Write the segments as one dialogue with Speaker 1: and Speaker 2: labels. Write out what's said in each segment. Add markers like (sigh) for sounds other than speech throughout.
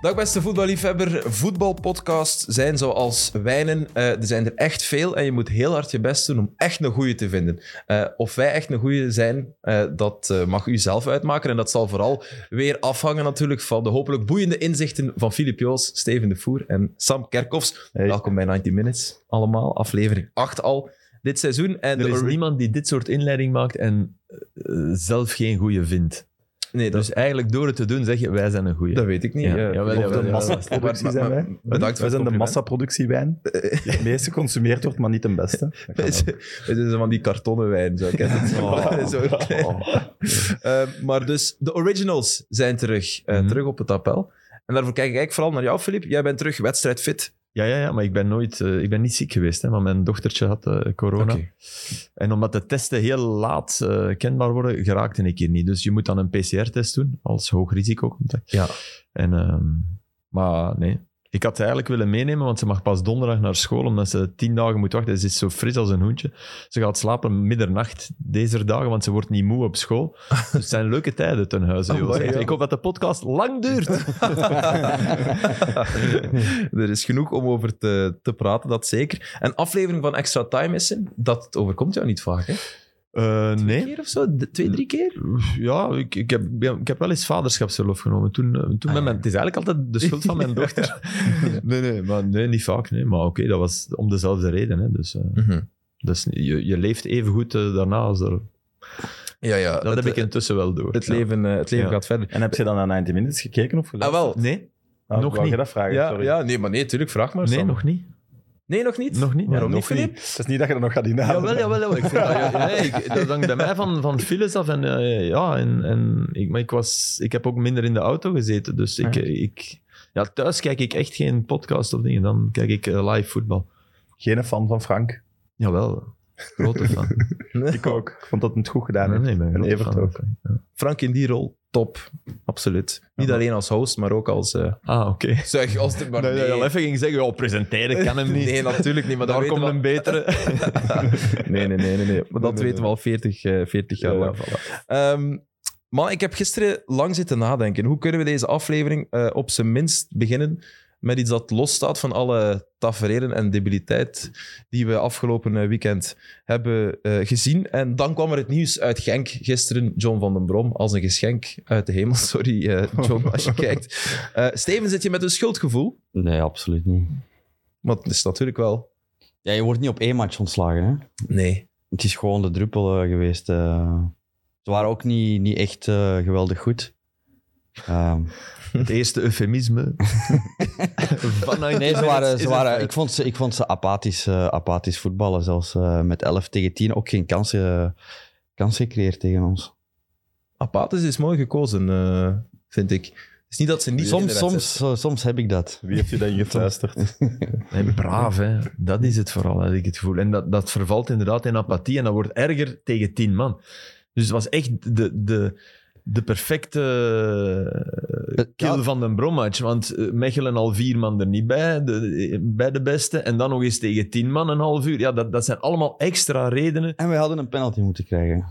Speaker 1: Dag beste voetballiefhebber. Voetbalpodcasts zijn zoals wijnen. Eh, er zijn er echt veel en je moet heel hard je best doen om echt een goeie te vinden. Eh, of wij echt een goeie zijn, eh, dat eh, mag u zelf uitmaken. En dat zal vooral weer afhangen natuurlijk van de hopelijk boeiende inzichten van Filip Joos, Steven de Voer en Sam Kerkhoffs.
Speaker 2: Hey.
Speaker 1: Welkom bij 90 Minutes allemaal, aflevering 8 al dit seizoen. En
Speaker 2: Er
Speaker 1: de
Speaker 2: is
Speaker 1: ori-
Speaker 2: niemand die dit soort inleiding maakt en eh, zelf geen goede vindt.
Speaker 1: Nee, dat,
Speaker 2: Dus eigenlijk door het te doen zeg je, wij zijn een goeie.
Speaker 1: dat weet ik niet.
Speaker 2: Ja.
Speaker 1: eh.
Speaker 2: Jawel,
Speaker 1: Of
Speaker 2: jawel,
Speaker 1: de
Speaker 2: jawel.
Speaker 1: massa- (laughs)
Speaker 3: Massaproductie
Speaker 1: Maar-
Speaker 3: zijn
Speaker 1: maar-
Speaker 3: wij.
Speaker 1: maar- Bedankt voor
Speaker 3: wij
Speaker 1: het
Speaker 3: zijn de
Speaker 1: compliment. (laughs)
Speaker 3: massaproductiewijn. Die het meest geconsumeerd wordt, maar niet de beste. Dat kan
Speaker 1: Is-
Speaker 3: wel.
Speaker 1: (laughs) Het is van die kartonnen wijn, zo. Kent het?
Speaker 3: Oh.
Speaker 1: (laughs) Zo klein. Eh, maar dus, de originals zijn terug, eh,
Speaker 2: Mhm.
Speaker 1: terug op het appel. En daarvoor kijk ik eigenlijk vooral naar jou, Filip. Jij bent terug wedstrijdfit.
Speaker 2: Ja, ja, ja, maar ik ben nooit, eh, ik ben niet ziek geweest, hè, maar mijn dochtertje had eh, corona.
Speaker 1: Oké.
Speaker 2: En omdat de testen heel laat eh, kenbaar worden, geraakte ik hier niet. Dus je moet dan een PCR-test doen, als hoog risicocontact.
Speaker 1: Ja.
Speaker 2: En, ehm, maar nee, ik had ze eigenlijk willen meenemen, want ze mag pas donderdag naar school, omdat ze tien dagen moet wachten. Ze is zo fris als een hoentje. Ze gaat slapen middernacht deze dagen, want ze wordt niet moe
Speaker 1: (laughs)
Speaker 2: op school. Dus het zijn leuke tijden ten huize,
Speaker 1: Amai,
Speaker 2: Joost. Echt,
Speaker 1: Oh, ja.
Speaker 2: Ik hoop dat de podcast lang duurt.
Speaker 1: (laughs) er is genoeg om over te, te praten, dat zeker. Een aflevering van Extra Time missen, dat overkomt jou niet vaak, hè?
Speaker 2: Eh, nee. Eh,
Speaker 1: Een keer of zo? De- twee, drie keer?
Speaker 2: Ja, ik, ik, heb, ik heb wel eens vaderschapsverlof genomen. Toen, eh, toen met
Speaker 1: ja.
Speaker 2: mijn, het is eigenlijk altijd de schuld (laughs) van mijn dochter. (laughs) nee, nee, maar, nee, niet vaak. Nee. Maar oké, dat was om dezelfde reden. Hè. Dus, eh,
Speaker 1: Mhm.
Speaker 2: dus je, je leeft even goed eh, daarna. Als er,
Speaker 1: Ja, ja.
Speaker 2: dat
Speaker 1: het,
Speaker 2: heb ik intussen wel door.
Speaker 1: het
Speaker 2: Ja.
Speaker 1: leven, eh, het leven
Speaker 2: Ja.
Speaker 1: gaat verder.
Speaker 3: En heb je dan naar 90 Minutes gekeken of
Speaker 1: Ah,
Speaker 3: geluisterd?
Speaker 1: wel.
Speaker 2: Nee,
Speaker 3: Ah,
Speaker 2: nog
Speaker 3: wou
Speaker 2: niet.
Speaker 3: je dat vragen?
Speaker 1: Ja,
Speaker 3: sorry.
Speaker 1: ja, nee, maar nee, tuurlijk, vraag maar.
Speaker 2: nee
Speaker 1: Sam.
Speaker 2: nog niet.
Speaker 1: nee, nog niet?
Speaker 2: Nog niet.
Speaker 1: Waarom
Speaker 2: nee.
Speaker 1: niet, Filip?
Speaker 3: Het is niet dat je dat nog gaat inhalen.
Speaker 2: Jawel, jawel, jawel. Ik vind dat, (laughs) ja, nee, ik, dat hangt bij mij van, van files af. En, eh, ja, en, en, ik, maar ik, was, ik heb ook minder in de auto gezeten. Dus ik,
Speaker 1: Ja.
Speaker 2: ik, ja, thuis kijk ik echt geen podcast of dingen. Dan kijk ik eh, live voetbal.
Speaker 3: Geen fan van Frank.
Speaker 2: Jawel. Grote fan.
Speaker 3: Ik ook. Ik vond dat het goed gedaan
Speaker 2: Nee,
Speaker 3: heeft.
Speaker 2: nee, ik ben
Speaker 3: en
Speaker 2: grote
Speaker 3: Evert
Speaker 2: fan.
Speaker 3: ook.
Speaker 1: Frank in die rol, top. Absoluut. Niet alleen als host, maar ook als... eh
Speaker 2: Ah, oké. Nee,
Speaker 1: zeg, als de, maar
Speaker 2: dat je al even ging zeggen, ja, presenteren kan hem niet.
Speaker 1: (laughs) Nee, natuurlijk niet, maar
Speaker 2: Daar
Speaker 1: dat
Speaker 2: komt
Speaker 1: weten
Speaker 2: een
Speaker 1: we
Speaker 2: betere.
Speaker 1: al- Nee, nee, nee, nee, nee. Maar dat
Speaker 3: Nee, nee,
Speaker 1: weten we al 40, eh, 40 jaar
Speaker 3: Ja,
Speaker 1: lang. Ehm, man, ik heb gisteren lang zitten nadenken. Hoe kunnen we deze aflevering eh, op zijn minst beginnen met iets dat losstaat van alle tafereelen en debiliteit die we afgelopen eh, weekend hebben eh, gezien. En dan kwam er het nieuws uit Genk gisteren. John van den Brom als een geschenk uit de hemel. (laughs) Sorry, eh, John, als je kijkt. Eh, Steven, zit je met een schuldgevoel?
Speaker 4: Nee, absoluut niet.
Speaker 1: Want het is natuurlijk wel...
Speaker 4: Ja, je wordt niet op één match ontslagen. Hè?
Speaker 1: Nee.
Speaker 4: Het is gewoon de druppel eh, geweest. eh. ze waren ook niet, niet echt eh, geweldig goed. Ehm,
Speaker 2: Het eerste eufemisme. Van
Speaker 4: nee, ze waren, ze waren, ik, vond ze, ik vond ze apathisch, eh, apathisch voetballen. Zelfs eh, met 11 tegen 10 ook geen kansen kans gecreëerd tegen ons.
Speaker 1: Apathisch is mooi gekozen, eh, vind ik. Het is niet dat ze niet... in de
Speaker 4: Soms,
Speaker 1: wedstrijd
Speaker 4: soms, eh, soms heb ik dat.
Speaker 3: Wie heeft je dat
Speaker 2: (laughs)
Speaker 3: ingeluisterd?
Speaker 2: Nee, braaf, hè. Dat is het vooral, heb ik het gevoel. En dat, dat vervalt inderdaad in apathie en dat wordt erger tegen tien man. Dus het was echt de, de, de perfecte eh, kill
Speaker 4: Ja.
Speaker 2: van de brommatch. Want eh, Mechelen al vier man er niet bij, de, bij de beste. En dan nog eens tegen tien man een half uur. Ja, dat, dat zijn allemaal extra redenen.
Speaker 4: En we hadden een penalty moeten krijgen.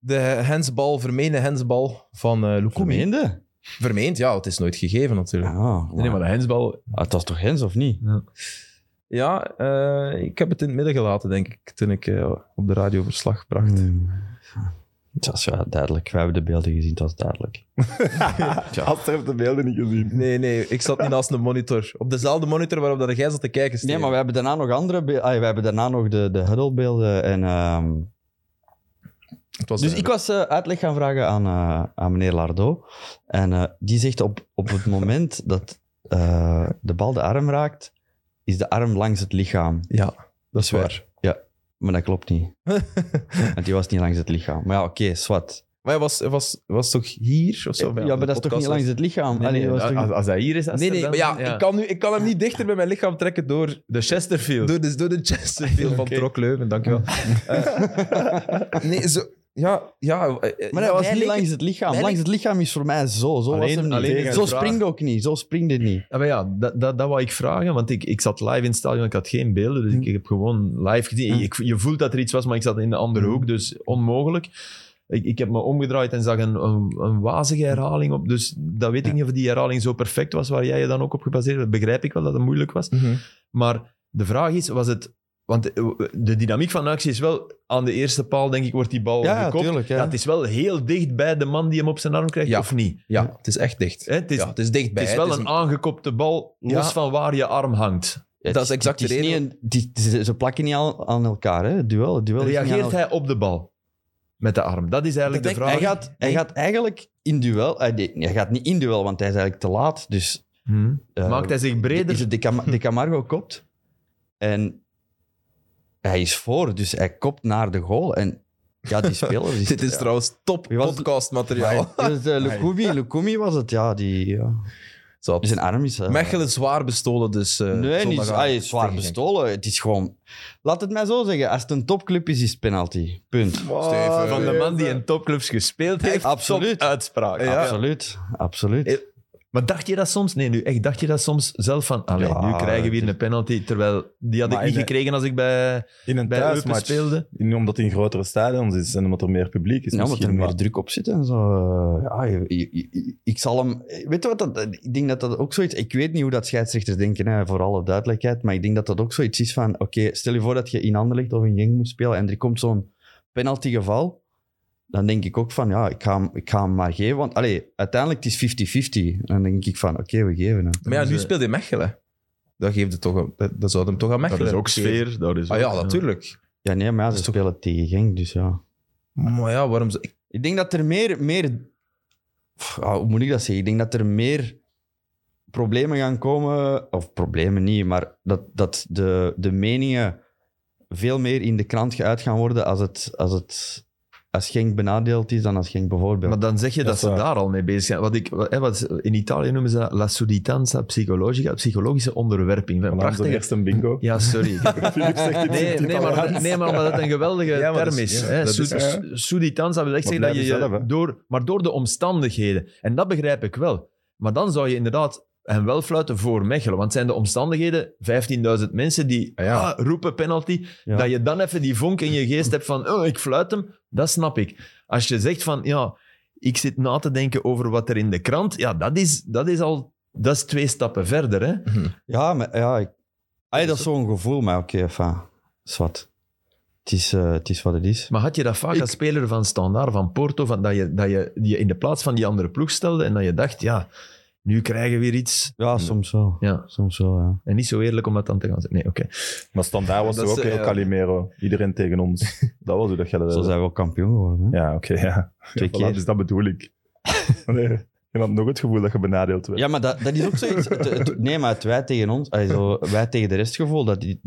Speaker 1: De hensbal, vermeende hensbal van eh Lukumi.
Speaker 4: Meende?
Speaker 1: Vermeend, ja, het is nooit gegeven natuurlijk.
Speaker 4: Ah,
Speaker 2: Nee, maar de hensbal...
Speaker 4: Ah, Het was toch Hens of niet?
Speaker 1: Ja, eh, ik heb het in het midden gelaten, denk ik, toen ik eh, op de radio verslag bracht.
Speaker 4: Hmm. Het was ja, duidelijk. Wij hebben de beelden gezien, het was duidelijk.
Speaker 3: Als heeft de beelden niet gezien.
Speaker 1: Nee, nee, ik zat niet naast een monitor. Op dezelfde monitor waarop dat jij zat te kijken, Steven.
Speaker 4: Nee, maar we hebben daarna nog andere beelden. We hebben daarna nog de, de huddlebeelden. En, ehm,
Speaker 1: Het was
Speaker 4: dus ik was eh, uitleg gaan vragen aan, eh, aan meneer Lardo. En eh, die zegt op, op het (laughs) moment dat eh, de bal de arm raakt, is de arm langs het lichaam.
Speaker 1: Ja, dat is
Speaker 4: wij-
Speaker 1: waar.
Speaker 4: Maar dat
Speaker 2: (laughs)
Speaker 4: klopt niet. Want die was niet langs het lichaam. Maar ja, oké, zwart.
Speaker 1: Maar hij was, hij was, was toch hier of zo?
Speaker 4: Ja, maar dat is toch niet langs het lichaam?
Speaker 1: Ah,
Speaker 2: Nee,
Speaker 4: Allee,
Speaker 2: nee,
Speaker 4: dat was
Speaker 2: als,
Speaker 4: toch niet-
Speaker 2: als hij hier is... als
Speaker 1: Nee,
Speaker 2: hij
Speaker 1: nee,
Speaker 2: dan-
Speaker 1: maar ja, Ik, kan nu, ik kan hem niet dichter bij mijn lichaam trekken door
Speaker 2: De Chesterfield.
Speaker 1: Door de, door de Chesterfield Mm. van
Speaker 2: (laughs) Oké.
Speaker 1: Trok Leuven, dankjewel. Eh, nee, zo... Ja, ja.
Speaker 4: Maar hij was niet langs het lichaam.
Speaker 1: hij
Speaker 4: langs het lichaam is voor mij zo. Zo
Speaker 2: Alleen-
Speaker 4: was hem
Speaker 2: alleen
Speaker 4: niet.
Speaker 2: is
Speaker 4: Zo
Speaker 2: de vraag-
Speaker 4: springt ook niet. Zo springt het niet.
Speaker 2: Ja, Ah, maar ja, dat, dat, dat wou ik vragen, want ik, ik zat live in het stadion, ik had geen beelden,
Speaker 1: Mm.
Speaker 2: dus ik, ik heb gewoon live gezien.
Speaker 4: Hmm.
Speaker 1: Mm.
Speaker 2: Ik, je voelt dat er iets was, maar ik zat in de andere hoek, dus onmogelijk. Ik, ik heb me omgedraaid en zag een, een, een wazige herhaling op. Dus dat weet ik niet of die herhaling zo perfect was, waar jij je dan ook op gebaseerd hebt. Begrijp ik wel dat het moeilijk was.
Speaker 1: Mhm.
Speaker 2: Maar de vraag is, was het... Want eh, de dynamiek van de actie is wel... Aan de eerste paal, denk ik, wordt die bal
Speaker 4: Ja,
Speaker 2: gekopt.
Speaker 4: natuurlijk. Ja.
Speaker 2: Ja, het is wel heel dicht bij de man die hem op zijn arm krijgt,
Speaker 1: Ja.
Speaker 2: of niet?
Speaker 1: Ja, het is echt dicht.
Speaker 2: Hè, het, is,
Speaker 1: ja, het is dichtbij.
Speaker 2: het is wel een, aangekopte bal, los
Speaker 1: Ja.
Speaker 2: van waar je arm hangt.
Speaker 4: Ja,
Speaker 1: dat is exact
Speaker 4: het
Speaker 1: de
Speaker 4: niet
Speaker 1: reden-
Speaker 4: een- die- ze- ze plakken niet aan, aan elkaar, hè? Het duel. Het duel is niet aan
Speaker 2: Reageert
Speaker 4: elkaar.
Speaker 2: hij op de bal? Met de arm. Dat is eigenlijk
Speaker 1: Dat
Speaker 2: de
Speaker 1: denk-
Speaker 2: vraag.
Speaker 4: Hij gaat, hij gaat eigenlijk in duel. eh, nee, hij gaat niet in duel, want hij is eigenlijk te laat. Dus
Speaker 2: Hm.
Speaker 4: eh,
Speaker 2: Maakt hij
Speaker 1: (laughs)
Speaker 2: zich breder?
Speaker 4: Is het de, Cam- de Camargo kopt. En hij is voor, dus hij kopt naar de goal. En ja, die speler... Die
Speaker 1: (laughs) Dit is trouwens top
Speaker 4: Wie was het?
Speaker 1: podcastmateriaal.
Speaker 4: ja, dus, eh,
Speaker 1: (laughs)
Speaker 4: Lukumi, Lukumi was het, ja. Die, ja.
Speaker 1: Zat.
Speaker 4: Zijn arm is... eh,
Speaker 1: Mechelen zwaar bestolen, dus... eh,
Speaker 4: nee, niet,
Speaker 1: zondagavond
Speaker 4: hij is zwaar
Speaker 1: tegen Genk.
Speaker 4: bestolen. Het is gewoon... Laat het mij zo zeggen. Als het een topclub is, is het penalty. Punt.
Speaker 3: Oh, Eh,
Speaker 1: Steven.
Speaker 2: Van de man die in topclubs gespeeld heeft,
Speaker 4: Absoluut.
Speaker 2: tot uitspraak.
Speaker 1: Ja.
Speaker 4: Absoluut. Absoluut.
Speaker 2: Eh, Maar dacht je dat soms? Nee, nu echt. Dacht je dat soms zelf van. Allee,
Speaker 4: Ja,
Speaker 2: nu krijgen we hier een penalty. Terwijl die had ik
Speaker 3: Maar
Speaker 2: niet
Speaker 3: in de-
Speaker 2: gekregen als ik bij.
Speaker 3: In een
Speaker 2: Bij Eupen
Speaker 3: thuismatch.
Speaker 2: speelde.
Speaker 3: In, omdat het in grotere stadions is en omdat er meer publiek is.
Speaker 4: Ja, omdat
Speaker 3: misschien,
Speaker 4: er meer
Speaker 3: maar-
Speaker 4: druk op zit en zo. Eh, Ja, je- je- je- ik zal hem... Weet je wat? Dat, ik denk dat dat ook zoiets... Ik weet niet hoe dat scheidsrechters denken, hè, voor alle duidelijkheid. Maar ik denk dat dat ook zoiets is van... Oké, stel je voor dat je in Anderlecht of in Genk moet spelen en er komt zo'n penaltygeval. Dan denk ik ook van, ja, ik ga hem, ik ga hem maar geven. Want allee, uiteindelijk het is het 50-50. Dan denk ik van, oké, we geven hem.
Speaker 1: Maar ja, nu
Speaker 2: Dus, eh,
Speaker 1: speelt hij Mechelen. Dat, geeft het toch een, dat, dat zou hem toch aan Mechelen
Speaker 2: Dat is ook
Speaker 1: geven.
Speaker 2: sfeer. Dat is
Speaker 1: Ah
Speaker 2: ook-
Speaker 1: ja, natuurlijk.
Speaker 4: Ja, nee, maar ja, ze
Speaker 1: is toch-
Speaker 4: spelen tegen Genk, dus ja.
Speaker 1: Maar ja, waarom... ze- ik-
Speaker 4: Ik denk dat er meer... meer Pff, ja, hoe moet ik dat zeggen? Ik denk dat er meer problemen gaan komen... Of problemen niet, maar dat, dat de, de meningen veel meer in de krant geuit gaan worden als, het, als, het, als Genk benadeeld is dan als Genk bijvoorbeeld.
Speaker 2: Maar dan zeg je dat,
Speaker 3: Dat is
Speaker 2: ze
Speaker 3: waar.
Speaker 2: daar al mee bezig zijn. Wat ik, wat, hè, wat, in Italië noemen ze dat la sudditanza psychologica, psychologische onderwerping. Een
Speaker 3: Voilà, onze
Speaker 2: prachtige...
Speaker 3: eerste bingo.
Speaker 2: Ja, sorry.
Speaker 3: (laughs) Philip zegt iets
Speaker 2: Nee,
Speaker 3: in
Speaker 2: nee, maar,
Speaker 3: Italiaans.
Speaker 2: omdat- nee, maar omdat het een geweldige
Speaker 1: (laughs) Ja, maar dat
Speaker 2: term
Speaker 1: is-
Speaker 2: is.
Speaker 1: ja,
Speaker 2: hè.
Speaker 1: dat
Speaker 2: Su-
Speaker 1: is echt-
Speaker 2: su- Sudditanza wil echt zeggen dat je,
Speaker 3: blijven zelf,
Speaker 2: je
Speaker 3: hè.
Speaker 2: door, maar door de omstandigheden. En dat begrijp ik wel. Maar dan zou je inderdaad hem wel fluiten voor Mechelen. Want zijn de omstandigheden 15.000 mensen die
Speaker 1: Ah, ja.
Speaker 2: ah, roepen penalty,
Speaker 4: Ja.
Speaker 2: dat je dan even die vonk in je geest hebt van oh, ik fluit hem, dat snap ik. Als je zegt van ja, ik zit na te denken over wat er in de krant, ja, dat is, dat is al dat is twee stappen verder. Hè?
Speaker 4: Ja, maar ja... Ik... Ay, dat is zo'n gevoel, maar oké, enfin, zwart. Het is, eh, het is wat het is.
Speaker 2: Maar had je dat vaak als speler van Standaard, van Porto, van, dat, je, dat je je in de plaats van die andere ploeg stelde en dat je dacht, ja, nu krijgen we weer iets.
Speaker 4: Ja, soms wel.
Speaker 2: Ja.
Speaker 4: Soms wel, ja.
Speaker 2: En niet zo eerlijk om dat dan te gaan zeggen. Nee, oké.
Speaker 3: Maar standaard was
Speaker 1: Dat
Speaker 3: er ook
Speaker 1: is,
Speaker 3: heel
Speaker 1: eh,
Speaker 3: Calimero. Iedereen tegen
Speaker 1: (laughs)
Speaker 3: ons. Dat was hoe dat je dat...
Speaker 4: Zo zijn we ook kampioen geworden. Hè?
Speaker 3: Ja, oké, ja.
Speaker 4: Twee
Speaker 3: Ja, voilà,
Speaker 4: keer.
Speaker 3: dus dat bedoel (laughs) ik. Nee, je had nog het gevoel dat je benadeeld werd.
Speaker 4: Ja, maar dat, dat is ook
Speaker 3: (laughs)
Speaker 4: zoiets. het- het- nee, maar het wij tegen ons, allee, zo, wij tegen de rest gevoel, dat, die-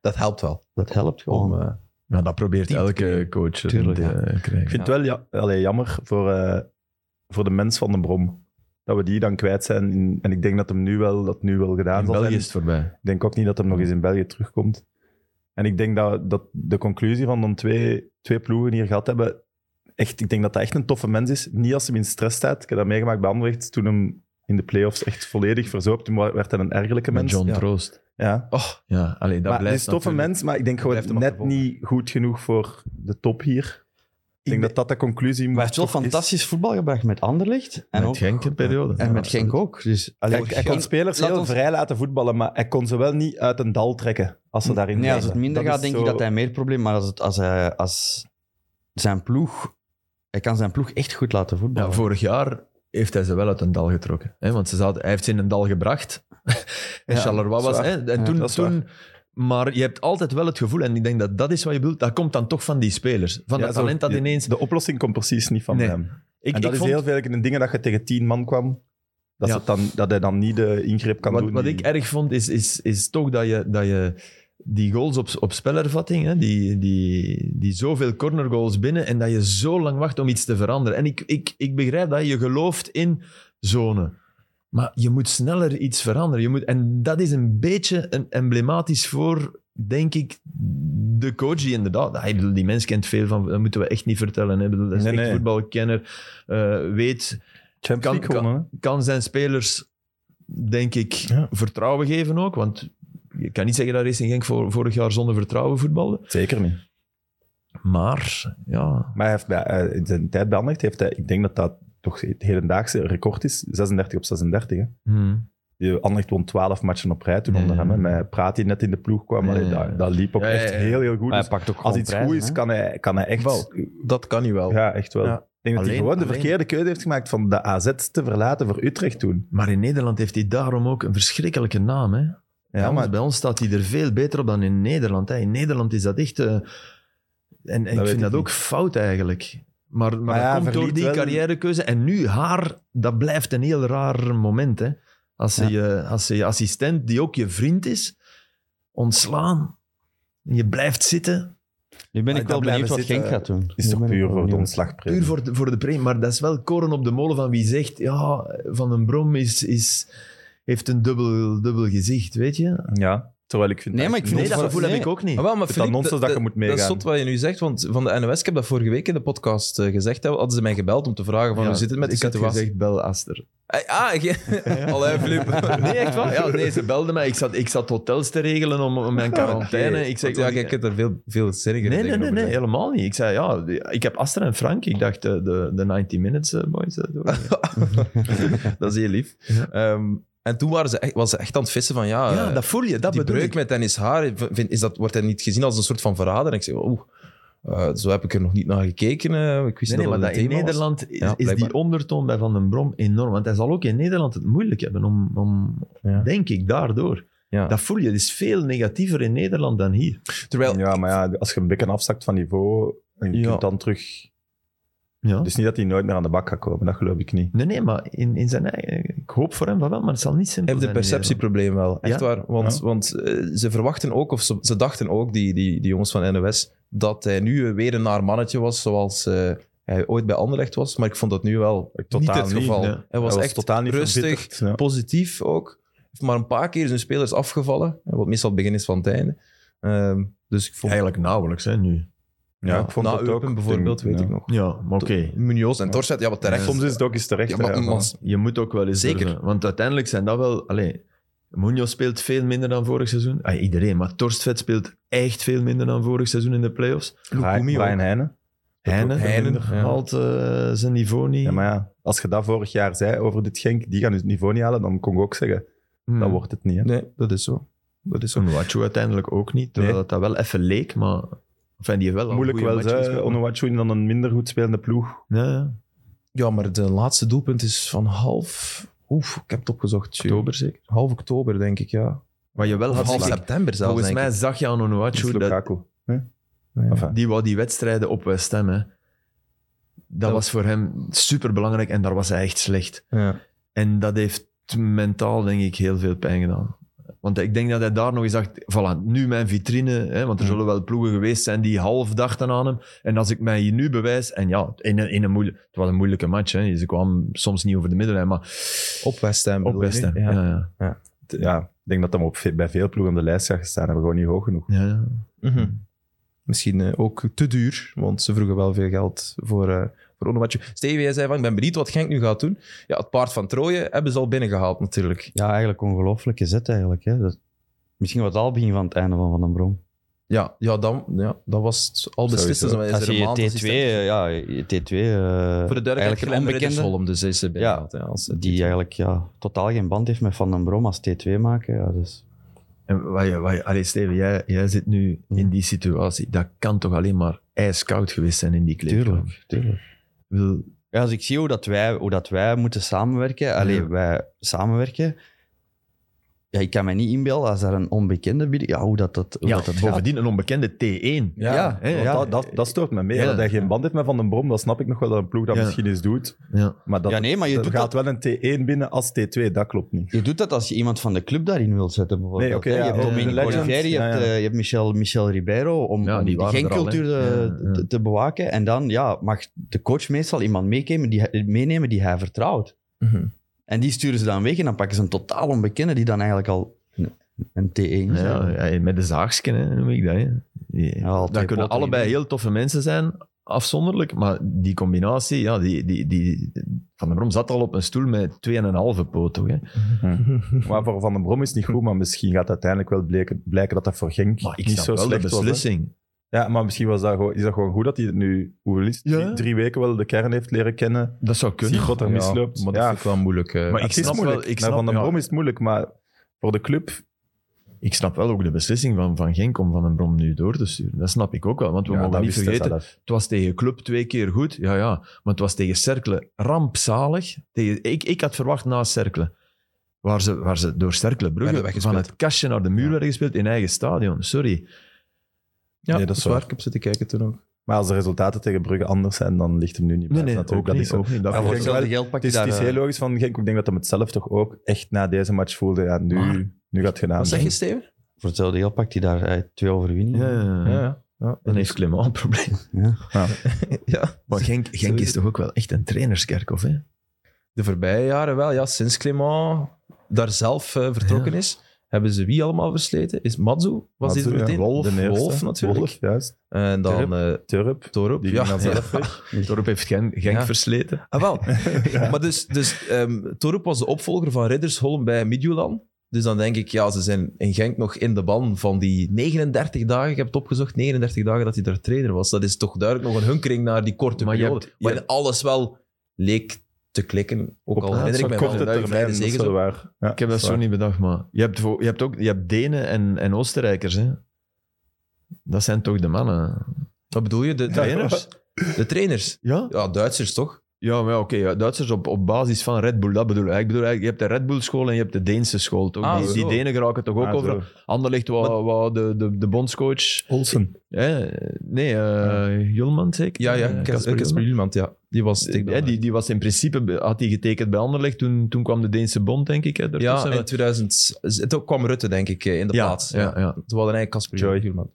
Speaker 1: Dat helpt wel.
Speaker 4: dat helpt
Speaker 3: Oh,
Speaker 4: gewoon.
Speaker 1: Om, eh,
Speaker 2: Nou, dat probeert elke coach eh,
Speaker 4: Oh. Tuurlijk,
Speaker 2: te
Speaker 4: ja.
Speaker 2: eh,
Speaker 3: Ik
Speaker 2: krijgen.
Speaker 3: vind het wel ja, allee, jammer voor, eh, voor de mens van de Brom. Dat we die dan kwijt zijn. in- en ik denk dat hem nu wel, dat nu wel gedaan
Speaker 2: In
Speaker 3: zal zijn.
Speaker 2: België is het voorbij.
Speaker 3: Ik denk ook niet dat hem nog eens in België terugkomt. En ik denk dat, dat de conclusie van de twee, twee ploegen hier gehad hebben... Echt, ik denk dat dat echt een toffe mens is. Niet als hem in stress staat. Ik heb dat meegemaakt bij Anderlecht toen hem in de play-offs echt volledig verzoopt. Toen werd hij een ergelijke
Speaker 2: Met
Speaker 3: mens.
Speaker 2: John
Speaker 1: ja.
Speaker 2: Troost.
Speaker 3: Ja.
Speaker 1: oh,
Speaker 2: Ja, allee, dat
Speaker 3: maar het
Speaker 2: blijft
Speaker 3: is een toffe
Speaker 2: natuurlijk-
Speaker 3: mens, maar ik denk
Speaker 1: Blijft
Speaker 3: gewoon
Speaker 1: hem
Speaker 3: net
Speaker 1: achtervolgen.
Speaker 3: niet goed genoeg voor de top hier. Ik denk dat dat de conclusie moet
Speaker 4: Maar hij heeft wel
Speaker 3: toch is.
Speaker 4: fantastisch voetbal gebracht met Anderlicht. En,
Speaker 2: Met
Speaker 4: ook,
Speaker 2: Genk een periode.
Speaker 4: en met Genk ook. Dus, allee,
Speaker 3: Hij, hij kon spelers
Speaker 4: laat
Speaker 3: heel
Speaker 4: ons-
Speaker 3: vrij laten voetballen, maar hij kon ze wel niet uit een dal trekken als ze daarin
Speaker 4: Mm. nee, als het
Speaker 3: zaten.
Speaker 4: minder
Speaker 3: Dat
Speaker 4: gaat,
Speaker 3: is
Speaker 4: denk
Speaker 3: zo-
Speaker 4: ik dat hij meer probleem Maar als, het, als, hij, als zijn ploeg... Hij kan zijn ploeg echt goed laten voetballen.
Speaker 2: Ja, vorig jaar heeft hij ze wel uit een dal getrokken. Hè? Want ze zaten, hij heeft ze in een dal gebracht. (laughs) en
Speaker 3: Ja,
Speaker 2: Charleroi
Speaker 3: dat is
Speaker 2: was...
Speaker 3: waar.
Speaker 2: Hè? En
Speaker 4: Ja,
Speaker 2: toen,
Speaker 3: dat is waar.
Speaker 2: toen, maar je hebt altijd wel het gevoel, en ik denk dat dat is wat je bedoelt, dat komt dan toch van die spelers. Van
Speaker 3: Ja,
Speaker 2: dat
Speaker 3: zo-
Speaker 2: talent dat
Speaker 3: de-
Speaker 2: ineens...
Speaker 3: De oplossing komt precies niet van
Speaker 2: Nee.
Speaker 3: hem.
Speaker 2: Ik,
Speaker 3: en dat
Speaker 2: ik
Speaker 3: is
Speaker 2: vond-
Speaker 3: heel veel in de dingen dat je tegen tien man kwam, dat,
Speaker 2: Ja.
Speaker 3: ze het dan, dat hij dan niet de ingreep kan
Speaker 2: wat,
Speaker 3: doen.
Speaker 2: Wat
Speaker 3: die-
Speaker 2: ik erg vond, is, is, is toch dat je, dat je die goals op, op spelervatting, hè, die, die, die zoveel cornergoals binnen, en dat je zo lang wacht om iets te veranderen. En ik, ik, ik begrijp dat je gelooft in zone. Maar je moet sneller iets veranderen. Je moet, en dat is een beetje een, emblematisch voor, denk ik, de coach die inderdaad... Hij, bedoel, die mens kent veel van... Dat moeten we echt niet vertellen. Hè. Ik Bedoel, dat is
Speaker 3: Nee,
Speaker 2: echt
Speaker 3: nee.
Speaker 2: voetbalkenner. eh, weet
Speaker 3: Champions
Speaker 2: kan-
Speaker 3: League gewonnen, hè?
Speaker 2: kan zijn spelers, denk ik,
Speaker 3: Ja.
Speaker 2: vertrouwen geven ook. Want je kan niet zeggen dat Racing Genk vor- vorig jaar zonder vertrouwen voetbalde.
Speaker 3: Zeker niet.
Speaker 2: Maar, ja...
Speaker 3: Maar hij heeft bij, eh, in zijn tijd bij Anderlecht heeft hij, ik denk dat dat toch het hedendaagse record is, 36 op 36. Hè.
Speaker 2: Hmm.
Speaker 3: Die Anderlecht won 12 matchen op rij toen
Speaker 2: Ja.
Speaker 3: onder hem. Hè. Met Praat die net in de ploeg kwam,
Speaker 2: Ja,
Speaker 3: allee,
Speaker 2: ja, ja.
Speaker 3: Dat, dat liep ook
Speaker 2: Ja, ja,
Speaker 3: echt
Speaker 2: ja.
Speaker 3: heel, heel goed.
Speaker 4: Maar
Speaker 3: Dus
Speaker 4: hij pakt ook gewoon
Speaker 3: als iets
Speaker 4: prijzen,
Speaker 3: goed is,
Speaker 4: hè.
Speaker 3: kan hij, kan hij echt...
Speaker 1: Wel. Dat kan hij wel.
Speaker 3: Ja, echt wel.
Speaker 1: Ja.
Speaker 3: Ik denk dat hij
Speaker 2: Alleen-
Speaker 3: gewoon de
Speaker 2: alleen-
Speaker 3: verkeerde keuze heeft gemaakt van de AZ te verlaten voor Utrecht toen.
Speaker 2: Maar in Nederland heeft hij daarom ook een verschrikkelijke naam. Hè? bij,
Speaker 3: Ja,
Speaker 2: ons,
Speaker 3: maar
Speaker 2: bij ons staat hij er veel beter op dan in Nederland. Hè? In Nederland is dat echt... eh, en- en ik
Speaker 3: weet
Speaker 2: vind
Speaker 3: ik
Speaker 2: dat
Speaker 3: niet.
Speaker 2: ook fout eigenlijk. Maar, maar,
Speaker 3: Maar
Speaker 2: dat
Speaker 3: ja,
Speaker 2: komt door
Speaker 3: verliet
Speaker 2: die
Speaker 3: wel-
Speaker 2: carrièrekeuze. En nu, haar, dat blijft een heel raar moment. Hè? Als, ze
Speaker 4: Ja.
Speaker 2: je, als ze je assistent, die ook je vriend is, ontslaan. En je blijft zitten.
Speaker 4: Nu ben ik
Speaker 3: Ah, dan
Speaker 4: wel benieuwd
Speaker 3: blijven
Speaker 4: wat
Speaker 3: zitten,
Speaker 4: Genk gaat doen.
Speaker 3: is toch
Speaker 4: Nu ben ik
Speaker 3: puur
Speaker 4: wel
Speaker 3: voor de
Speaker 4: benieuwd.
Speaker 3: ontslagpremie.
Speaker 2: Puur voor de, voor de premie. Maar dat is wel koren op de molen van wie zegt... Ja, Van den Brom is, is, heeft een dubbel, dubbel gezicht, weet je?
Speaker 3: Ja, terwijl ik vind...
Speaker 4: Nee, maar ik vind
Speaker 2: Nee,
Speaker 4: het
Speaker 2: dat
Speaker 4: voor-
Speaker 2: gevoel
Speaker 4: nee.
Speaker 2: heb ik ook niet.
Speaker 1: Ah, wel, maar
Speaker 3: Het is dan
Speaker 1: Philippe,
Speaker 3: nonsens dat je moet
Speaker 1: Dat
Speaker 3: meegaan.
Speaker 1: is zot wat je nu zegt, want van de NOS, ik heb dat vorige week in de podcast eh, gezegd, hè, hadden ze mij gebeld om te vragen van
Speaker 2: Ja,
Speaker 1: hoe zit het met de
Speaker 2: ik had
Speaker 1: situatie.
Speaker 2: gezegd, bel Aster.
Speaker 1: Hey, ah,
Speaker 2: (laughs)
Speaker 1: ge- Allee, Philippe.
Speaker 2: Ah, Nee, echt waar? Ja, nee, ze belde mij. Ik zat, ik zat hotels te regelen om, om mijn quarantaine. Ik zei,
Speaker 1: Want ja, kijk, ik heb er veel, veel zinniger
Speaker 2: nee, nee,
Speaker 1: dingen
Speaker 2: nee,
Speaker 1: over
Speaker 2: nee, helemaal niet. Ik zei, ja, die- ik heb Aster en Frank. Ik dacht, eh, de, de 90 Minutes eh, boys. eh, doen we. (laughs)
Speaker 1: gezegd. Dat is heel lief.
Speaker 2: Ja.
Speaker 1: Ehm, en toen waren ze echt, was ze echt aan het vissen van, ja,
Speaker 2: ja,
Speaker 1: eh,
Speaker 2: dat voel je. Dat
Speaker 1: die
Speaker 2: bedoel
Speaker 1: breuk
Speaker 2: ik.
Speaker 1: met Dennis Haar, eh, vind, is dat, wordt hij niet gezien als een soort van verrader? En ik zeg, oeh, eh, zo heb ik er nog niet naar gekeken. eh, ik wist
Speaker 2: Nee, nee,
Speaker 1: dat
Speaker 2: maar
Speaker 1: dat
Speaker 2: dat
Speaker 1: een
Speaker 2: in
Speaker 1: thema was.
Speaker 2: Nederland is,
Speaker 1: Ja,
Speaker 2: is die
Speaker 1: blijkbaar.
Speaker 2: ondertoon bij Van den Brom enorm. Want hij zal ook in Nederland het moeilijk hebben, om, om,
Speaker 1: Ja.
Speaker 2: denk ik, daardoor.
Speaker 1: Ja.
Speaker 2: Dat voel je. Het is veel negatiever in Nederland dan hier.
Speaker 1: Terwijl,
Speaker 3: Ja, maar ja, als je een beetje afzakt van niveau, en je
Speaker 1: Ja.
Speaker 3: kunt dan terug...
Speaker 2: Ja.
Speaker 3: Dus niet dat hij nooit meer aan de bak gaat komen, dat geloof ik niet.
Speaker 2: Nee, nee, maar in, in zijn eigen... Ik hoop voor hem van wel, maar het zal niet simpel
Speaker 1: Hij heeft een
Speaker 2: zijn. in
Speaker 1: perceptieprobleem
Speaker 2: Nederland.
Speaker 1: wel, echt
Speaker 2: Ja?
Speaker 1: waar. Want, want eh, ze verwachten ook, of ze, ze dachten ook, die, die, die jongens van NOS, dat hij nu weer een naar mannetje was, zoals eh, hij ooit bij Anderlecht was. Maar ik vond dat nu wel
Speaker 3: Totaal
Speaker 1: niet het
Speaker 3: niet,
Speaker 1: geval.
Speaker 2: nee.
Speaker 1: Hij was
Speaker 3: Hij
Speaker 1: echt
Speaker 3: totaal niet
Speaker 1: rustig,
Speaker 3: verbitterd, ja.
Speaker 1: positief ook. Heeft maar een paar keer zijn spelers afgevallen, wat meestal het begin is van het einde. Ehm, dus ik vond...
Speaker 2: Eigenlijk nauwelijks, hè, nu.
Speaker 3: Ja, ik vond
Speaker 1: na
Speaker 3: dat
Speaker 1: Eupen
Speaker 3: ook.
Speaker 1: bijvoorbeeld, weet ik nog.
Speaker 2: Ja, maar oké.
Speaker 1: Munoz en Torset, ja, wat terecht.
Speaker 3: Soms is het ook eens terecht.
Speaker 1: ja, maar,
Speaker 3: hè,
Speaker 1: maar-
Speaker 3: van-
Speaker 2: Je moet ook wel eens
Speaker 1: Zeker.
Speaker 2: durven. Want uiteindelijk zijn dat wel... Allee, Munoz speelt veel minder dan vorig seizoen. Ah, iedereen, maar Torstvet speelt echt veel minder dan vorig seizoen in de playoffs.
Speaker 3: Brian,
Speaker 1: Lukumi ook.
Speaker 3: Brian Heijnen.
Speaker 2: Heine,
Speaker 1: Heijnen, ja.
Speaker 2: haalt eh, zijn niveau niet.
Speaker 3: Ja, maar ja, als je dat vorig jaar zei over dit Genk, die gaan dus het niveau niet halen, dan kon ik ook zeggen,
Speaker 2: Hmm.
Speaker 3: dat wordt het niet. Hè.
Speaker 1: Nee, dat is zo. Dat is zo.
Speaker 2: Onuachu uiteindelijk ook niet, terwijl
Speaker 3: Nee.
Speaker 2: dat, dat wel even leek, maar... Enfin, die heeft wel al
Speaker 3: Moeilijk
Speaker 2: goede
Speaker 3: wel,
Speaker 2: matches
Speaker 3: hè,
Speaker 2: gespeeld.
Speaker 3: Onuachu in dan een minder goed spelende ploeg.
Speaker 2: Ja, ja.
Speaker 1: Ja, maar de laatste doelpunt is van half... Oef, ik heb het opgezocht. tjoe.
Speaker 2: Oktober zeker.
Speaker 1: Half oktober, denk ik, ja.
Speaker 2: Wat je wel
Speaker 1: Of
Speaker 2: had
Speaker 1: half
Speaker 2: gezien-
Speaker 1: september zelfs,
Speaker 2: Volgens
Speaker 1: denk
Speaker 2: mij
Speaker 1: ik.
Speaker 2: zag je aan
Speaker 3: Is
Speaker 2: Onuachu dat
Speaker 3: Lukaku.
Speaker 1: Ja.
Speaker 3: Enfin,
Speaker 2: die wou die wedstrijden op West Ham. Hè. Dat,
Speaker 1: Dat-
Speaker 2: was voor hem superbelangrijk en daar was hij echt slecht.
Speaker 1: Ja.
Speaker 2: En dat heeft mentaal, denk ik, heel veel pijn gedaan. Want ik denk dat hij daar nog eens dacht, voilà, nu mijn vitrine, hè, want er
Speaker 1: Ja.
Speaker 2: zullen wel ploegen geweest zijn die half dachten aan hem. En als ik mij hier nu bewijs, en ja, in een, in een moeilijke, het was een moeilijke match, hè, ze kwam soms niet over de middenlijn, maar
Speaker 1: Op West Ham.
Speaker 2: op
Speaker 1: bedoel je
Speaker 2: West
Speaker 1: nu?
Speaker 2: Ham.
Speaker 1: Ja.
Speaker 2: Ja. Ja, ja.
Speaker 3: t- ja, ik denk dat hem op, ve- bij veel ploegen op de lijst gaat gestaan hebben, gewoon niet hoog genoeg.
Speaker 2: ja.
Speaker 1: Mhm. Misschien eh, ook te duur, want ze vroegen wel veel geld voor, eh voor Onuachu. Stevie, jij zei van, ik ben benieuwd wat Genk nu gaat doen. Ja, het paard van Troje hebben ze al binnengehaald natuurlijk.
Speaker 4: Ja, eigenlijk ongelooflijke zet eigenlijk. Hè. Dat, misschien was het al begin van het einde van Van den Brom.
Speaker 1: Ja, ja, dan, ja dat was het al beslist.
Speaker 3: Sowieso.
Speaker 1: Dus dan is
Speaker 4: Als je
Speaker 1: er
Speaker 4: je
Speaker 1: een maand
Speaker 4: T2,
Speaker 1: assistent.
Speaker 4: eh, ja, je T2 eh,
Speaker 1: Voor de
Speaker 4: eigenlijk
Speaker 1: duidelijkheid,
Speaker 4: een
Speaker 1: Glenn
Speaker 4: onbekende,
Speaker 1: Riddersholm, dus hij is er binnengehaald. hè, als,
Speaker 4: die eigenlijk ja, totaal geen band heeft met Van den Brom als T2 maken. Ja, dus.
Speaker 2: En wat je, wat je- allee, Steven, jij, jij zit nu
Speaker 4: Ja.
Speaker 2: in die situatie. Dat kan toch alleen maar ijskoud geweest zijn in die kleedkamer?
Speaker 4: tuurlijk.
Speaker 2: Ik bedoel,
Speaker 4: Ja, als ik zie hoe dat wij, hoe dat wij moeten samenwerken, alleen
Speaker 2: Ja.
Speaker 4: wij samenwerken, ja, ik kan me niet inbeelden als daar een onbekende binnen... Ja, hoe dat, dat, hoe
Speaker 2: ja,
Speaker 4: dat, dat gaat.
Speaker 2: bovendien een onbekende T1.
Speaker 1: Ja,
Speaker 2: hè,
Speaker 3: Want
Speaker 2: ja.
Speaker 3: Dat, dat, dat stoort me mee.
Speaker 2: Ja.
Speaker 3: Dat hij geen band heeft met Van den Brom, dat snap ik nog wel dat een ploeg dat
Speaker 2: Ja.
Speaker 3: misschien eens doet.
Speaker 2: Ja.
Speaker 3: Maar dat,
Speaker 4: Ja, nee, maar je
Speaker 3: er
Speaker 4: doet
Speaker 3: gaat wel een T1 binnen als T2, dat klopt
Speaker 4: (laughs)
Speaker 3: niet.
Speaker 4: Je doet dat als je iemand van de club daarin wilt zetten, bijvoorbeeld.
Speaker 3: Nee, oké,
Speaker 4: hè.
Speaker 3: ja,
Speaker 4: je hebt
Speaker 2: oh,
Speaker 4: Dominic
Speaker 2: de legend.
Speaker 4: Olivieri, je,
Speaker 3: Ja,
Speaker 4: hebt,
Speaker 3: ja.
Speaker 4: eh, je hebt Michel, Michel Ribeiro, om,
Speaker 2: Ja,
Speaker 4: om
Speaker 2: die
Speaker 4: die
Speaker 2: waren er al,
Speaker 4: gencultuur
Speaker 2: hè.
Speaker 4: te,
Speaker 2: Ja, ja.
Speaker 4: te- te bewaken. En dan ja, mag de coach meestal iemand meenemen die, hij- meenemen die hij vertrouwt.
Speaker 1: Mhm.
Speaker 4: En die sturen ze dan weg en dan pakken ze een totaal onbekende die dan eigenlijk al een, een T1 is.
Speaker 2: Ja, ja, met de zaagsken, hè, noem ik dat. Hè. Die-
Speaker 4: Ja, al twee
Speaker 2: dat kunnen
Speaker 4: poten
Speaker 2: allebei
Speaker 4: in.
Speaker 2: heel toffe mensen zijn, afzonderlijk. Maar die combinatie, ja, die, die, die, Van der Brom zat al op een stoel met 2,5 poot. Toch, hè.
Speaker 3: Mhm. Maar voor Van den Brom is het niet goed, maar misschien gaat uiteindelijk wel bleken, blijken dat dat voor Genk
Speaker 2: Maar ik
Speaker 3: niet
Speaker 2: snap
Speaker 3: zo
Speaker 2: wel de
Speaker 3: slecht was. hè.
Speaker 2: beslissing.
Speaker 3: Ja, maar misschien was dat gewoon, is dat gewoon goed dat hij het nu, hoeveel is het?
Speaker 2: Ja.
Speaker 3: Drie, drie weken wel de kern heeft leren kennen.
Speaker 2: Dat zou
Speaker 3: Zie wat er
Speaker 1: Ja,
Speaker 3: misloopt.
Speaker 1: Maar dat
Speaker 3: Ja.
Speaker 1: vind ik wel moeilijk. eh.
Speaker 2: Maar
Speaker 3: Maar
Speaker 2: ik
Speaker 3: het is
Speaker 2: snap wel-
Speaker 3: moeilijk.
Speaker 2: ik
Speaker 3: Nou,
Speaker 2: snap-
Speaker 3: van den
Speaker 2: ja.
Speaker 3: Brom is het moeilijk, maar voor de club...
Speaker 2: Ik snap wel ook de beslissing van Van Genk om Van den Brom nu door te sturen. Dat snap ik ook wel, want we
Speaker 3: Ja, dat
Speaker 2: mogen niet
Speaker 3: wist
Speaker 2: vergeten,
Speaker 3: Tessalat.
Speaker 2: het was tegen Club twee keer goed, ja ja, maar het was tegen Cercle rampzalig. Tegen, ik, ik had verwacht na Cercle, waar ze, waar ze door Cercle
Speaker 1: Werden
Speaker 2: Brugge
Speaker 1: weggespeeld.
Speaker 2: van het kastje naar de muur
Speaker 1: Ja.
Speaker 2: werden gespeeld in eigen stadion. Sorry.
Speaker 1: ja,
Speaker 3: nee,
Speaker 1: dat is waar. Ik heb zitten kijken toen ook.
Speaker 3: Maar als de resultaten tegen Brugge anders zijn, dan ligt hem nu niet
Speaker 2: Nee,
Speaker 3: bij.
Speaker 2: nee,
Speaker 3: natuurlijk.
Speaker 2: ook
Speaker 3: dat
Speaker 2: niet,
Speaker 3: is zo.
Speaker 2: ook niet. Dat
Speaker 3: Ja,
Speaker 2: vind
Speaker 4: voor
Speaker 2: ik
Speaker 3: wel-
Speaker 4: hetzelfde geld
Speaker 3: Het
Speaker 4: pak je
Speaker 3: is,
Speaker 4: daar...
Speaker 3: het is
Speaker 4: eh,
Speaker 3: heel logisch van Genk. Ik denk dat hij het zelf toch ook echt na deze match voelde. Ja, nu,
Speaker 1: Maar-
Speaker 3: nu gaat het gedaan
Speaker 1: Wat zeg je,
Speaker 3: zijn.
Speaker 1: Steven?
Speaker 4: Voor hetzelfde geld pakt hij daar eh, twee overwinningen.
Speaker 2: Ja, ja, ja.
Speaker 1: ja. ja.
Speaker 2: Dan heeft Clement een probleem.
Speaker 1: Ja.
Speaker 2: Maar Genk, Genk is toch ook wel echt een trainerskerk, of hè?
Speaker 1: De voorbije jaren wel, ja. Sinds Clément daar zelf eh, vertrokken is, hebben ze wie allemaal versleten? Is Matsu? Was die er
Speaker 3: Matsu,
Speaker 1: meteen?
Speaker 3: ja. De
Speaker 1: Wolf,
Speaker 3: eerste.
Speaker 1: Wolf natuurlijk.
Speaker 3: Wolf, juist.
Speaker 1: En dan eh
Speaker 3: Turp.
Speaker 1: Torup.
Speaker 3: Die
Speaker 1: Ja,
Speaker 3: ging dan
Speaker 1: (laughs) ja.
Speaker 3: zelf weg.
Speaker 2: Dorp heeft Gen- Genk
Speaker 1: Ja.
Speaker 2: versleten.
Speaker 1: Ah,
Speaker 3: (laughs)
Speaker 1: wel. Maar dus, dus ehm, Torup was de opvolger van Riddersholm bij Midtjylland. Dus dan denk ik, ja, ze zijn in Genk nog in de ban van die 39 dagen. Ik heb het opgezocht, 39 dagen dat hij daar trainer was. Dat is toch duidelijk nog een hunkering naar die korte
Speaker 2: Maar je
Speaker 1: periode.
Speaker 2: hebt- je
Speaker 1: waarin alles wel leek te klikken. Ook al
Speaker 3: Ja,
Speaker 1: herinner ik
Speaker 3: zo'n
Speaker 1: mij wel
Speaker 3: korte
Speaker 1: dat je
Speaker 3: termijn,
Speaker 1: vrij
Speaker 3: dat
Speaker 1: zegen
Speaker 3: is wel
Speaker 1: zo.
Speaker 3: waar. Ja,
Speaker 2: Ik heb dat
Speaker 3: is
Speaker 2: zo
Speaker 3: waar.
Speaker 2: niet bedacht, maar je hebt, voor- je hebt ook je hebt Denen en, en Oostenrijkers. Hè? Dat zijn toch de mannen.
Speaker 1: Wat bedoel je? De, de
Speaker 2: Trainers?
Speaker 1: De trainers.
Speaker 2: Ja,
Speaker 1: Ja, Duitsers toch?
Speaker 2: ja maar ja, oké. ja, Duitsers op, op basis van Red Bull, dat bedoel ik. Ik bedoel, eigenlijk, je hebt de Red Bull-school en je hebt de Deense school. Toch?
Speaker 1: Ah,
Speaker 2: die, die
Speaker 1: zo.
Speaker 2: Denen geraken toch ook
Speaker 3: Ah,
Speaker 2: over.
Speaker 3: zo.
Speaker 2: Anderlicht, wat, wat de, de, de bondscoach.
Speaker 3: Olsen.
Speaker 2: Hè? Nee, eh Julman zeker?
Speaker 1: Ja,
Speaker 2: Eh,
Speaker 1: ja.
Speaker 2: Casper
Speaker 1: Casper
Speaker 2: Julman.
Speaker 1: Julemand, ja. Die was... ik
Speaker 2: Ja, die, die was in principe, be- had hij getekend bij Anderlecht, toen, toen kwam de Deense bond, denk ik. Hè,
Speaker 1: Ja,
Speaker 2: daartussen.
Speaker 1: in 2000... Toen kwam Rutte, denk ik, eh, in de
Speaker 2: ja,
Speaker 1: plaats.
Speaker 2: Ja, ja.
Speaker 1: Ze hadden eigenlijk Casper
Speaker 3: Joy.
Speaker 1: Huurman.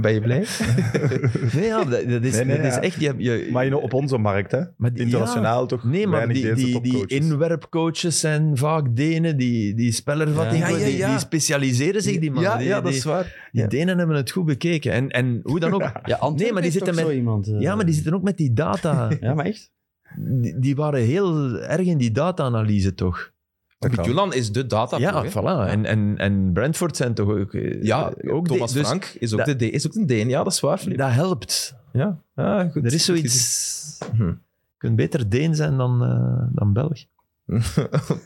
Speaker 1: ben je blij?
Speaker 2: (laughs) Nee, ja, dat, dat is,
Speaker 3: Nee, nee,
Speaker 2: dat is
Speaker 3: ja.
Speaker 2: echt... Je, hebt- je,
Speaker 3: Maar je nou, op onze markt, hè?
Speaker 2: maar die- ja.
Speaker 3: Internationaal toch?
Speaker 2: Nee, maar
Speaker 3: weinig
Speaker 2: die,
Speaker 3: Deense
Speaker 2: die, die
Speaker 3: topcoaches.
Speaker 2: inwerpcoaches zijn vaak Denen, die, die spellervattingen,
Speaker 1: Ja. Ja, ja,
Speaker 2: Die,
Speaker 1: ja.
Speaker 2: die specialiseren zich, die mannen.
Speaker 1: ja,
Speaker 2: die,
Speaker 1: ja, dat
Speaker 2: die-
Speaker 1: is waar.
Speaker 2: die
Speaker 1: ja.
Speaker 2: Denen hebben het goed bekeken. En, en
Speaker 1: (laughs)
Speaker 2: hoe dan ook...
Speaker 4: Ja, Antwerpen
Speaker 2: Nee, maar die
Speaker 4: heeft
Speaker 2: zitten
Speaker 4: ook
Speaker 2: met-
Speaker 4: zo iemand. eh.
Speaker 2: Ja, maar die zitten ook met die data.
Speaker 4: Ja, maar echt?
Speaker 2: Die, die waren heel erg in die data-analyse, toch?
Speaker 3: Dat kan.
Speaker 1: Julan is de data.
Speaker 2: ja, voilà. En, en, en Brentford zijn toch ook... eh,
Speaker 1: ja
Speaker 2: ook
Speaker 1: Thomas
Speaker 2: de- dus
Speaker 1: Frank is ook,
Speaker 2: dat-
Speaker 1: de D, is ook een Deen. Ja, dat is waar, Filip.
Speaker 2: Dat helpt.
Speaker 1: Ja. Ah, goed.
Speaker 2: Er is zoiets... Hm. Je kunt beter Deen zijn dan, eh, dan Belg.
Speaker 1: (laughs)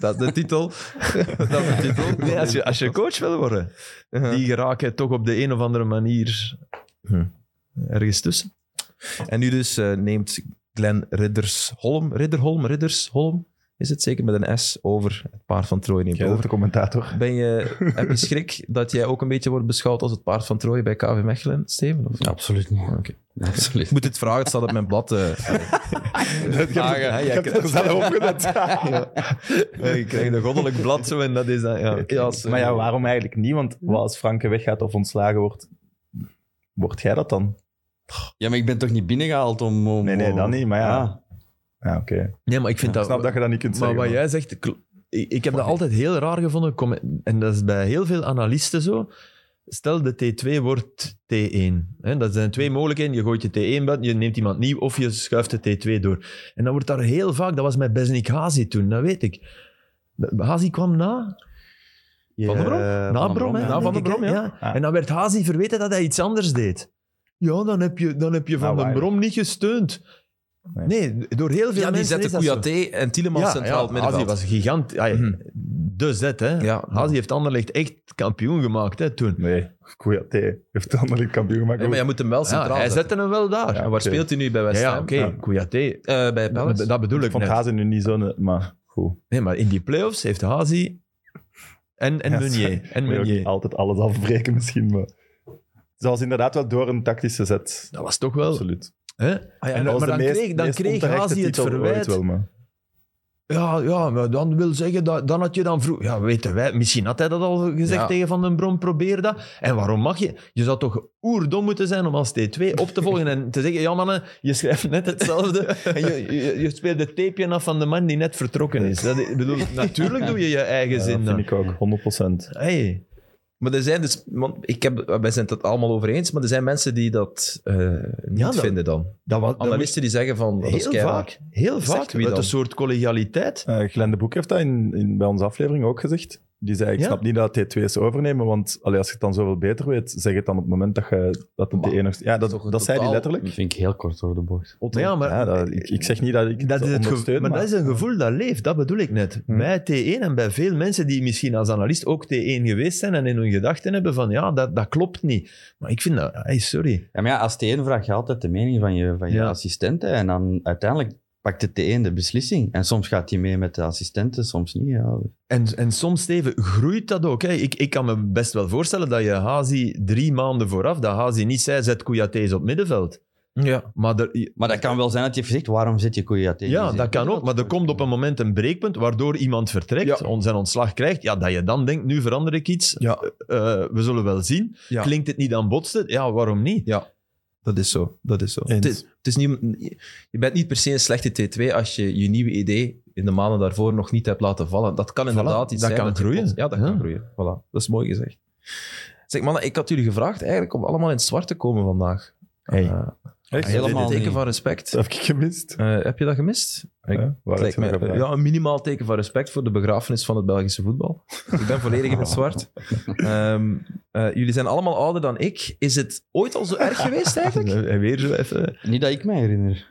Speaker 1: dat is de titel. (laughs) dat is de titel.
Speaker 2: (laughs) Nee, als je, als je coach wil worden... die geraken toch op de een of andere manier
Speaker 1: Hm.
Speaker 2: ergens tussen.
Speaker 1: En nu dus eh, neemt Glenn Riddersholm, Ridderholm, Riddersholm, is het zeker met een S, over het paard van Troje neemt
Speaker 3: Jij bent
Speaker 1: over.
Speaker 3: de (laughs) commentator.
Speaker 1: Ben je, heb je schrik dat jij ook een beetje wordt beschouwd als het paard van Troje bij KV Mechelen, Steven? Of?
Speaker 4: Absoluut niet.
Speaker 1: Oké.
Speaker 4: Absoluut.
Speaker 1: Ik moet dit vragen, het staat op mijn blad. eh.
Speaker 3: (laughs) Ik heb het er zelf op gezet.
Speaker 2: Je krijgt Eh, een goddelijk blad zo en dat is dan... Ja.
Speaker 1: Ja, als-
Speaker 3: Maar ja, waarom eigenlijk niet? Want wat als Franke weggaat of ontslagen wordt, word jij dat dan?
Speaker 4: (laughs) Ja, maar ik ben toch niet binnengehaald om... om
Speaker 3: Nee, nee, dat niet, maar ja.
Speaker 4: Ah,
Speaker 3: Ja, oké.
Speaker 2: Nee, maar ik vind
Speaker 3: Ik
Speaker 2: dat...
Speaker 3: snap dat je dat niet kunt
Speaker 2: maar
Speaker 3: zeggen.
Speaker 2: wat jij zegt... kl- Ik, ik heb dat altijd heel raar gevonden. Kom- En dat is bij heel veel analisten zo. Stel, de T2 wordt T1. Hè, dat zijn twee mogelijkheden. Je gooit je T1 buiten, je neemt iemand nieuw of je schuift de T2 door. En dan wordt daar heel vaak... Dat was met Besnik Hazi toen, dat weet ik. Hazi kwam na,
Speaker 4: je-
Speaker 1: Van den Brom?
Speaker 4: eh,
Speaker 2: Na
Speaker 4: den
Speaker 2: Brom, hè?
Speaker 4: ja.
Speaker 1: Na Van den
Speaker 2: Denk ik,
Speaker 1: Brom,
Speaker 2: hè?
Speaker 1: ja.
Speaker 3: Ah.
Speaker 2: En dan werd Hazi verweten dat hij iets anders deed. Ja, dan heb je, dan heb je Van
Speaker 3: Nou,
Speaker 2: den
Speaker 3: waar.
Speaker 2: Brom niet gesteund.
Speaker 3: Nee.
Speaker 2: Nee, door heel veel
Speaker 1: Ja, die
Speaker 2: mensen
Speaker 1: zetten
Speaker 2: is dat zo.
Speaker 1: Kouyaté en Tielemans centraal het
Speaker 2: Hazi
Speaker 1: middenveld.
Speaker 2: was gigant. Ah, ja,
Speaker 1: Mhm.
Speaker 2: De zet, hè.
Speaker 1: Ja.
Speaker 2: Hazi heeft Anderlecht echt kampioen gemaakt, hè, toen.
Speaker 3: Nee, Kouyaté heeft de andere kampioen gemaakt.
Speaker 1: Ja, maar jij moet hem wel
Speaker 2: Ja,
Speaker 1: centraal
Speaker 2: hij
Speaker 1: zetten.
Speaker 2: zette hem wel daar.
Speaker 1: En
Speaker 2: Ja,
Speaker 1: waar
Speaker 3: oké.
Speaker 1: speelt hij nu bij West Ham?
Speaker 2: oké.
Speaker 3: Ja.
Speaker 2: Kouyaté,
Speaker 1: Eh, bij
Speaker 2: dat,
Speaker 1: Palace.
Speaker 2: dat bedoel
Speaker 3: ik
Speaker 2: ik
Speaker 3: vond
Speaker 2: net.
Speaker 3: Hazen nu niet zo'n... Maar goed.
Speaker 2: Nee, maar in die play-offs heeft Hazi en, en
Speaker 3: Ja,
Speaker 2: Meunier. En
Speaker 3: Moet je ook niet
Speaker 2: Meunier.
Speaker 3: altijd alles afbreken misschien, maar... Ze was inderdaad wel door een tactische zet.
Speaker 2: Dat was toch wel...
Speaker 3: Absoluut.
Speaker 2: Hè?
Speaker 1: Ah, ja,
Speaker 2: En-
Speaker 3: Dat
Speaker 2: maar
Speaker 3: was de
Speaker 2: dan
Speaker 3: meest-
Speaker 2: kreeg, dan
Speaker 3: meest
Speaker 2: kreeg
Speaker 3: onterechte
Speaker 2: Hazi het
Speaker 3: titel ooit
Speaker 2: verwijt...
Speaker 3: wel, maar-
Speaker 2: Ja, ja, maar dan wil zeggen, dat, dan had je dan vroeg... Ja, weten wij, misschien had hij dat al gezegd
Speaker 1: Ja.
Speaker 2: tegen Van den Brom, probeer dat. En waarom mag je? Je zou toch oerdom moeten zijn om als T2 op te volgen en te zeggen, ja mannen, je schrijft net hetzelfde en je, je, je speelt het tapeje af van de man die net vertrokken is. Dat, ik bedoel, natuurlijk doe je je eigen
Speaker 3: Ja,
Speaker 2: zin
Speaker 3: dat vind
Speaker 2: dan.
Speaker 3: ik ook, 100%.
Speaker 2: Hey,
Speaker 1: Maar er zijn dus... Want ik heb, wij zijn het allemaal over eens, maar er zijn mensen die dat eh, niet
Speaker 2: Ja, dat-
Speaker 1: vinden dan.
Speaker 2: dat was, dat was
Speaker 1: Analisten die zeggen van... Dat is
Speaker 2: heel
Speaker 1: keihard.
Speaker 2: vaak, heel
Speaker 1: Zegt
Speaker 2: vaak,
Speaker 1: wie
Speaker 2: met
Speaker 1: dan?
Speaker 2: een soort collegialiteit.
Speaker 3: Eh Glenn de Boek heeft dat in, in, bij onze aflevering ook gezegd. Die zei, ik
Speaker 2: Ja?
Speaker 3: snap niet dat het T2 is overnemen, want allee, als je het dan zoveel beter weet, zeg het dan op het moment dat, je, dat het de
Speaker 1: Maar,
Speaker 3: enigste... Ja, dat,
Speaker 1: toch
Speaker 3: dat
Speaker 1: een
Speaker 3: zei hij
Speaker 1: totaal-
Speaker 3: letterlijk.
Speaker 4: Dat vind ik heel kort door de bocht.
Speaker 2: Maar ja, maar
Speaker 3: Ja, dat- ik, ik zeg niet dat ik
Speaker 2: dat is het gevoel,
Speaker 3: ondersteun,
Speaker 2: maar, Hm. dat is een gevoel dat leeft, dat bedoel ik net.
Speaker 3: Hmm.
Speaker 2: Bij T1 en bij veel mensen die misschien als analist ook T1 geweest zijn en in hun gedachten hebben van ja, dat, dat klopt niet. Maar ik vind dat, hey, sorry.
Speaker 4: Ja, maar ja, als T1 vraagt je altijd de mening van je, van je
Speaker 2: Ja.
Speaker 4: assistenten. En dan uiteindelijk pakt de T1 de beslissing. En soms gaat hij mee met de assistenten, soms niet. Ja.
Speaker 2: En, en soms, Steven, groeit dat ook. Hè. Ik, ik kan me best wel voorstellen dat je Hazi drie maanden vooraf, dat Hazi niet zei, zet Kouyaté op middenveld.
Speaker 1: Ja.
Speaker 2: Maar er,
Speaker 4: Maar dat kan wel zijn dat je heeft gezegd, waarom zit je Kouyaté?
Speaker 2: Ja, dat kan ook. Maar er komt op een moment een breekpunt waardoor iemand vertrekt,
Speaker 1: Ja.
Speaker 2: on- zijn ontslag krijgt. Ja, dat je dan denkt, nu verander ik iets.
Speaker 1: Ja.
Speaker 2: Eh, we zullen wel zien.
Speaker 1: Ja.
Speaker 2: Klinkt het niet, dan botst het. Ja, waarom niet?
Speaker 1: ja, dat is zo. Dat is zo.
Speaker 3: Eens.
Speaker 1: Het is, het is niet, je bent niet per se een slechte T2 als je je nieuwe idee in de maanden daarvoor nog niet hebt laten vallen. Dat kan inderdaad iets
Speaker 2: dat
Speaker 1: zijn.
Speaker 2: kan
Speaker 1: je
Speaker 2: groeien.
Speaker 1: plots- Ja, dat
Speaker 2: Ja.
Speaker 1: kan groeien. Voilà. Dat is mooi gezegd. Zeg, mannen, ik had jullie gevraagd eigenlijk om allemaal in het zwart te komen vandaag.
Speaker 2: Hey.
Speaker 1: Eh,
Speaker 3: Echt?
Speaker 1: Dit is
Speaker 4: Helemaal
Speaker 1: een teken
Speaker 4: niet.
Speaker 1: van respect.
Speaker 3: Dat heb ik gemist.
Speaker 1: Eh, heb je dat gemist? Ik-
Speaker 3: Ja, waar
Speaker 1: het
Speaker 3: heb
Speaker 1: lijkt
Speaker 3: je nog
Speaker 1: mij-
Speaker 3: gevraagd?
Speaker 1: ja, een minimaal teken van respect voor de begrafenis van het Belgische voetbal. ik ben volledig in het zwart. Ehm, eh, jullie zijn allemaal ouder dan ik. Is het ooit al zo erg geweest eigenlijk?
Speaker 2: En weer zo even.
Speaker 4: Niet dat ik mij herinner.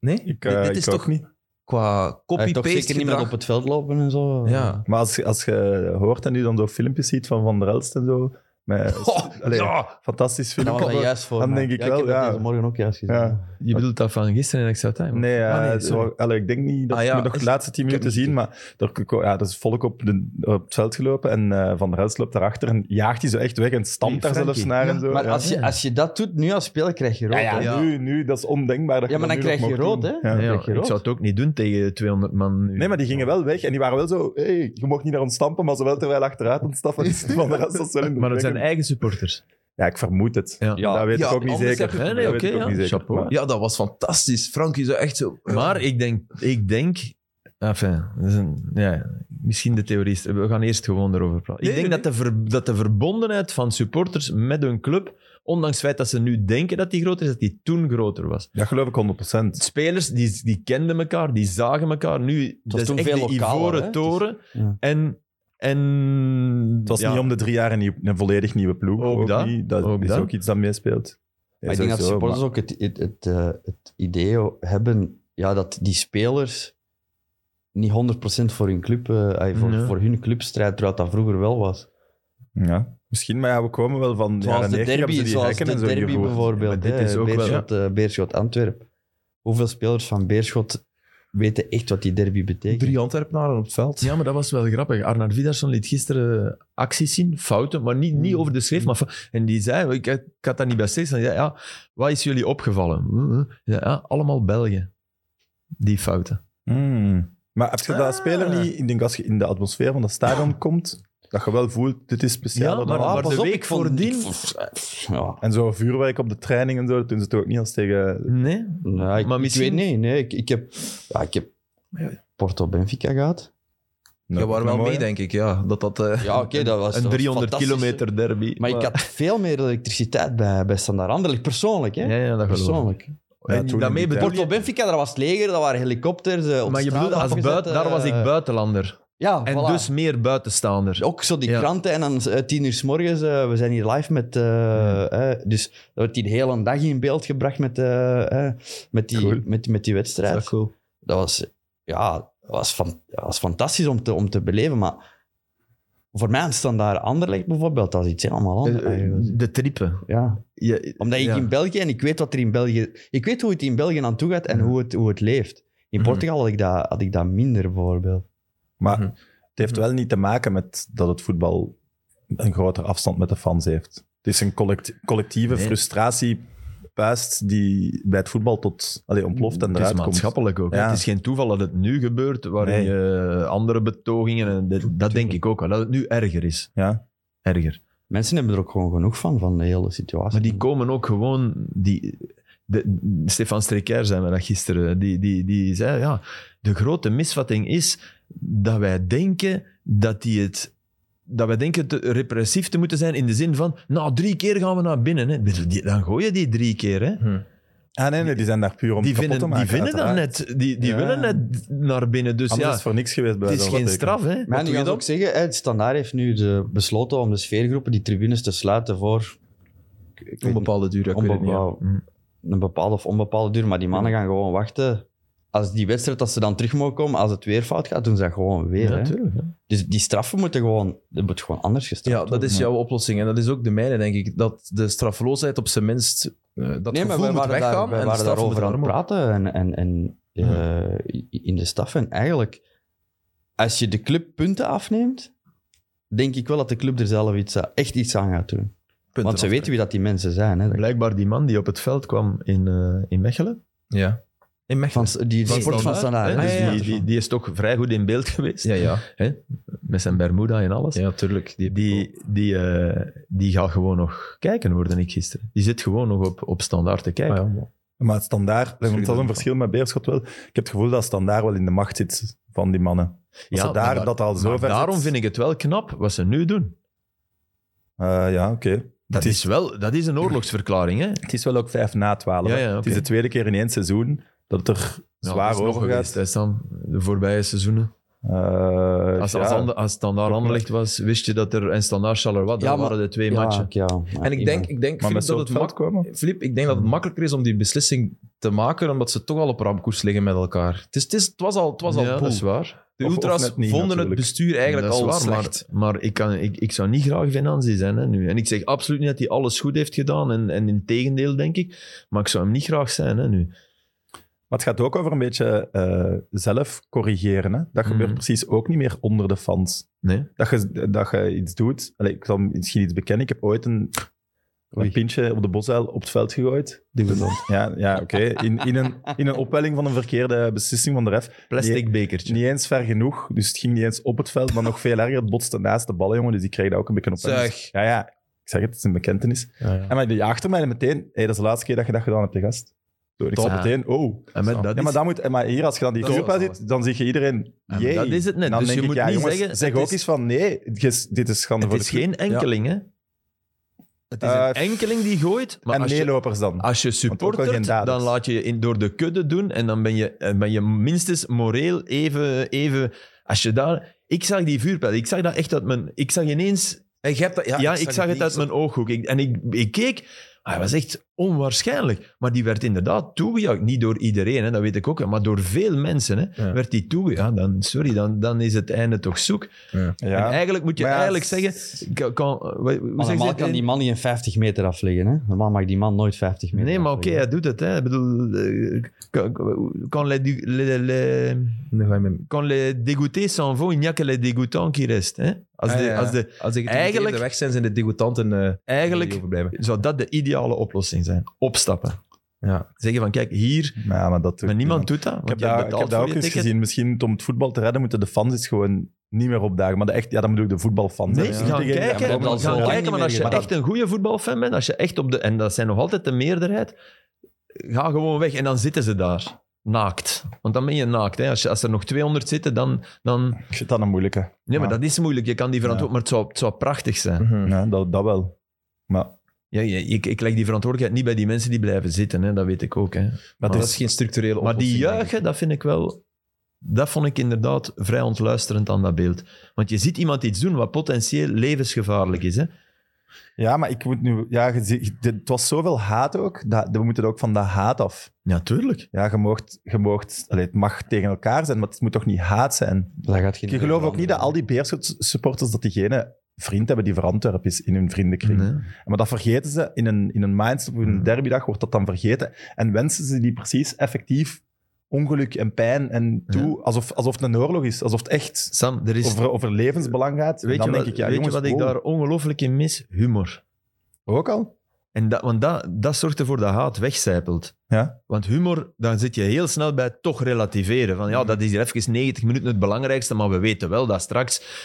Speaker 1: Nee?
Speaker 3: Ik,
Speaker 1: Dit-
Speaker 3: eh,
Speaker 1: dit
Speaker 3: ik
Speaker 1: is
Speaker 3: ook
Speaker 1: toch
Speaker 3: niet.
Speaker 1: qua
Speaker 4: Hij toch
Speaker 1: copy-paste
Speaker 4: zeker niet meer
Speaker 1: gedrag?
Speaker 4: op het veld lopen en zo.
Speaker 1: Ja.
Speaker 3: Maar als, je- als je hoort en nu dan zo filmpjes ziet van Van der Elst en zo, met,
Speaker 1: Oh,
Speaker 3: allee,
Speaker 1: ja.
Speaker 3: fantastisch
Speaker 4: Dat
Speaker 3: filmpje.
Speaker 4: was dat juist voor
Speaker 3: Dan
Speaker 4: mij.
Speaker 3: denk ik
Speaker 4: ja,
Speaker 3: wel,
Speaker 4: Ik heb
Speaker 3: ja.
Speaker 4: dat deze morgen ook juist gezien.
Speaker 3: Ja.
Speaker 2: Je bedoelt dat van gisteren in Extra Time?
Speaker 3: Nee, eh,
Speaker 1: Ah, nee,
Speaker 3: het
Speaker 1: sorry.
Speaker 3: was- allee, ik denk niet dat
Speaker 1: Ah,
Speaker 3: ik
Speaker 1: ja,
Speaker 3: me nog
Speaker 1: is-
Speaker 3: de laatste tien
Speaker 1: ik heb
Speaker 3: minuten
Speaker 1: niet
Speaker 3: zien, maar er, ja, er is volk op, de, op het veld gelopen en eh, Van der Elst loopt daarachter en jaagt hij zo echt weg en
Speaker 2: Nee,
Speaker 3: stampt daar
Speaker 2: Frankie.
Speaker 3: zelfs naar en zo.
Speaker 4: Maar
Speaker 3: ja.
Speaker 4: als je, als je dat doet, nu als speler krijg je rood.
Speaker 3: ja,
Speaker 4: hè.
Speaker 3: ja,
Speaker 1: Ja.
Speaker 3: Nu, nu, dat is ondenkbaar. Dat
Speaker 4: Ja, maar
Speaker 3: dat
Speaker 4: dan
Speaker 3: nu nog
Speaker 4: krijg je
Speaker 3: mag
Speaker 4: rood,
Speaker 3: doen.
Speaker 4: hè?
Speaker 3: Ja.
Speaker 2: Nee, ja,
Speaker 4: Krijg
Speaker 2: ik
Speaker 4: je rood?
Speaker 2: zou het ook niet doen tegen 200 man. nu.
Speaker 3: Nee, maar die gingen wel weg en die waren wel zo, hey, je mocht niet naar ons stampen, maar ze wel terwijl achteruit aan het stappen. Dus Van der Elst was wel in de
Speaker 2: Maar het
Speaker 3: weg.
Speaker 2: zijn eigen supporters.
Speaker 3: Ja, ik vermoed het.
Speaker 2: Ja.
Speaker 3: dat weet
Speaker 1: Ja,
Speaker 3: ik ook niet
Speaker 1: anders
Speaker 3: zeker.
Speaker 1: heb je
Speaker 2: Nee,
Speaker 1: het-
Speaker 3: Dat
Speaker 2: nee,
Speaker 3: weet
Speaker 2: oké.
Speaker 3: ik ook
Speaker 2: ja.
Speaker 3: niet zeker,
Speaker 2: Chapeau.
Speaker 3: maar-
Speaker 1: Ja, dat was fantastisch. Frankie zo echt zo...
Speaker 2: Maar ik denk, ik denk enfin, dat is een, ja, misschien de theorie is, we gaan eerst gewoon erover praten.
Speaker 1: Nee,
Speaker 2: ik denk
Speaker 1: nee,
Speaker 2: Dat, de ver- dat de verbondenheid van supporters met hun club, ondanks het feit dat ze nu denken dat die groter is, dat die toen groter was.
Speaker 3: Dat geloof ik 100%.
Speaker 2: Spelers, die, die kenden elkaar, die zagen elkaar. Nu, dat is
Speaker 4: toen
Speaker 2: echt
Speaker 4: veel
Speaker 2: de
Speaker 4: lokaler,
Speaker 2: ivoren
Speaker 4: hè?
Speaker 2: toren.
Speaker 4: Ja.
Speaker 2: En, en...
Speaker 3: Het was niet om de drie jaar een, nieuw- een volledig nieuwe ploeg.
Speaker 2: Ook dat,
Speaker 3: niet. dat
Speaker 2: ook
Speaker 3: is
Speaker 2: dat.
Speaker 3: ook iets dat meespeelt.
Speaker 4: Maar ik denk dat supporters ook het, het, het, eh, het idee hebben ja, dat die spelers niet 100% voor hun club, eh, ay, voor,
Speaker 2: Nee.
Speaker 4: voor hun club strijden, terwijl dat vroeger wel was.
Speaker 3: Ja, misschien, maar ja, we komen wel van
Speaker 4: Zoals
Speaker 3: jaren
Speaker 4: de
Speaker 3: 90 hebben
Speaker 4: derby,
Speaker 3: ze die
Speaker 4: zoals
Speaker 3: hekken
Speaker 4: de
Speaker 3: en zo
Speaker 4: derby
Speaker 3: ingevoerd.
Speaker 4: bijvoorbeeld.
Speaker 2: Maar dit
Speaker 4: hè,
Speaker 2: is ook wel-
Speaker 4: Beerschot, eh, Beerschot Antwerpen. Hoeveel spelers van Beerschot weten echt wat die derby betekent?
Speaker 1: Drie Antwerpenaren op het veld.
Speaker 2: Ja, maar dat was wel grappig. Arnaud Vidarsson liet gisteren acties zien, fouten, maar niet,
Speaker 1: Hmm.
Speaker 2: niet over de schreef. Maar fou- en die zei, ik, ik had dat niet bij steeds. Hij zei, ja, wat is jullie opgevallen? Hm, hm. Ja, ja, allemaal Belgen. Die fouten.
Speaker 3: Hmm. Maar als je dat
Speaker 2: Ah.
Speaker 3: speler niet... Ik denk als je in de atmosfeer van dat
Speaker 4: (laughs)
Speaker 3: stadion komt, dat je wel voelt, dit is speciaal.
Speaker 2: Ja, maar-
Speaker 4: Ah,
Speaker 2: maar
Speaker 4: pas
Speaker 2: de
Speaker 4: op,
Speaker 2: week
Speaker 4: ik vond-
Speaker 2: voordien-
Speaker 4: ik vond- eh, Ja,
Speaker 3: En zo vuurwerk op de training en zo, dat doen ze toch ook niet als tegen...
Speaker 2: Nee?
Speaker 4: nou, ik,
Speaker 2: Maar
Speaker 4: ik
Speaker 2: misschien-
Speaker 4: weet niet. Nee, ik, ik heb, ja, ik heb Porto Benfica gehad.
Speaker 1: Ja, waar wel mee, denk ik. Ja, dat dat... eh,
Speaker 4: Ja, oké, dat was dat
Speaker 2: Een
Speaker 4: was
Speaker 2: 300
Speaker 4: fantastisch.
Speaker 2: kilometer derby.
Speaker 4: Maar ik had veel meer elektriciteit bij, bij Standaard Anderlecht, persoonlijk. Hè?
Speaker 2: Ja, ja, dat geloof ik.
Speaker 4: persoonlijk.
Speaker 3: Ja,
Speaker 2: En
Speaker 3: toen
Speaker 2: daarmee
Speaker 3: in die
Speaker 2: bedoel
Speaker 4: Porto
Speaker 2: je...
Speaker 4: Benfica, daar was het leger, daar waren helikopters. eh, op
Speaker 2: Maar je
Speaker 4: straat
Speaker 2: bedoelt, als
Speaker 4: afgezet,
Speaker 2: buiten, daar
Speaker 4: eh,
Speaker 2: was ik buitenlander.
Speaker 4: Ja,
Speaker 2: En
Speaker 4: voilà.
Speaker 2: dus meer buitenstaander.
Speaker 4: Ook zo die
Speaker 2: Ja.
Speaker 4: kranten en dan eh, tien uur s morgens, eh, we zijn hier live met... eh, eh, dus dat wordt die de hele dag in beeld gebracht met, eh, eh, met, die,
Speaker 3: Cool.
Speaker 4: met, met die wedstrijd.
Speaker 1: dat is cool.
Speaker 4: dat was, ja, dat was, fan- dat was fantastisch om te, om te beleven, maar voor mij staan daar Anderlecht bijvoorbeeld, dat is iets helemaal anders.
Speaker 2: Eh, eh,
Speaker 4: eigenlijk.
Speaker 2: De trippen.
Speaker 4: ja.
Speaker 2: Je-
Speaker 4: Omdat ik
Speaker 2: ja.
Speaker 4: in België, en ik weet wat er in België... Ik weet hoe het in België aan toe gaat en
Speaker 2: Mhm.
Speaker 4: hoe, het, hoe het leeft. In
Speaker 1: Mhm.
Speaker 4: Portugal had ik, dat, had ik dat minder, bijvoorbeeld.
Speaker 3: Maar
Speaker 1: Mhm.
Speaker 3: het heeft wel niet te maken met dat het voetbal een grotere afstand met de fans heeft. Het is een collect- collectieve
Speaker 2: Nee.
Speaker 3: frustratie puist die bij het voetbal tot allee, ontploft en
Speaker 2: Het is
Speaker 3: eruit komt.
Speaker 2: maatschappelijk ook. hè.
Speaker 3: Ja.
Speaker 2: Het is geen toeval dat het nu gebeurt, waarin
Speaker 3: Nee.
Speaker 2: je andere betogingen... en dit- dat denk ik ook wel, dat het nu erger is.
Speaker 3: Ja.
Speaker 2: Erger.
Speaker 4: Mensen hebben er ook gewoon genoeg van, van de hele situatie.
Speaker 2: Maar die komen ook gewoon... Die, de, Stefan Streker zei me dat gisteren. Die, die, die zei, ja, de grote misvatting is dat wij denken dat die het... Dat wij denken te repressief Dus te moeten zijn in de zin van... Nou, drie keer gaan we naar binnen. Hè. Ik bedoel, die- Dan gooi je die drie keer. Hè.
Speaker 1: Hm.
Speaker 3: Ah, nee, nee, die zijn daar puur om
Speaker 2: Die
Speaker 3: kapot
Speaker 2: vinden,
Speaker 3: te
Speaker 2: die
Speaker 3: maken,
Speaker 2: vinden dat
Speaker 3: uiteraard.
Speaker 2: net. Die, die
Speaker 3: Ja.
Speaker 2: willen net naar binnen. Dus ja,
Speaker 3: Anders is het voor niks geweest. bij
Speaker 2: het is
Speaker 3: wijze van
Speaker 2: geen
Speaker 3: spreken.
Speaker 2: straf, hè.
Speaker 4: Maar nu
Speaker 1: doe je
Speaker 4: gaan ze
Speaker 1: dan?
Speaker 4: ook zeggen, hè, het standaard heeft nu de, besloten om de sfeergroepen, die tribunes te sluiten voor... ik- ik weet
Speaker 1: Een
Speaker 4: niet,
Speaker 1: bepaalde duur, ik weet het niet. ja.
Speaker 4: onbepaal-
Speaker 2: Mm.
Speaker 4: Een bepaalde of onbepaalde duur, maar die mannen gaan gewoon wachten. Als die wedstrijd, als ze dan terug mogen komen, als het weer fout gaat, doen ze dat gewoon weer. hè.
Speaker 2: natuurlijk. hè.
Speaker 4: Dus die straffen moeten gewoon... Dat moet gewoon anders gestraft
Speaker 1: Ja, dat is jouw oplossing. En dat is ook de mijne, denk ik. Dat de straffeloosheid op zijn minst... eh, dat
Speaker 4: nee, maar
Speaker 1: gevoel
Speaker 4: we
Speaker 1: moet
Speaker 4: waren,
Speaker 1: weggaan
Speaker 4: daar, wij
Speaker 1: en de
Speaker 4: waren
Speaker 1: straffen
Speaker 4: daarover aan het
Speaker 1: moeten naar
Speaker 4: praten en, en, en eh, in de staf. En eigenlijk, als je de club punten afneemt, denk ik wel dat de club er zelf iets, aan- echt iets aan gaat doen.
Speaker 1: omhoog.
Speaker 4: Want ze
Speaker 1: Punten
Speaker 4: weten wie dat die mensen zijn. Hè.
Speaker 2: Blijkbaar die man die op het veld kwam in, eh, in Mechelen.
Speaker 1: afpakken. Ja. In Mechelen.
Speaker 4: Van, die die sport van standaard.
Speaker 2: hè,
Speaker 4: hè.
Speaker 2: Dus
Speaker 1: Ah, ja, ja.
Speaker 2: die, die, die is toch vrij goed in beeld (laughs) geweest.
Speaker 1: Ja,
Speaker 4: (laughs)
Speaker 1: ja.
Speaker 2: Met zijn Bermuda en alles.
Speaker 1: Ja, tuurlijk. Die,
Speaker 2: Die, die, eh, die gaat gewoon nog kijken, hoorde ik gisteren. Die zit gewoon nog op, op standaard te kijken.
Speaker 1: Ah, ja, maar-
Speaker 3: Maar het standaard,
Speaker 1: Sorry,
Speaker 3: want dat is een
Speaker 1: dat-
Speaker 3: verschil met Beerschot wel. Ik heb het gevoel dat standaard wel in de macht zit van die mannen. Als ze
Speaker 2: maar
Speaker 3: daar,
Speaker 2: daar-
Speaker 3: dat al zo
Speaker 2: Maar
Speaker 3: ver
Speaker 2: daarom
Speaker 3: zit,
Speaker 2: vind ik het wel knap wat ze nu doen.
Speaker 3: Eh, ja, oké.
Speaker 2: Dat
Speaker 3: Het
Speaker 2: is, wel, dat is een oorlogsverklaring, hè?
Speaker 3: Het is wel ook vijf na twaalf.
Speaker 2: Ja,
Speaker 3: hè.
Speaker 2: ja,
Speaker 3: Het
Speaker 2: oké.
Speaker 3: is de tweede keer in één seizoen dat het er
Speaker 2: Ja,
Speaker 3: zwaar
Speaker 2: dat is nog
Speaker 3: over
Speaker 2: geweest,
Speaker 3: gaat.
Speaker 2: hè, Sam, de voorbije seizoenen.
Speaker 3: Eh,
Speaker 2: Als,
Speaker 3: ja.
Speaker 2: als, Ander- als Standaard Anderlecht was, wist je dat er... En Standaard Charleroi,
Speaker 4: Ja,
Speaker 2: daar
Speaker 4: maar-
Speaker 2: waren de twee
Speaker 4: Ja,
Speaker 2: matchen.
Speaker 4: ja,
Speaker 1: En ik denk, ik denk
Speaker 3: maar
Speaker 1: Filip,
Speaker 3: met
Speaker 1: dat
Speaker 3: zo'n Hmm.
Speaker 1: het
Speaker 3: veld
Speaker 1: mak
Speaker 3: komen.
Speaker 1: Filip, ik denk dat het makkelijker is om die beslissing te maken, omdat ze toch al op ramkoers liggen met elkaar. Het, is, het, is, het was al, het was al
Speaker 2: ja,
Speaker 1: boel.
Speaker 2: dat is waar.
Speaker 1: De
Speaker 3: Of- of
Speaker 1: ultras
Speaker 3: net niet,
Speaker 1: vonden
Speaker 3: natuurlijk.
Speaker 1: het bestuur eigenlijk
Speaker 2: Dat is
Speaker 1: al
Speaker 2: waar,
Speaker 1: slecht.
Speaker 2: Maar, maar ik, kan, ik, ik zou niet graag Venanzi zijn hè, nu. En ik zeg absoluut niet dat hij alles goed heeft gedaan. En, en in tegendeel, denk ik. Maar ik zou hem niet graag zijn hè, nu.
Speaker 3: Maar het gaat ook over een beetje eh, zelf corrigeren. Hè? Dat gebeurt
Speaker 2: Mhm.
Speaker 3: precies ook niet meer onder de fans.
Speaker 2: Nee.
Speaker 3: dat je, dat je iets doet. Allee, ik zal misschien iets bekennen. Ik heb ooit een,
Speaker 4: Oei.
Speaker 3: een pintje op de bosuil op het veld gegooid.
Speaker 2: (laughs)
Speaker 3: Ja, ja oké. In, in, een, in een opwelling van een verkeerde beslissing van de ref.
Speaker 2: Plastic
Speaker 3: Nee.
Speaker 2: bekertje.
Speaker 3: Niet eens ver genoeg, dus het ging niet eens op het veld. Maar nog veel erger, het botste naast de ballen, jongen. Dus die kreeg daar ook een beetje op.
Speaker 1: Zeg.
Speaker 3: Ja, ja. Ik zeg het, het is een bekentenis. En maar die achter mij meteen, hey, dat is de laatste keer dat je dat gedaan hebt, de gast. Zo, ik
Speaker 2: Top.
Speaker 3: zag meteen, oh.
Speaker 2: En met dat
Speaker 3: Ja,
Speaker 2: is-
Speaker 3: maar, dat moet, en maar hier, als je dan die
Speaker 2: Dat is
Speaker 3: groep
Speaker 2: alles.
Speaker 3: zit, dan zie je iedereen,
Speaker 2: maar
Speaker 3: jee.
Speaker 2: dat is het net.
Speaker 3: Dan
Speaker 2: Dus
Speaker 3: denk
Speaker 2: je
Speaker 3: ik,
Speaker 2: moet
Speaker 3: ja,
Speaker 2: niet
Speaker 3: jongens,
Speaker 2: zeggen,
Speaker 3: zeg
Speaker 2: het
Speaker 3: ook
Speaker 2: is-
Speaker 3: eens van, nee, dit is- dit is schande
Speaker 2: Het
Speaker 3: voor
Speaker 2: is
Speaker 3: de club.
Speaker 2: geen enkeling, hè? Het is
Speaker 3: Eh,
Speaker 2: een enkeling die gooit. Maar
Speaker 3: en
Speaker 2: als je-
Speaker 3: meelopers dan.
Speaker 2: Als je
Speaker 3: ook wel geen
Speaker 2: supportert,
Speaker 3: daders.
Speaker 2: dan laat je je in, door de kudde doen en dan ben je, eh, ben je minstens moreel even, even... Als je daar... Ik zag die vuurpijl, ik zag dat echt uit mijn... Ik zag ineens...
Speaker 1: En je hebt dat, ja,
Speaker 2: Ja, ik, zag het
Speaker 1: niet.
Speaker 2: uit mijn ooghoek. Ik, en ik, ik keek, ah, hij was echt onwaarschijnlijk. Maar die werd inderdaad toegejuicht. Niet door iedereen, hè, dat weet ik ook, maar door veel mensen hè,
Speaker 1: Ja.
Speaker 2: werd die toegejuicht. Ja, dan, sorry, dan, dan is het einde toch zoek.
Speaker 3: ja.
Speaker 2: En eigenlijk moet je
Speaker 3: Maar ja,
Speaker 2: eigenlijk
Speaker 3: s-
Speaker 2: zeggen... Kan, kan, hoe zeg je
Speaker 4: Maar normaal
Speaker 2: dat?
Speaker 4: kan die man niet een 50 meter afleggen. Hè? Normaal mag die man nooit 50 meter
Speaker 2: Nee, maar oké,
Speaker 4: afleggen.
Speaker 2: hij doet het. Hè. Ik bedoel, eh, kan- kan les, du- les, les,
Speaker 1: Dan ga je met-
Speaker 2: quand les dégoûtés s'en vont, il n'y a que les dégoûtants qui restent. Hè. Als
Speaker 1: Ah,
Speaker 2: de,
Speaker 1: ja.
Speaker 2: als de,
Speaker 1: Als ik
Speaker 2: Eigenlijk-
Speaker 1: de weg zijn, zijn de degoutanten eh,
Speaker 2: eigenlijk
Speaker 1: die overblijven.
Speaker 2: zou dat de ideale oplossing zijn. Opstappen.
Speaker 1: Ja.
Speaker 2: Zeggen van, kijk, hier...
Speaker 3: Ja, maar dat doet
Speaker 2: Maar niemand
Speaker 3: niemand.
Speaker 2: doet dat, want
Speaker 3: Ik heb,
Speaker 2: jij
Speaker 3: daar, ik
Speaker 2: betaalt
Speaker 3: heb dat
Speaker 2: voor
Speaker 3: ook
Speaker 2: je
Speaker 3: eens
Speaker 2: ticket.
Speaker 3: gezien. Misschien om het voetbal te redden, moeten de fans eens gewoon niet meer opdagen. Maar de echt, ja, dan bedoel ik de voetbalfans. Dus
Speaker 2: Nee,
Speaker 3: Dat is
Speaker 2: gaan
Speaker 3: niet degene-
Speaker 2: kijken,
Speaker 4: dat
Speaker 2: gaan
Speaker 4: al zo lang
Speaker 2: kijken
Speaker 4: niet
Speaker 2: maar
Speaker 4: meer
Speaker 2: als je
Speaker 4: gedaan.
Speaker 2: echt een goede voetbalfan bent, als je echt op de... En dat zijn nog altijd de meerderheid. Ga gewoon weg en dan zitten ze daar. Naakt. Want dan ben je naakt. Hè. Als, je, als er nog 200 zitten, dan... dan
Speaker 3: Ik vind dat een moeilijke.
Speaker 2: Nee, maar
Speaker 3: Ja.
Speaker 2: dat is moeilijk. Je kan die verantwoordelijkheid... Maar het zou, het zou prachtig zijn.
Speaker 1: Mhm.
Speaker 3: Ja, dat, dat wel. Maar,
Speaker 2: Ja, ja, ik, ik leg die verantwoordelijkheid niet bij die mensen die blijven zitten. Hè. Dat weet ik ook. Hè.
Speaker 1: Maar
Speaker 3: dat
Speaker 1: dat
Speaker 3: is-
Speaker 1: is geen structurele
Speaker 2: Maar die
Speaker 1: oplossing, denk ik.
Speaker 2: juichen, dat vind ik wel... Dat vond ik inderdaad vrij ontluisterend aan dat beeld. Want je ziet iemand iets doen wat potentieel levensgevaarlijk is. Hè.
Speaker 3: ja, maar ik moet nu... Ja, je ziet- het was zoveel haat ook. Dat, we moeten er ook van dat haat af.
Speaker 2: Ja, tuurlijk.
Speaker 3: Ja, je moogt, je moogt, allee, het mag tegen elkaar zijn, maar het moet toch niet haat zijn?
Speaker 4: Dat gaat geen
Speaker 3: Ik geloof ook niet dat al die Beerschot-supporters dat diegene vriend hebben die voor Antwerpen is in hun vriendenkring.
Speaker 2: Nee.
Speaker 3: Maar dat vergeten ze in een, in een mindset op een
Speaker 2: Hmm.
Speaker 3: derbydag, wordt dat dan vergeten. En wensen ze die precies effectief ongeluk en pijn en toe, alsof, alsof het een oorlog is. Alsof het echt
Speaker 2: Sam, er is...
Speaker 3: over, over levensbelang gaat. En
Speaker 2: Weet,
Speaker 3: dan
Speaker 2: je,
Speaker 3: denk
Speaker 2: wat,
Speaker 3: ik, ja,
Speaker 2: weet
Speaker 3: jongens,
Speaker 2: je wat ik
Speaker 3: wow,
Speaker 2: daar ongelooflijk in mis? Humor.
Speaker 3: ook al?
Speaker 2: En dat, want dat, dat zorgt ervoor dat haat wegcijpelt.
Speaker 3: Ja.
Speaker 2: Want humor, dan zit je heel snel bij het toch relativeren. Van ja,
Speaker 3: Mhm.
Speaker 2: dat is hier even 90 minuten het belangrijkste, maar we weten wel dat straks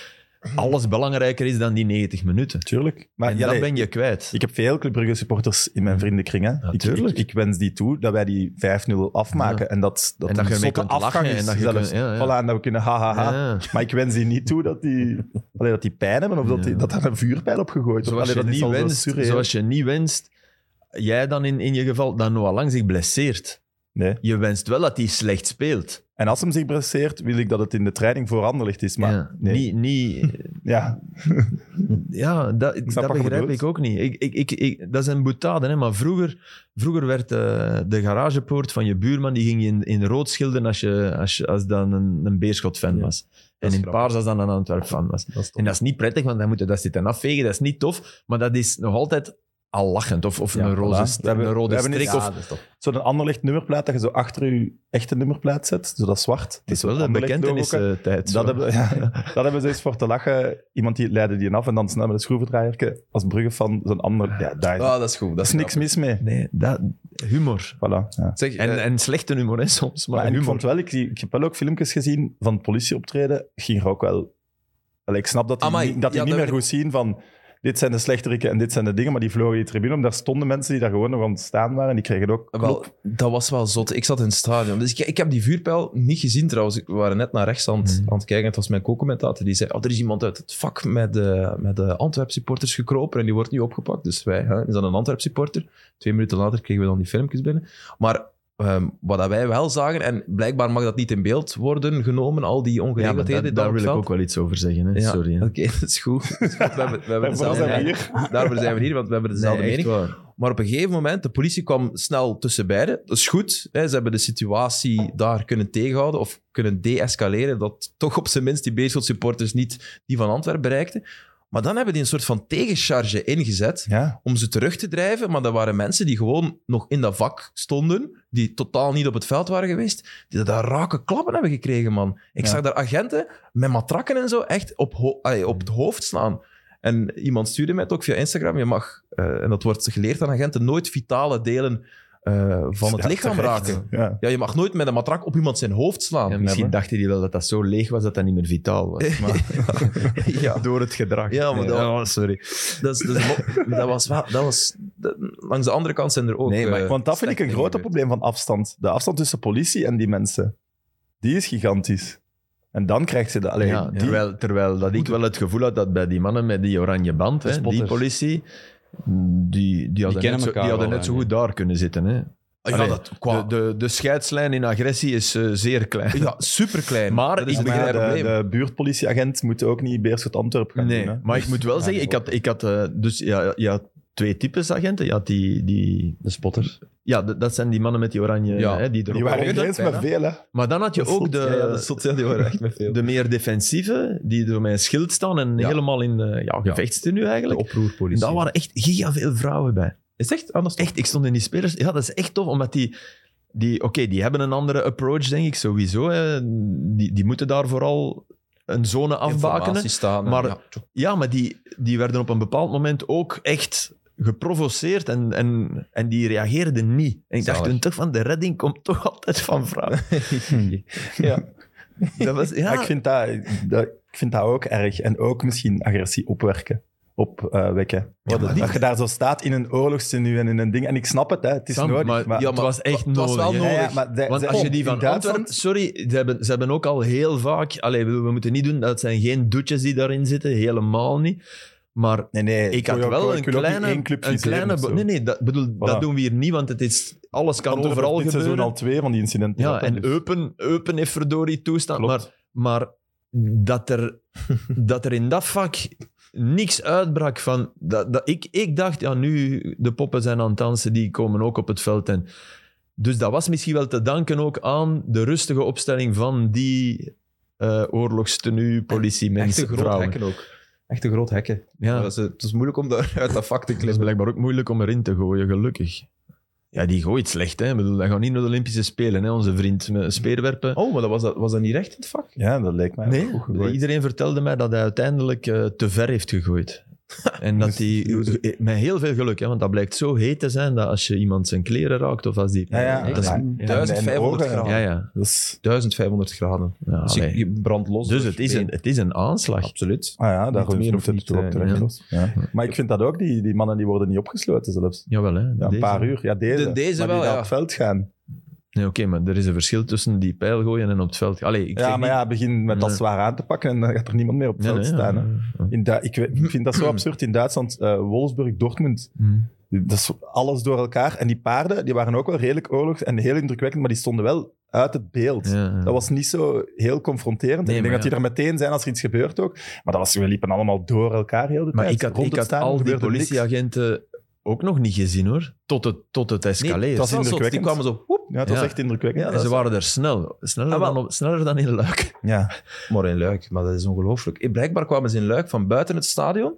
Speaker 2: alles belangrijker is dan die 90 minuten.
Speaker 3: Tuurlijk. Maar
Speaker 2: en
Speaker 3: ja,
Speaker 2: dat
Speaker 3: nee,
Speaker 2: ben je Mhm. kwijt.
Speaker 3: ik heb veel Club Brugge supporters in mijn vriendenkring. Hè. ik, ik,
Speaker 2: tuurlijk.
Speaker 3: ik wens die toe dat wij die 5-0 afmaken. En dat, dat,
Speaker 2: En dat
Speaker 3: een
Speaker 2: je ermee
Speaker 3: zotte
Speaker 2: kunt
Speaker 3: afgang
Speaker 2: lachen
Speaker 3: is
Speaker 2: en dat je
Speaker 3: zelfs.
Speaker 2: kunt- ja, ja.
Speaker 3: Voilà, en dat we kunnen hahaha. Ha, ha.
Speaker 2: Ja.
Speaker 3: Maar ik wens die niet toe dat die, allee, dat die pijn hebben of dat, die,
Speaker 2: Ja.
Speaker 3: dat daar een vuurpijl op gegooid wordt.
Speaker 2: Zoals,
Speaker 3: Allee,
Speaker 2: je
Speaker 3: dat is
Speaker 2: niet
Speaker 3: al zo
Speaker 2: wenst,
Speaker 3: surreal.
Speaker 2: zoals je niet wenst jij dan in, in je geval, dat Noah Lang zich blesseert.
Speaker 3: Nee.
Speaker 2: Je wenst wel dat hij slecht speelt.
Speaker 3: En als hem zich blesseert, wil ik dat het in de training voor Anderlecht is. Maar
Speaker 2: ja,
Speaker 3: nee.
Speaker 2: niet, niet,
Speaker 3: ja,
Speaker 2: ja dat,
Speaker 3: snap
Speaker 2: dat
Speaker 3: wat je
Speaker 2: begrijp
Speaker 3: bedoelt.
Speaker 2: ik ook niet. Ik, ik, ik, ik- dat is een boetade, hè, maar vroeger, vroeger werd eh, de garagepoort van je buurman die ging je in, in rood schilderen als, je, als, je, als dan een, een Beerschot-fan
Speaker 1: Ja,
Speaker 2: was. En
Speaker 1: is
Speaker 2: in
Speaker 1: grappig.
Speaker 2: paars als dan een Antwerp-fan was.
Speaker 1: Dat is
Speaker 2: En dat is niet prettig, want dan moeten dat zitten afvegen. Dat is niet tof, maar dat is nog altijd al lachend. Of, of
Speaker 1: Ja,
Speaker 2: een, roze,
Speaker 3: voilà.
Speaker 2: st-
Speaker 3: We hebben-
Speaker 2: een
Speaker 3: we
Speaker 2: rode
Speaker 3: hebben
Speaker 2: strik.
Speaker 3: iets-
Speaker 2: of,
Speaker 1: ja, dat is toch.
Speaker 3: zo'n Anderlecht nummerplaat dat je zo achter je echte nummerplaat zet, zo dat zwart.
Speaker 2: het is eh. wel de
Speaker 3: Anderlecht logo.
Speaker 2: bekentenistijd.
Speaker 3: Dat hebben, ja, (laughs) dat hebben ze eens voor te lachen. Iemand die leidde die af en dan snel met een schroevendraaierke als bruggen van zo'n ander. Ja, daar is,
Speaker 1: Ah, dat is goed.
Speaker 3: daar
Speaker 1: Dat
Speaker 3: is
Speaker 1: is
Speaker 3: niks mis mee.
Speaker 2: (laughs) Nee, dat, humor.
Speaker 3: Voilà, ja.
Speaker 1: Zeg,
Speaker 2: En,
Speaker 1: eh,
Speaker 2: en slechte humor, hè, soms. Maar,
Speaker 3: Maar en ik
Speaker 2: humor.
Speaker 3: vond wel, ik, ik heb wel ook filmpjes gezien van politieoptreden. Ging er ook wel. Allee, ik snap dat die,
Speaker 1: Amai,
Speaker 3: niet- dat die
Speaker 1: ja,
Speaker 3: niet
Speaker 1: dat
Speaker 3: meer goed zien van. Dit zijn de slechteriken en dit zijn de dingen, maar die vlogen die tribune om. Daar stonden mensen die daar gewoon nog aan het staan waren. Die kregen ook
Speaker 1: wel,
Speaker 3: klop.
Speaker 1: dat was wel zot. Ik zat in het stadion. Dus ik, ik heb die vuurpijl niet gezien trouwens. We waren net naar rechts aan het,
Speaker 2: Mhm.
Speaker 1: aan het kijken. Het was mijn co-commentator die zei: oh, Er is iemand uit het vak met, eh met de Antwerp supporters gekropen en die wordt nu opgepakt. Dus wij, hè, is dat een Antwerp supporter? Twee minuten later kregen we dan die filmpjes binnen. Maar ehm, wat dat wij wel zagen, en blijkbaar mag dat niet in beeld worden genomen, al die
Speaker 2: Ja, maar
Speaker 1: ongeregeldheden.
Speaker 2: daar,
Speaker 1: dan
Speaker 2: daar
Speaker 1: op
Speaker 2: wil ik
Speaker 1: het
Speaker 2: ook
Speaker 1: veld.
Speaker 2: wel iets over zeggen. Hè.
Speaker 1: Ja,
Speaker 2: Sorry. hè.
Speaker 1: Oké, (laughs) dat is
Speaker 2: (laughs)
Speaker 1: goed. Dat is goed. We hebben, we hebben
Speaker 3: Daarvoor
Speaker 1: dezelfde
Speaker 3: zijn we
Speaker 1: mening.
Speaker 3: hier.
Speaker 1: Daarvoor zijn we hier, want we hebben
Speaker 2: Nee,
Speaker 1: dezelfde
Speaker 2: echt
Speaker 1: mening.
Speaker 2: waar.
Speaker 1: Maar op een gegeven moment, de politie kwam snel tussen beiden. Dat is goed. Hè, ze hebben de situatie daar kunnen tegenhouden of kunnen de-escaleren. Dat toch op zijn minst die Beerschot supporters niet die van Antwerpen bereikten. Maar dan hebben die een soort van tegencharge ingezet
Speaker 3: Ja,
Speaker 1: om ze terug te drijven. Maar dat waren mensen die gewoon nog in dat vak stonden, die totaal niet op het veld waren geweest, die daar rake klappen hebben gekregen, man. Ik
Speaker 3: Ja.
Speaker 1: zag daar agenten met matrakken en zo echt op, ho- allee, op het hoofd slaan. En iemand stuurde mij het ook via Instagram, je mag, eh, en dat wordt geleerd aan agenten, nooit vitale delen eh, van het
Speaker 3: Ja,
Speaker 1: lichaam
Speaker 3: terecht.
Speaker 1: raken.
Speaker 3: ja.
Speaker 1: Ja, je mag nooit met een matrak op iemand zijn hoofd slaan.
Speaker 2: Ja,
Speaker 1: Ja,
Speaker 2: misschien
Speaker 3: hebben.
Speaker 2: dachten die wel dat dat zo leeg was dat dat niet meer vitaal
Speaker 3: (laughs)
Speaker 2: was. Maar
Speaker 1: (laughs) ja.
Speaker 2: (laughs) Door het gedrag.
Speaker 1: Ja, maar
Speaker 2: Nee,
Speaker 1: dat-
Speaker 2: oh, sorry.
Speaker 1: Dat, is, dat, is mo- dat was wel... Dat was, dat- langs de andere kant zijn er ook...
Speaker 2: Nee, maar-
Speaker 1: eh,
Speaker 3: Want dat vind ik
Speaker 1: slechte
Speaker 3: een
Speaker 1: dingen
Speaker 3: groot
Speaker 1: gebeurd.
Speaker 3: probleem van afstand. De afstand tussen politie en die mensen. Die is gigantisch. En dan krijgt ze de... Allee,
Speaker 2: Ja,
Speaker 3: die-
Speaker 2: terwijl, terwijl dat ik wel het gevoel had dat bij die mannen met die oranje band,
Speaker 4: De
Speaker 2: hè, die
Speaker 4: spotters.
Speaker 2: politie, die, die hadden
Speaker 4: kennen
Speaker 2: net, zo, die
Speaker 4: elkaar
Speaker 2: hadden
Speaker 4: wel,
Speaker 2: net zo
Speaker 4: hè,
Speaker 2: goed daar kunnen zitten. Hè.
Speaker 1: Ja,
Speaker 2: Allee,
Speaker 1: dat, qua,
Speaker 2: De, de, de scheidslijn in agressie is eh, zeer klein.
Speaker 1: (laughs) Ja, superklein.
Speaker 2: Maar
Speaker 1: dat is
Speaker 2: ik
Speaker 1: het
Speaker 2: begrijp-
Speaker 1: begrijp
Speaker 3: Maar
Speaker 1: probleem.
Speaker 3: de, de buurtpolitieagent moet ook niet Beerschot Antwerp gaan
Speaker 2: Nee,
Speaker 3: doen. hè.
Speaker 2: maar ik moet wel zeggen, ik had, ik had eh, dus ja, ja, twee types agenten. Je had die, die,
Speaker 4: De spotters.
Speaker 2: ja, d- dat zijn die mannen met die oranje,
Speaker 1: Ja.
Speaker 2: hè, die
Speaker 3: Die
Speaker 2: erop
Speaker 3: waren
Speaker 2: komen.
Speaker 3: ineens met veel, hè.
Speaker 2: Maar dan had je ook de,
Speaker 1: die horen echt met veel.
Speaker 2: de meer defensieve, die door mijn schild staan en
Speaker 1: Ja.
Speaker 2: helemaal in eh ja, gevechtstenue
Speaker 1: De
Speaker 2: eigenlijk. En
Speaker 1: oproerpolitie.
Speaker 2: daar waren echt giga veel vrouwen bij.
Speaker 1: Is het echt anders?
Speaker 2: Echt, ik stond in die spelers. Ja, dat is echt tof, omdat die... die Oké, die hebben een andere approach, denk ik, sowieso. Hè. Die, die moeten daar vooral een zone afbakenen.
Speaker 1: Informatie staan.
Speaker 2: Maar-
Speaker 1: ja.
Speaker 2: Ja, maar die, die werden op een bepaald moment ook echt geprovoceerd en, en, en die reageerden niet. En ik dacht
Speaker 1: Zalig.
Speaker 2: toen toch van, de redding komt toch altijd van vrouwen.
Speaker 4: Dus
Speaker 1: ja.
Speaker 2: Dat was, ja,
Speaker 3: Maar ik vind, dat, dat- ik vind dat ook erg. En ook misschien agressie opwerken. Opwekken.
Speaker 2: Ja, maar die-
Speaker 3: dat je daar zo staat in een oorlogstenue en in een ding. En ik snap het, hè. Het is
Speaker 2: Sam,
Speaker 3: nodig.
Speaker 2: maar-
Speaker 3: Maar,
Speaker 2: ja, het was echt
Speaker 1: het was wel
Speaker 2: nodig, hè.
Speaker 3: Ja, ja,
Speaker 1: nodig.
Speaker 3: maar zij-
Speaker 2: Want
Speaker 3: zij-
Speaker 2: als je
Speaker 3: Eh, oh, in
Speaker 2: die van
Speaker 3: Duitsland-
Speaker 2: Antwerpen... Sorry, ze hebben, ze hebben ook al heel vaak... Allee, we, we moeten niet doen, dat zijn geen doetjes die daarin zitten, helemaal niet. Maar
Speaker 3: Nee, nee.
Speaker 2: ik had
Speaker 3: wil ook-
Speaker 2: wel
Speaker 3: ik
Speaker 2: een
Speaker 3: wil ook niet
Speaker 2: kleine...
Speaker 3: één club
Speaker 2: een
Speaker 3: fuseren
Speaker 2: kleine
Speaker 3: of
Speaker 2: bo-
Speaker 3: zo.
Speaker 2: nee, nee, dat, bedoel, dat doen we hier niet, want het is, alles kan
Speaker 3: Antwerpen
Speaker 2: overal
Speaker 3: heeft dit
Speaker 2: gebeuren.
Speaker 3: seizoen al twee van die incidenten.
Speaker 2: ja,
Speaker 3: gehad,
Speaker 2: en
Speaker 3: dus.
Speaker 2: Eupen, Eupen heeft verdorie toestand.
Speaker 3: Klopt.
Speaker 2: Maar, maar
Speaker 1: (laughs)
Speaker 2: dat, er, dat er in dat vak niks uitbrak van... Dat, dat, ik, ik dacht, ja, nu de poppen zijn aan het dansen, die komen ook op het veld. En, dus dat was misschien wel te danken ook aan de rustige opstelling van die eh oorlogstenu,
Speaker 1: Echt
Speaker 2: politiemensen,
Speaker 1: een groot
Speaker 2: vrouwen.
Speaker 1: hekken ook. Echt een groot hekken.
Speaker 2: Ja,
Speaker 1: Dat is, het is moeilijk om daar uit dat vak te
Speaker 2: het is
Speaker 1: klimmen.
Speaker 2: blijkbaar ook moeilijk om erin te gooien, gelukkig. Ja, die gooit slecht, hè. Ik bedoel, dat gaat niet naar de Olympische Spelen, hè, onze vriend. Met Speerwerpen.
Speaker 1: Oh, maar dat was, dat, was dat niet recht in het vak?
Speaker 3: Ja, dat leek mij
Speaker 2: Nee,
Speaker 3: ook goed gegooid.
Speaker 2: iedereen vertelde mij dat hij uiteindelijk eh, te ver heeft gegooid. En dat hij, eh, met heel veel geluk, hè, want dat blijkt zo heet te zijn dat als je iemand zijn kleren raakt of als die...
Speaker 3: Ja, ja.
Speaker 2: Dat is-
Speaker 3: Ja,
Speaker 2: ja.
Speaker 3: en- en
Speaker 1: 1500
Speaker 3: ogen.
Speaker 1: graden.
Speaker 2: ja, ja.
Speaker 3: Dat is-
Speaker 1: 1500 graden.
Speaker 2: Ja,
Speaker 1: Dus
Speaker 2: allee.
Speaker 1: je, je brandt los.
Speaker 2: dus
Speaker 1: door
Speaker 2: het is,
Speaker 1: je
Speaker 2: een,
Speaker 1: been.
Speaker 2: het is een aanslag.
Speaker 1: Absoluut.
Speaker 3: Ah ja,
Speaker 1: Niet
Speaker 3: daar
Speaker 1: meer
Speaker 3: meer
Speaker 1: of
Speaker 3: moet het
Speaker 1: niet,
Speaker 3: toch
Speaker 1: eh,
Speaker 3: op terecht.
Speaker 2: ja.
Speaker 3: Ja. Maar ik vind dat ook, die, die mannen die worden niet opgesloten zelfs.
Speaker 2: Jawel, hè.
Speaker 3: Ja, een
Speaker 2: Deze.
Speaker 3: paar uur. Ja, deze.
Speaker 1: De- deze
Speaker 3: maar die
Speaker 1: wel,
Speaker 3: naar
Speaker 1: ja.
Speaker 3: het veld gaan.
Speaker 2: Nee, Oké, maar er is een verschil tussen die pijl gooien en op het veld. Allee, ik
Speaker 3: ja,
Speaker 2: zeg
Speaker 3: maar
Speaker 2: niet-
Speaker 3: ja, begin met dat
Speaker 2: Nee.
Speaker 3: zwaar aan te pakken en dan gaat er niemand meer op het
Speaker 2: Nee,
Speaker 3: veld
Speaker 2: nee,
Speaker 3: staan. hè.
Speaker 2: ja. (clears throat)
Speaker 3: In Du- ik, weet- ik vind dat zo absurd. In Duitsland, eh, Wolfsburg, Dortmund.
Speaker 2: Hmm.
Speaker 3: Dat is alles door elkaar. En die paarden die waren ook wel redelijk oorlogs en heel indrukwekkend, maar die stonden wel uit het beeld. Dat was niet zo heel confronterend.
Speaker 2: Nee,
Speaker 3: ik denk
Speaker 2: maar
Speaker 3: dat die er meteen zijn als er iets gebeurt ook. Maar dat was, we liepen allemaal door elkaar heel de
Speaker 2: Maar
Speaker 3: tijd.
Speaker 2: ik had,
Speaker 3: Rond
Speaker 2: ik
Speaker 3: het
Speaker 2: had
Speaker 3: stadion
Speaker 2: al die
Speaker 3: gebeurde niks.
Speaker 2: politieagenten ook nog niet gezien hoor. Tot het, tot het
Speaker 1: Nee,
Speaker 2: escaleert.
Speaker 1: het was
Speaker 3: Dat is
Speaker 1: indrukwekkend. Die
Speaker 3: indrukwekkend.
Speaker 1: kwamen zo, woep.
Speaker 3: Ja, het was
Speaker 2: Ja.
Speaker 3: echt indrukwekkend.
Speaker 1: Ja,
Speaker 2: en
Speaker 1: dat
Speaker 2: ze
Speaker 1: is-
Speaker 2: waren er snel. Sneller,
Speaker 1: Ah, wel.
Speaker 2: dan, op- sneller dan in Luik.
Speaker 3: ja.
Speaker 1: Maar in Luik, maar dat is ongelooflijk. Eh, Blijkbaar kwamen ze in Luik van buiten het stadion.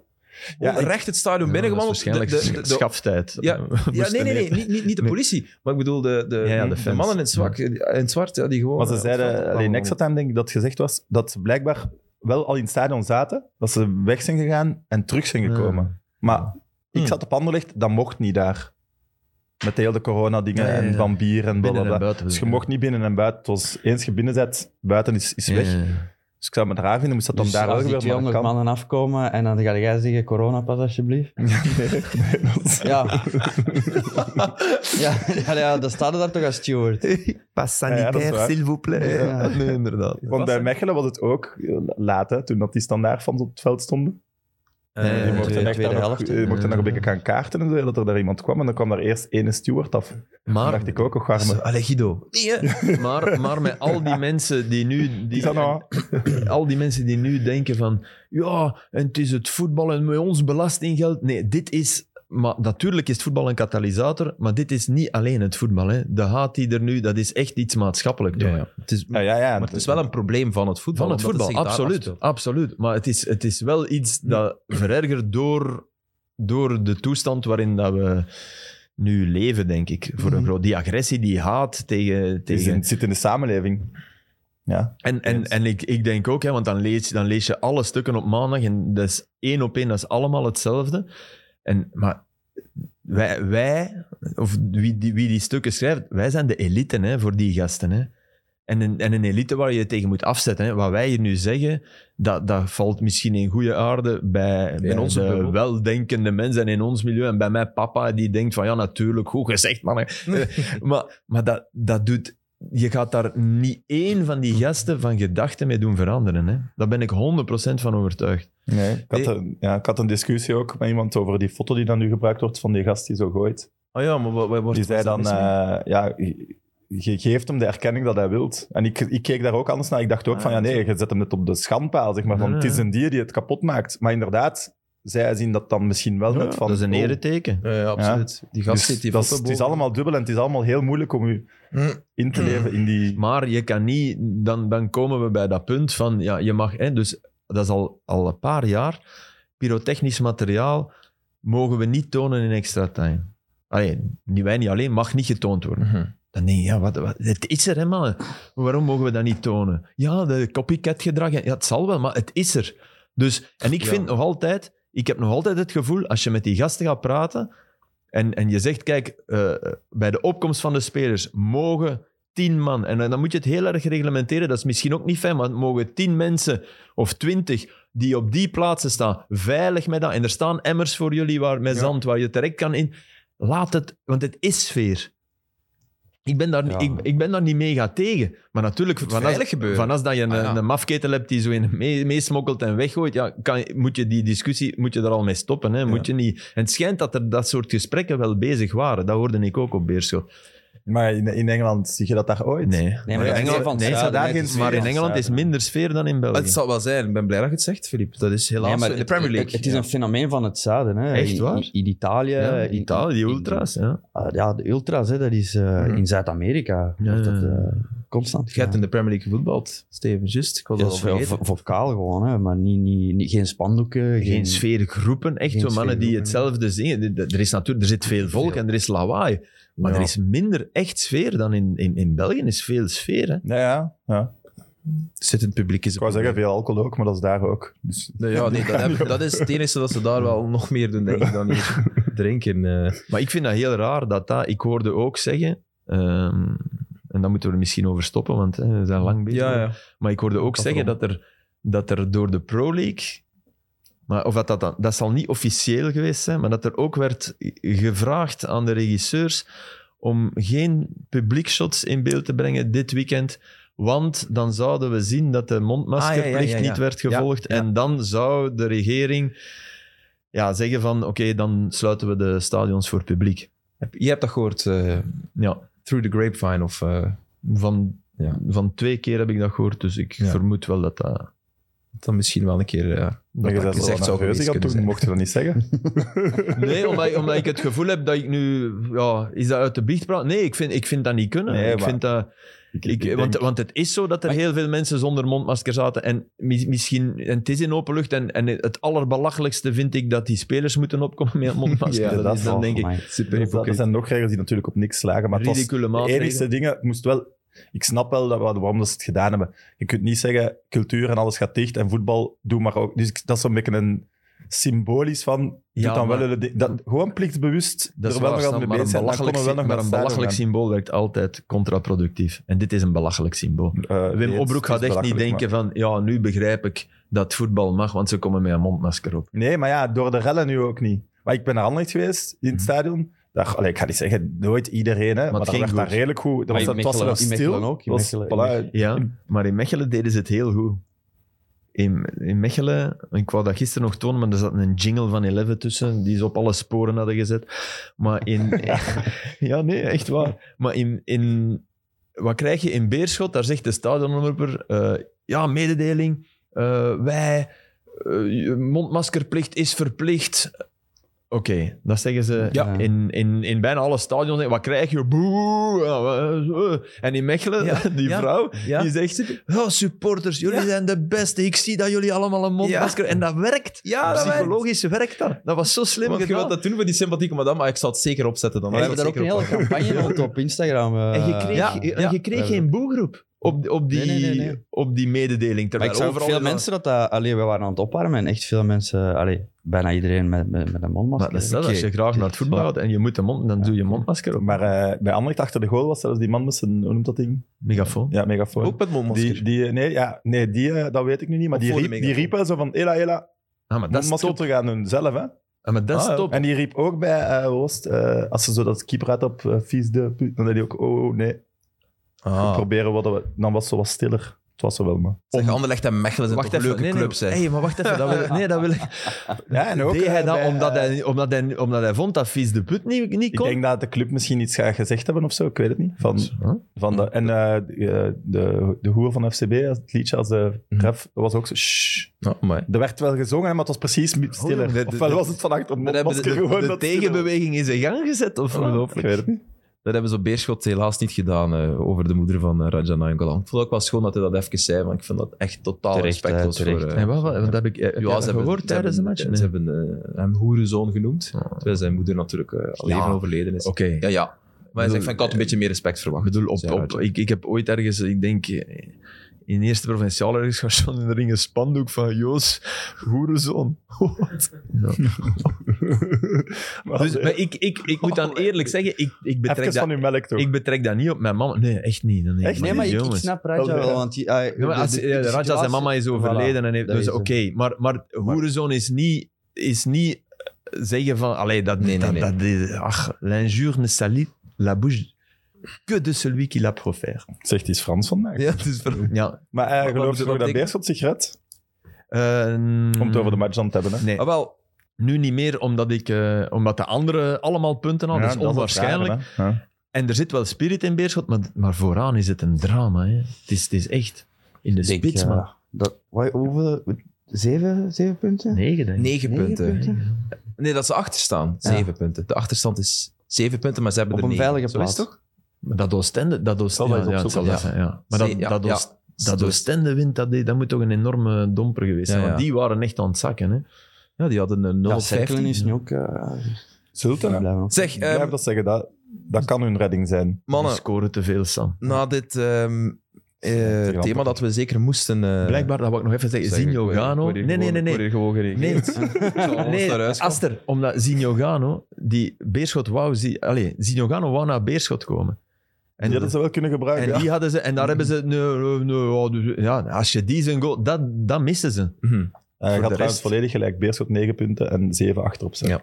Speaker 3: Ja, ik-
Speaker 1: recht het stadion binnengewandeld.
Speaker 2: Ja, dat is waarschijnlijk
Speaker 1: De- de- de- de-
Speaker 2: schafstijd. (laughs)
Speaker 1: Ja, ja, nee, nee, nee, niet, niet, niet de
Speaker 2: Nee.
Speaker 1: politie. Maar ik bedoel, de, de,
Speaker 2: Ja, ja, de
Speaker 1: de
Speaker 2: fans.
Speaker 1: mannen in het, zwak, in het zwart, ja, die gewoon...
Speaker 3: Maar ze
Speaker 1: eh, op veld
Speaker 3: zeiden, alleen
Speaker 1: kwamen.
Speaker 3: extra time denk ik dat gezegd was, dat ze blijkbaar wel al in het stadion zaten, dat ze weg zijn gegaan en terug zijn gekomen. Maar ik
Speaker 2: Hmm.
Speaker 3: zat op Anderlecht, dat mocht niet daar. Met heel de corona-dingen
Speaker 2: Ja, ja, ja.
Speaker 3: en van bier en
Speaker 2: Binnen en
Speaker 3: blablabla.
Speaker 2: buiten.
Speaker 3: Dus je mocht niet binnen en buiten. Het was, eens je binnen zet, buiten is, is weg. Dus ik zou het me raar vinden, moest dat dan
Speaker 4: Dus
Speaker 3: daar wel
Speaker 4: als die
Speaker 3: gebeuren. maar dat kan.
Speaker 4: 200 mannen afkomen en dan ga jij zeggen coronapas alsjeblieft.
Speaker 3: Nee, dat (laughs) is-
Speaker 4: Ja. ja, (laughs) ja, ja, dat staat er daar toch als steward.
Speaker 2: Pas
Speaker 3: sanitair, Ja, dat is waar.
Speaker 2: s'il vous plaît.
Speaker 4: Ja.
Speaker 2: Nee, (laughs) inderdaad.
Speaker 3: Want bij Mechelen was het ook eh, laat, hè, toen dat die standaardfans op het veld stonden.
Speaker 1: Eh,
Speaker 2: Ja,
Speaker 3: Je
Speaker 2: ja,
Speaker 3: mocht
Speaker 4: tweede-
Speaker 3: dan echt
Speaker 4: tweede
Speaker 3: daar nog-
Speaker 4: helft,
Speaker 3: eh, je mocht dan nog een beetje gaan kaarten en zo, dat er daar iemand kwam. En dan kwam daar eerst ene steward af.
Speaker 2: Maar,
Speaker 3: Dan dacht ik ook, och,
Speaker 1: Zo,
Speaker 3: arme.
Speaker 1: Allee, Guido. Nee, hè.
Speaker 2: maar, maar met al die mensen die nu...
Speaker 3: Die nou- dan al.
Speaker 2: al die mensen die nu denken van ja, en het is het voetbal en met ons belastinggeld. Nee, dit is... Maar natuurlijk is het voetbal een katalysator, maar dit is niet alleen het voetbal. Hè. De haat die er nu, dat is echt iets maatschappelijk. toch?
Speaker 1: Ja, ja. Het is,
Speaker 3: Ja, ja, ja.
Speaker 1: maar het is wel een probleem van het voetbal.
Speaker 2: Van het
Speaker 1: omdat
Speaker 2: voetbal,
Speaker 1: zich daar
Speaker 2: absoluut,
Speaker 1: afspeelt.
Speaker 2: absoluut. Maar het is, het is wel iets dat verergert door, door de toestand waarin dat we nu leven, denk ik. Voor een
Speaker 3: Mhm.
Speaker 2: groot, die agressie, die haat tegen...
Speaker 3: Het, is in-
Speaker 2: tegen
Speaker 3: het zit in de samenleving. Ja.
Speaker 2: en en,
Speaker 3: Eens.
Speaker 2: en ik, ik denk ook, hè, want dan lees, dan lees je alle stukken op maandag en dat is één op één, dat is allemaal hetzelfde. En, maar wij, wij of wie die, wie die stukken schrijft, wij zijn de elite hè, voor die gasten. Hè. En, een, en een elite waar je je tegen moet afzetten. Hè. Wat wij hier nu zeggen, dat, dat valt misschien in goede aarde bij, bij
Speaker 1: onze
Speaker 2: de
Speaker 1: bubbel.
Speaker 2: weldenkende mensen en in ons milieu. En bij mijn papa, die denkt van ja, natuurlijk, goed gezegd,
Speaker 3: (laughs)
Speaker 2: man. Eh, maar maar dat, dat doet... Je gaat daar niet één van die gasten van gedachten mee doen veranderen. Hè. Daar ben ik 100% van overtuigd.
Speaker 3: Nee, ik, had
Speaker 2: Nee.
Speaker 3: Een, ja, ik had een discussie ook met iemand over die foto die dan nu gebruikt wordt van die gast die zo gooit.
Speaker 1: Oh ja, maar wat, wat wordt
Speaker 3: Die zei
Speaker 1: wat
Speaker 3: dan,
Speaker 1: is er mis mee?
Speaker 3: eh, ja, je- je geeft hem de erkenning dat hij wilt. En ik, ik keek daar ook anders naar. Ik dacht ook
Speaker 2: Ah,
Speaker 3: van, ja
Speaker 2: dat is
Speaker 3: nee, je zet hem net op de schandpaal, zeg maar. Van,
Speaker 2: Ja,
Speaker 3: het is
Speaker 2: ja.
Speaker 3: een dier die het kapot maakt. Maar inderdaad, zij zien dat dan misschien wel net van...
Speaker 2: dat is een
Speaker 3: oh,
Speaker 2: ereteken.
Speaker 1: Ja, ja, absoluut. Die gast
Speaker 3: dus
Speaker 1: zit die
Speaker 3: dat is-
Speaker 1: foto
Speaker 3: Het is
Speaker 1: boven.
Speaker 3: allemaal dubbel en het is allemaal heel moeilijk om je
Speaker 1: Mm.
Speaker 3: in te leven in die...
Speaker 2: Maar je kan niet, dan, dan komen we bij dat punt van, ja, je mag, hè, dus dat is al, al een paar jaar, pyrotechnisch materiaal mogen we niet tonen in extra time. Allee, niet wij niet alleen, mag niet getoond worden.
Speaker 1: Mhm.
Speaker 2: Dan denk je, ja, wat, wat, het is er, hè, mannen. Waarom mogen we dat niet tonen? Ja, de copycat-gedrag, ja, het zal wel, maar het is er. Dus, en ik
Speaker 1: Ja.
Speaker 2: vind nog altijd, ik heb nog altijd het gevoel, als je met die gasten gaat praten en, en je zegt, kijk, eh, bij de opkomst van de spelers mogen tien man, en dan moet je het heel erg reglementeren, dat is misschien ook niet fijn, maar mogen tien mensen of twintig die op die plaatsen staan, veilig met dat, en er staan emmers voor jullie waar, met
Speaker 1: Ja.
Speaker 2: zand waar je terecht kan in, laat het, want het is sfeer. Ik ben, daar,
Speaker 4: Ja.
Speaker 2: ik, ik ben daar niet mega tegen. Maar natuurlijk,
Speaker 1: moet
Speaker 2: vanaf,
Speaker 1: veilig gebeuren.
Speaker 2: vanaf dat je een,
Speaker 1: Ah, ja.
Speaker 2: een mafketel hebt die zo in mee- meesmokkelt en weggooit, ja, kan, je- moet je die discussie moet je er al mee stoppen. Hè? Moet je niet, en het schijnt dat er dat soort gesprekken wel bezig waren. Dat hoorde ik ook op Beerschot.
Speaker 3: Maar in, in Engeland zie je dat daar ooit?
Speaker 2: Nee.
Speaker 4: Nee, maar
Speaker 3: Ja,
Speaker 4: dat is
Speaker 3: nee,
Speaker 4: wel van het
Speaker 2: nee,
Speaker 4: zuiden,
Speaker 3: daar
Speaker 4: hè,
Speaker 3: geen
Speaker 4: dus-
Speaker 2: Maar in
Speaker 3: Ja,
Speaker 2: Engeland is
Speaker 3: zuiver.
Speaker 2: minder sfeer dan in België.
Speaker 1: Het zal wel zijn. Ik ben blij dat je het zegt, Filip. Dat is helaas
Speaker 4: Nee, maar
Speaker 1: in de
Speaker 4: het-
Speaker 1: Premier League.
Speaker 4: Het, het is een fenomeen van het zuiden. Hè.
Speaker 2: Echt
Speaker 4: In-
Speaker 2: waar?
Speaker 4: In, in Italië.
Speaker 2: Ja,
Speaker 4: in-
Speaker 2: Italië, die
Speaker 4: in-
Speaker 2: ultras. Ja.
Speaker 4: Ah, ja, de ultras, hè, dat is eh,
Speaker 1: Mhm.
Speaker 4: in Zuid-Amerika.
Speaker 2: Ja,
Speaker 4: wordt
Speaker 2: ja,
Speaker 4: dat
Speaker 2: ja.
Speaker 4: eh, constant.
Speaker 1: Je hebt
Speaker 4: gedaan.
Speaker 1: in de Premier League gevoetbald, Steven. Just, ik was
Speaker 4: Ja,
Speaker 1: al
Speaker 4: dat is wel
Speaker 1: vergeten.
Speaker 4: vo- vocaal gewoon, hè, maar niet, niet, niet, geen spandoeken.
Speaker 2: Geen sfeergroepen, echt
Speaker 4: geen
Speaker 2: zo mannen die
Speaker 4: sfeergroepen,
Speaker 2: hetzelfde zingen. Er, is natuurlijk, er zit veel volk
Speaker 1: Veel.
Speaker 2: en er is lawaai. Maar
Speaker 1: Ja.
Speaker 2: er is minder echt sfeer dan in, in, in België. Er is veel sfeer. Hè?
Speaker 3: Ja, ja, ja.
Speaker 1: Zit in het publiek is
Speaker 3: Ik wou zeggen, veel alcohol ook, maar dat is daar ook. Dus
Speaker 1: Nee, ja, nee, dat, heb- dat is het enige dat ze daar wel nog meer doen, denk ik, dan hier drinken. eh.
Speaker 2: Maar ik vind dat heel raar dat dat... Ik hoorde ook zeggen... ehm, en dan moeten we er misschien over stoppen, want hè, we zijn lang bezig.
Speaker 1: Ja, ja.
Speaker 2: Maar ik hoorde ook
Speaker 1: Dat
Speaker 2: zeggen dat er, dat er door de Pro League... Maar of dat, dat, dan, dat zal niet officieel geweest zijn, maar dat er ook werd gevraagd aan de regisseurs om geen publiekshots in beeld te brengen dit weekend, want dan zouden we zien dat de mondmaskerplicht
Speaker 1: Ah, ja, ja, ja, ja.
Speaker 2: niet werd gevolgd
Speaker 1: Ja, ja.
Speaker 2: en dan zou de regering... ja, zeggen van oké, dan sluiten we de stadions voor publiek.
Speaker 1: Heb- Je hebt dat gehoord eh,
Speaker 2: Ja,
Speaker 1: through the grapevine of... eh,
Speaker 2: van,
Speaker 1: Ja.
Speaker 2: van twee keer heb ik dat gehoord, dus ik
Speaker 1: Ja.
Speaker 2: vermoed wel dat dat...
Speaker 1: dan misschien wel een keer... eh,
Speaker 2: dat
Speaker 3: Maar je
Speaker 2: dat
Speaker 3: bent
Speaker 1: gezegd
Speaker 2: gezegd
Speaker 3: wel
Speaker 1: zou
Speaker 3: nerveus
Speaker 1: geweest kunnen
Speaker 3: gaan toen,
Speaker 1: zijn.
Speaker 3: mocht je dat niet zeggen.
Speaker 2: Nee, omdat, omdat ik het gevoel heb dat ik nu... Ja, is dat uit de biecht praat? Nee, ik vind, ik vind dat niet kunnen.
Speaker 3: Nee,
Speaker 2: ik
Speaker 3: maar-
Speaker 2: vind dat,
Speaker 3: Ik,
Speaker 2: ik,
Speaker 3: denk-
Speaker 2: want, want het is zo dat er heel veel mensen zonder mondmasker zaten. En mi- misschien... En het is in open lucht. En, en het allerbelachelijkste vind ik dat die spelers moeten opkomen
Speaker 3: (laughs)
Speaker 2: met een mondmasker.
Speaker 1: Ja,
Speaker 2: dat,
Speaker 3: dat
Speaker 2: is
Speaker 3: wel
Speaker 2: dan denk ik...
Speaker 1: super
Speaker 3: dat, dat
Speaker 1: hypocriet.
Speaker 3: zijn nog regels die natuurlijk op niks slagen, maar het was
Speaker 2: ridicule
Speaker 3: de
Speaker 2: maatregelen.
Speaker 3: enigste dingen. Het moest wel... Ik snap wel dat, we- waarom dat ze het gedaan hebben. Je kunt niet zeggen, cultuur en alles gaat dicht en voetbal, doe maar ook. Dus ik- dat is zo'n beetje een symbolisch van,
Speaker 2: Ja,
Speaker 3: doe dan
Speaker 2: maar-
Speaker 3: wel hele di- dat, Gewoon plichtbewust
Speaker 2: Dat is
Speaker 3: er wel
Speaker 2: waar,
Speaker 3: nog aan
Speaker 2: Sam,
Speaker 3: mee
Speaker 2: maar
Speaker 3: bezig
Speaker 2: een
Speaker 3: zijn. Dan
Speaker 2: belachelijk,
Speaker 3: komen we wel
Speaker 2: maar
Speaker 3: nog naar
Speaker 2: een
Speaker 3: het
Speaker 2: belachelijk
Speaker 3: stadion
Speaker 2: symbool werkt altijd contraproductief. En dit is een belachelijk symbool.
Speaker 3: gaan. Eh,
Speaker 2: Wim
Speaker 3: nee, het
Speaker 2: Obroek
Speaker 3: is
Speaker 2: gaat echt niet denken
Speaker 3: belachelijk, maar-
Speaker 2: van, ja, nu begrijp ik dat voetbal mag, want ze komen met een mondmasker op.
Speaker 3: Nee, maar ja, door de rellen nu ook niet. Maar ik ben naar Anderlecht geweest, in het stadion. Daar, allee, ik ga niet zeggen, nooit iedereen, hè, maar,
Speaker 2: Mhm. het
Speaker 3: dat
Speaker 2: ging
Speaker 3: werd
Speaker 2: goed.
Speaker 3: daar redelijk goed. Dat
Speaker 4: Maar
Speaker 3: was,
Speaker 4: in
Speaker 3: het was
Speaker 4: Mechelen-
Speaker 3: wel
Speaker 4: in
Speaker 3: stil.
Speaker 4: Mechelen ook, in
Speaker 3: was-
Speaker 4: Mechelen- in
Speaker 3: voilà,
Speaker 4: Mechelen.
Speaker 2: Ja, maar in Mechelen deden ze het heel goed. In, in Mechelen, ik wou dat gisteren nog tonen, maar er zat een jingle van Eleven tussen, die ze op alle sporen hadden gezet. Maar in... ja, nee, echt waar. Maar in, in... Wat krijg je in Beerschot? Daar zegt de stadionomroeper, eh, ja, mededeling, eh, wij... eh, mondmaskerplicht is verplicht. Oké, dat zeggen ze
Speaker 4: Ja.
Speaker 2: in, in, in bijna alle stadions. Wat krijg je? Boe! Ja, eh, eh. En in Mechelen,
Speaker 1: Ja,
Speaker 2: (laughs) die
Speaker 1: ja.
Speaker 2: vrouw,
Speaker 1: Ja.
Speaker 2: die zegt, oh, supporters, jullie
Speaker 1: Ja.
Speaker 2: zijn de beste. Ik zie dat jullie allemaal een mondmasker... En dat werkt.
Speaker 1: Ja, dat
Speaker 2: Psychologisch werkt dat. Dat was zo slim
Speaker 1: Want je
Speaker 2: gedaan.
Speaker 1: wilt dat doen voor die sympathieke madame,
Speaker 2: Ah,
Speaker 1: maar ik zal het zeker opzetten dan.
Speaker 4: We hebben daar ook een hele campagne rond op Instagram. eh.
Speaker 2: En je kreeg,
Speaker 1: Ja,
Speaker 2: en
Speaker 1: ja.
Speaker 2: je kreeg geen boegroep op, op, die,
Speaker 4: Nee, nee, nee, nee.
Speaker 2: op die mededeling.
Speaker 4: Maar
Speaker 2: Terwijl
Speaker 4: ik zag ook
Speaker 2: overal
Speaker 4: veel
Speaker 2: is dat-
Speaker 4: mensen dat... dat allee, we waren aan het opwarmen en echt veel mensen... Allee, bijna iedereen met, met, met een mondmasker.
Speaker 2: Maar dat is dat, als je
Speaker 4: Oké.
Speaker 2: graag naar het voetbal gaat en je moet een mond, dan doe je mondmasker op.
Speaker 3: Maar eh, bij Anderlecht achter de goal was zelfs die man met zijn, hoe noemt dat ding?
Speaker 2: Megafoon.
Speaker 3: Ja, megafoon.
Speaker 1: Ook met mondmasker.
Speaker 3: die, die, nee, ja, nee die, eh, dat weet ik nu niet, maar
Speaker 1: Of
Speaker 3: die
Speaker 1: voor de
Speaker 3: riep, die
Speaker 1: megafoon.
Speaker 3: riep wel zo van, hela, hela,
Speaker 2: Ah, maar dat is
Speaker 3: mondmasker
Speaker 2: top.
Speaker 3: te gaan doen, zelf, hè.
Speaker 2: Ah, maar dat is
Speaker 3: Ah, ja.
Speaker 2: top.
Speaker 3: En die riep ook bij, eh hoe was het, eh, als ze zo dat keeper had op, eh, vies de put, dan deed hij ook, oh, oh, nee,
Speaker 1: Ah.
Speaker 3: proberen wat we, dan was ze wat stiller. Het was zo wel, maar.
Speaker 1: Zeg, Anderlecht en Mechelen zijn toch leuke
Speaker 2: nee, nee,
Speaker 1: clubs, hè.
Speaker 2: hey, maar wacht even. Dat wil, ik- (laughs) nee, dat wil ik.
Speaker 3: Ja, en ook,
Speaker 2: Deed hij
Speaker 3: eh,
Speaker 2: dat
Speaker 3: bij,
Speaker 2: omdat,
Speaker 3: eh,
Speaker 2: hij, omdat, hij, omdat hij vond dat Vies de Put niet, niet
Speaker 3: Ik
Speaker 2: kon?
Speaker 3: denk dat de club misschien iets gaat gezegd hebben of zo, ik weet het niet. Van,
Speaker 2: Huh?
Speaker 3: van de, en eh, de, de, de hoer van FCB, het liedje als de ref, dat was ook zo... shh.
Speaker 1: Ah, amai.
Speaker 3: Er werd wel gezongen, maar het was precies mi- stiller.
Speaker 1: Oh, de- de-
Speaker 3: Ofwel was het van achter
Speaker 1: Daar hebben
Speaker 3: mondmasker
Speaker 1: de- de-
Speaker 3: gewoon
Speaker 2: de
Speaker 3: dat
Speaker 2: tegenbeweging is in gang gezet, of
Speaker 3: stiller was. Ik weet het niet.
Speaker 1: Dat hebben ze op Beerschot helaas niet gedaan eh, over de moeder van eh, Raja Nainggolan. Ik vond het ook wel schoon dat hij dat even zei, want ik vind dat echt totaal
Speaker 4: Terecht,
Speaker 1: respectloos
Speaker 4: eh, terecht.
Speaker 1: voor... eh,
Speaker 2: En wat, wat, wat heb ik heb je
Speaker 1: ja,
Speaker 2: dat
Speaker 1: ze hebben,
Speaker 2: gehoord
Speaker 1: ze
Speaker 2: tijdens de
Speaker 1: hebben-
Speaker 2: match?
Speaker 1: Ze
Speaker 2: Nee.
Speaker 1: hebben eh, hem hoerenzoon genoemd,
Speaker 2: Ah.
Speaker 1: terwijl zijn moeder natuurlijk eh, al
Speaker 2: Ja.
Speaker 1: even overleden is.
Speaker 2: Oké. Eh,
Speaker 1: Ja, ja. Maar hij
Speaker 2: Bedoel,
Speaker 1: zegt van, ik had een beetje meer respect
Speaker 2: Ik
Speaker 1: verwacht.
Speaker 2: bedoel, op,
Speaker 1: zei
Speaker 2: op,
Speaker 1: Raja.
Speaker 2: ik, ik heb ooit ergens, ik denk eh, in eerste provinciaal ergens gaan staan en er hing een spandoek van Joos, hoerenzoon. Wat?
Speaker 3: (laughs) Maar
Speaker 2: (laughs) Dus,
Speaker 3: eh,
Speaker 2: maar ik, ik, ik moet dan eerlijk zeggen, ik, ik, betrek
Speaker 3: even
Speaker 2: dat,
Speaker 3: van uw melk toch.
Speaker 2: ik betrek dat niet op mijn mama. Nee, echt niet. Dan denk ik,
Speaker 3: Echt?
Speaker 4: Nee, maar ik, ik
Speaker 2: jongens.
Speaker 4: snap Raja
Speaker 3: Dat is-
Speaker 4: wel, want... Die, ah,
Speaker 2: Ja, maar
Speaker 4: de-
Speaker 2: als,
Speaker 4: de- de
Speaker 2: eh, Raja, zijn
Speaker 4: situatie-
Speaker 2: mama is overleden. en heeft,
Speaker 4: dat
Speaker 2: dus
Speaker 4: is
Speaker 2: oké,
Speaker 4: het.
Speaker 2: maar, maar hoerenzoon is niet, is niet eh, zeggen van... Allee, dat,
Speaker 1: Nee, nee,
Speaker 2: dat,
Speaker 1: nee.
Speaker 2: dat is... Ach, l'injure ne salit la bouche que de celui qui la profère.
Speaker 3: Zegt iets Frans vandaag.
Speaker 1: Ja, (laughs) het is ver-
Speaker 2: Ja.
Speaker 3: Maar eh,
Speaker 1: wat
Speaker 3: geloof
Speaker 1: moet
Speaker 3: je
Speaker 1: dat
Speaker 3: nog
Speaker 1: betekenen?
Speaker 3: dat Beerschot zich redt?
Speaker 2: Ehm,
Speaker 3: Om het over de match aan te hebben. Hè?
Speaker 2: Nee,
Speaker 1: Ah, wel,
Speaker 2: nu niet meer, omdat, ik, eh, omdat de anderen allemaal punten hadden.
Speaker 3: Ja,
Speaker 2: dat is onwaarschijnlijk.
Speaker 3: raar, hè. Ja.
Speaker 2: en er zit wel spirit in Beerschot, maar, maar vooraan is het een drama. Hè. Het, is, het is echt in de
Speaker 4: Ik denk,
Speaker 2: spits,
Speaker 4: eh,
Speaker 2: maar
Speaker 4: Dat, wat- hoeveel... Zeven, zeven punten?
Speaker 2: negen, denk ik.
Speaker 1: negen
Speaker 4: Negen
Speaker 1: punten. Nee, dat ze achter staan.
Speaker 4: Ja.
Speaker 1: Zeven punten. De achterstand is zeven punten, maar ze hebben
Speaker 4: Op
Speaker 1: er
Speaker 4: een
Speaker 1: negen.
Speaker 4: veilige
Speaker 1: Zo is
Speaker 4: plaats.
Speaker 1: het toch?
Speaker 2: Maar dat Oostende... Dat Oostende
Speaker 3: zal
Speaker 2: ja,
Speaker 3: dat
Speaker 2: ja,
Speaker 3: eens
Speaker 2: het zal dat
Speaker 1: opzoeken,
Speaker 2: zijn, ja. Maar dat,
Speaker 1: Zee- ja,
Speaker 2: dat, Oost-
Speaker 1: ja.
Speaker 2: dat Oostende wint, dat, dat moet toch een enorme domper geweest zijn.
Speaker 1: Ja,
Speaker 2: Want
Speaker 1: ja.
Speaker 2: die waren echt aan het zakken. Hè.
Speaker 1: Ja, die hadden een 0
Speaker 4: Ja,
Speaker 1: op
Speaker 4: Cerkelen
Speaker 1: 15.
Speaker 4: is nu ook... eh,
Speaker 3: Zulte, hè?
Speaker 4: blijven ook.
Speaker 1: Zeg,
Speaker 3: Ik
Speaker 1: ehm,
Speaker 3: blijf dat zeggen, dat, dat kan hun redding zijn.
Speaker 2: Die
Speaker 1: mannen,
Speaker 2: scoren te veel, Sam.
Speaker 1: na dit ehm, eh,
Speaker 3: Ja,
Speaker 1: thema dat we zeker moesten... eh,
Speaker 2: Blijkbaar, dat wou ik nog even zeggen.
Speaker 1: zeggen,
Speaker 2: Zinho
Speaker 1: ik word-
Speaker 2: Gano...
Speaker 1: word hier
Speaker 2: Nee, nee, nee.
Speaker 1: gewoon-
Speaker 2: nee.
Speaker 1: word hier gewoon (laughs) gereageerd. Als
Speaker 2: Nee, nee,
Speaker 1: naar huis komt.
Speaker 2: Aster, omdat Zinho Gano, die Beerschot wou... zie- Allee, Zinho Gano wou naar Beerschot komen.
Speaker 3: En die hadden ze wel kunnen gebruiken.
Speaker 2: en
Speaker 3: ja.
Speaker 2: die hadden ze... En daar hebben ze... Nee, nee, nee, ja, dus- ja, als je die zijn goal... Dat, dat missen ze.
Speaker 1: Mhm.
Speaker 3: Eh, gaat
Speaker 2: de
Speaker 3: trouwens
Speaker 2: rest-
Speaker 3: volledig gelijk. Beerschot 9 punten en 7 achterop zijn.
Speaker 1: Ja.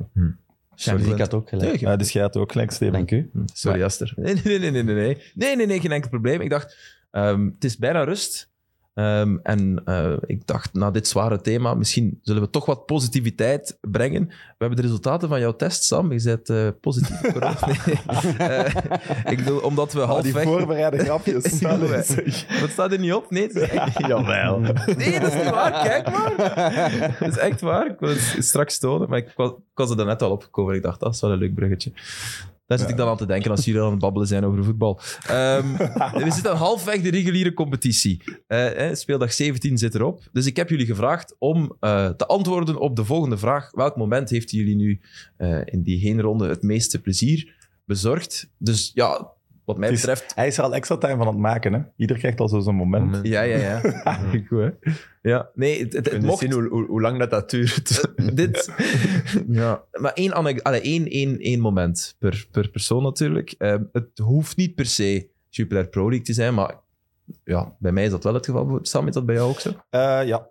Speaker 4: Champions League had ook gelijk.
Speaker 1: Nee,
Speaker 3: Eh, dus jij had ook gelijk, Steven.
Speaker 4: Dank u.
Speaker 2: Sorry, Aster.
Speaker 1: Nee, nee, nee, nee, nee, nee. Nee, nee, nee, geen enkel probleem. Ik dacht, ehm, het is bijna rust. Ehm, en eh, ik dacht, na dit zware thema, misschien zullen we toch wat positiviteit brengen. We hebben de resultaten van jouw test, Sam. Je zet positief op corona. Nee. (laughs) Eh, ik bedoel, omdat we
Speaker 3: Al die
Speaker 1: halfweg...
Speaker 3: voorbereide grapjes.
Speaker 1: Ja, wij.
Speaker 3: Zeg.
Speaker 1: Dat staat er niet op, nee. het is echt-
Speaker 2: (laughs) Jawel.
Speaker 1: Nee, dat is niet waar. Kijk maar. Dat is echt waar. Ik wil het straks tonen, maar ik was, ik was er daarnet al opgekomen. Ik dacht, dat is wel een leuk bruggetje. Daar zit ik dan aan te denken als jullie aan het babbelen zijn over voetbal. Ehm, we zitten halfweg de reguliere competitie. Eh, eh, speeldag 17 zit erop. Dus ik heb jullie gevraagd om eh, te antwoorden op de volgende vraag. Welk moment heeft jullie nu eh, in die heenronde het meeste plezier bezorgd? Dus ja, wat mij
Speaker 3: Het is-
Speaker 1: betreft...
Speaker 3: (laughs) Hij is er al extra time van aan het maken. Hè? Ieder krijgt al zo zo'n moment.
Speaker 2: Moment.
Speaker 1: Ja, ja, ja.
Speaker 2: (laughs) Goed, hè?
Speaker 1: ja. Nee, het, het, het
Speaker 2: Kun je
Speaker 1: mocht...
Speaker 2: zien hoe, hoe, hoe lang dat, dat duurt?
Speaker 1: (laughs) dit. ja. Maar één, anek- allee, één, één, één moment per, per persoon natuurlijk. Ehm, het hoeft niet per se Jupiler Pro League te zijn, maar ja, bij mij is dat wel het geval. Sam, is dat bij jou ook zo?
Speaker 3: Eh, ja.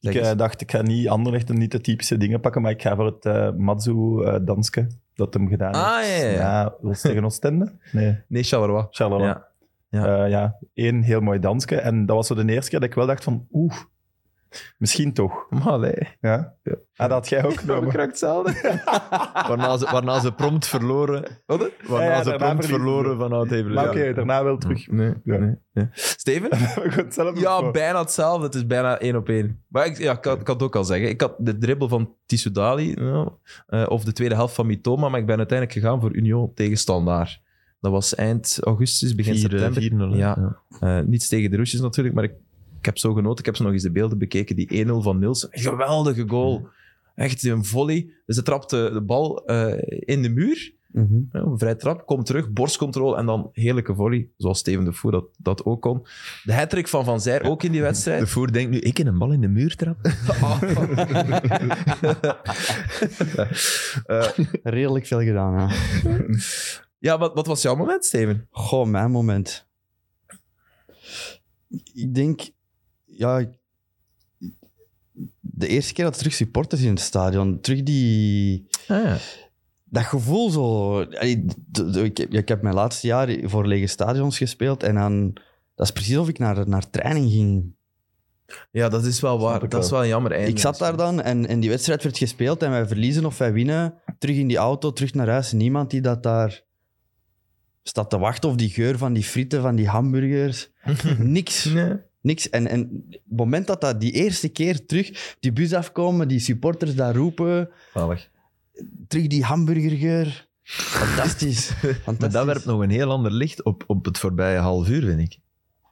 Speaker 3: Ik
Speaker 1: Zeg eens.
Speaker 3: eh, dacht, ik ga niet Anderlecht en niet de typische dingen pakken, maar ik ga voor het eh Matsu eh, danske dat hem gedaan
Speaker 1: Ah,
Speaker 3: heeft.
Speaker 1: ja, ja, ja.
Speaker 3: Na- was het
Speaker 2: (laughs)
Speaker 3: tegen Oostende? Nee.
Speaker 1: Nee, Charleroi.
Speaker 3: Charleroi.
Speaker 1: Ja.
Speaker 3: Eh, ja, één heel mooi dansje. En dat was zo de eerste keer dat ik wel dacht van, oeh, misschien toch.
Speaker 1: Maar allee,
Speaker 3: Ja.
Speaker 1: Ja.
Speaker 3: Ah, dat
Speaker 2: (laughs)
Speaker 3: had jij ook
Speaker 1: dat
Speaker 3: genomen.
Speaker 1: kraakt hetzelfde.
Speaker 2: (laughs) waarna, ze, waarna ze prompt verloren.
Speaker 1: (laughs) Wat?
Speaker 2: Waarna
Speaker 3: Ja, ja,
Speaker 2: ze
Speaker 3: daarna
Speaker 2: prompt
Speaker 3: verliezen
Speaker 2: verloren vanuit Everlecht.
Speaker 3: Maar oké, daarna wel terug.
Speaker 1: Nee,
Speaker 3: Ja.
Speaker 1: nee, nee. Steven?
Speaker 3: (laughs)
Speaker 1: Ja,
Speaker 3: Oh.
Speaker 1: bijna hetzelfde. Het is bijna één op één. Maar ik, ja, ik, had, ik had het ook al zeggen. Ik had de dribbel van Tissoudali nou, eh, of de tweede helft van Mitoma, maar ik ben uiteindelijk gegaan voor Union tegen Standaard. Dat was eind augustus, begin september.
Speaker 2: 4
Speaker 1: Ja. Eh, niets tegen de Roesjes natuurlijk, maar ik, ik heb zo genoten. Ik heb zo nog eens de beelden bekeken. Die 1-0 van Nielsen. Een geweldige goal. Echt een volley. Dus hij trapte de bal eh, in de muur.
Speaker 4: Mhm.
Speaker 1: Ja, een vrij trap. Komt terug, borstcontrole en dan heerlijke volley. Zoals Steven de Voer dat, dat ook kon. De hattrick van Van Zijr ook in die
Speaker 2: De
Speaker 1: wedstrijd.
Speaker 2: voer denkt nu, ik in een bal in de muur trap. (laughs)
Speaker 1: Eh,
Speaker 4: Redelijk veel gedaan, ja.
Speaker 1: ja, wat, wat was jouw moment, Steven?
Speaker 4: Goh, mijn moment. Ik denk, ja. ik- De eerste keer dat er terug supporters in het stadion, terug die.
Speaker 2: Ah,
Speaker 4: Dat gevoel zo. allee, d- d- Ik heb, ik heb mijn laatste jaar voor lege stadions gespeeld en dan. Dat is precies of ik naar, naar training ging.
Speaker 1: Ja, dat is wel waar.
Speaker 3: ik
Speaker 1: Dat is wel een jammer einde.
Speaker 4: ik zat daar dan en, en die wedstrijd werd gespeeld en wij verliezen of wij winnen. Terug in die auto, terug naar huis. Niemand die dat daar staat te wachten of die geur van die frieten, van die hamburgers. Niks.
Speaker 1: Nee.
Speaker 4: Niks. En, en het moment dat dat die eerste keer terug die bus afkomen, die supporters daar roepen,
Speaker 1: Zalig.
Speaker 4: terug die hamburgergeur. Fantastisch. Fantastisch.
Speaker 2: Maar dat werpt nog een heel ander licht op, op het voorbije half uur, vind ik.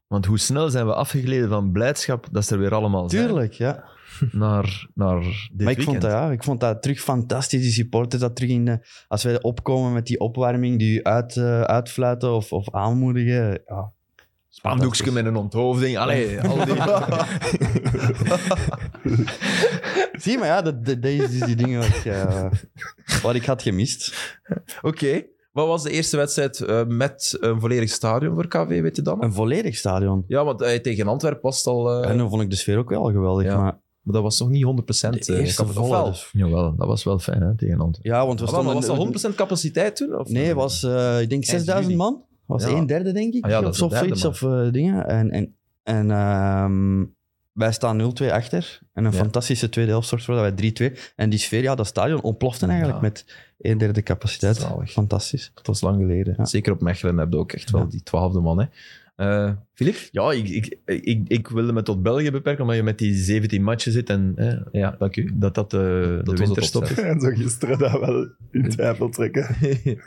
Speaker 2: Want hoe snel zijn we afgegleden van blijdschap dat ze er weer allemaal zijn,
Speaker 4: Tuurlijk, ja.
Speaker 2: naar, naar dit
Speaker 4: Maar ik vond,
Speaker 2: weekend.
Speaker 4: dat, ja, ik vond dat terug fantastisch, die supporters. Dat terug in de, als wij opkomen met die opwarming, die uit, eh, uitfluiten of, of
Speaker 1: (laughs)
Speaker 4: aanmoedigen. Ja.
Speaker 2: Spandoekje met een onthoofding. Allee, al die...
Speaker 4: Zie, maar ja, dat, dat, dat is dus die dingen wat, ik, eh, wat ik had gemist.
Speaker 1: Oké. Wat was de eerste wedstrijd eh, met een volledig stadion voor KV, weet je dan? nog?
Speaker 4: Een volledig stadion.
Speaker 1: Ja, want eh, tegen Antwerpen was het al... eh,
Speaker 4: En dan vond ik de sfeer ook wel geweldig,
Speaker 1: Ja.
Speaker 4: maar
Speaker 1: maar dat was nog niet 100%
Speaker 4: de
Speaker 1: eh,
Speaker 4: eerste
Speaker 1: capaciteit.
Speaker 4: volle,
Speaker 1: Of wel?
Speaker 4: dus-
Speaker 2: Jawel, dat was wel fijn hè, tegen Antwerpen.
Speaker 4: Ja, want we
Speaker 1: Was dat,
Speaker 4: stonden...
Speaker 1: Ah, was dat 100% capaciteit toen? Of
Speaker 4: Nee, het was eh, ik
Speaker 1: Eind
Speaker 4: denk 6000
Speaker 1: juli.
Speaker 4: man. was
Speaker 1: Ja.
Speaker 4: een derde, denk ik.
Speaker 1: Ah ja, dat
Speaker 4: of
Speaker 1: is
Speaker 4: zo,
Speaker 1: een derde,
Speaker 4: zoiets, of eh, dingen. En, en, en ehm, wij staan 0-2 achter. En een
Speaker 1: Ja.
Speaker 4: fantastische tweede helft zorgt ervoor dat wij 3-2. En die sfeer, ja, dat stadion ontplofte eigenlijk
Speaker 1: Ja.
Speaker 4: met een derde capaciteit.
Speaker 1: Zalig.
Speaker 4: Fantastisch.
Speaker 1: Dat was lang geleden.
Speaker 4: Ja.
Speaker 1: Zeker op Mechelen heb je ook echt wel die twaalfde man. Hè. Eh, Filip?
Speaker 2: Ja, ik, ik, ik, ik wilde me tot België beperken, omdat je met die 17 matchen zit en hè,
Speaker 1: Ja, dank u.
Speaker 2: dat dat eh, de
Speaker 1: was
Speaker 2: winterstop
Speaker 1: het
Speaker 2: is.
Speaker 3: En zo gisteren dat wel in twijfel
Speaker 2: (laughs)
Speaker 3: trekken.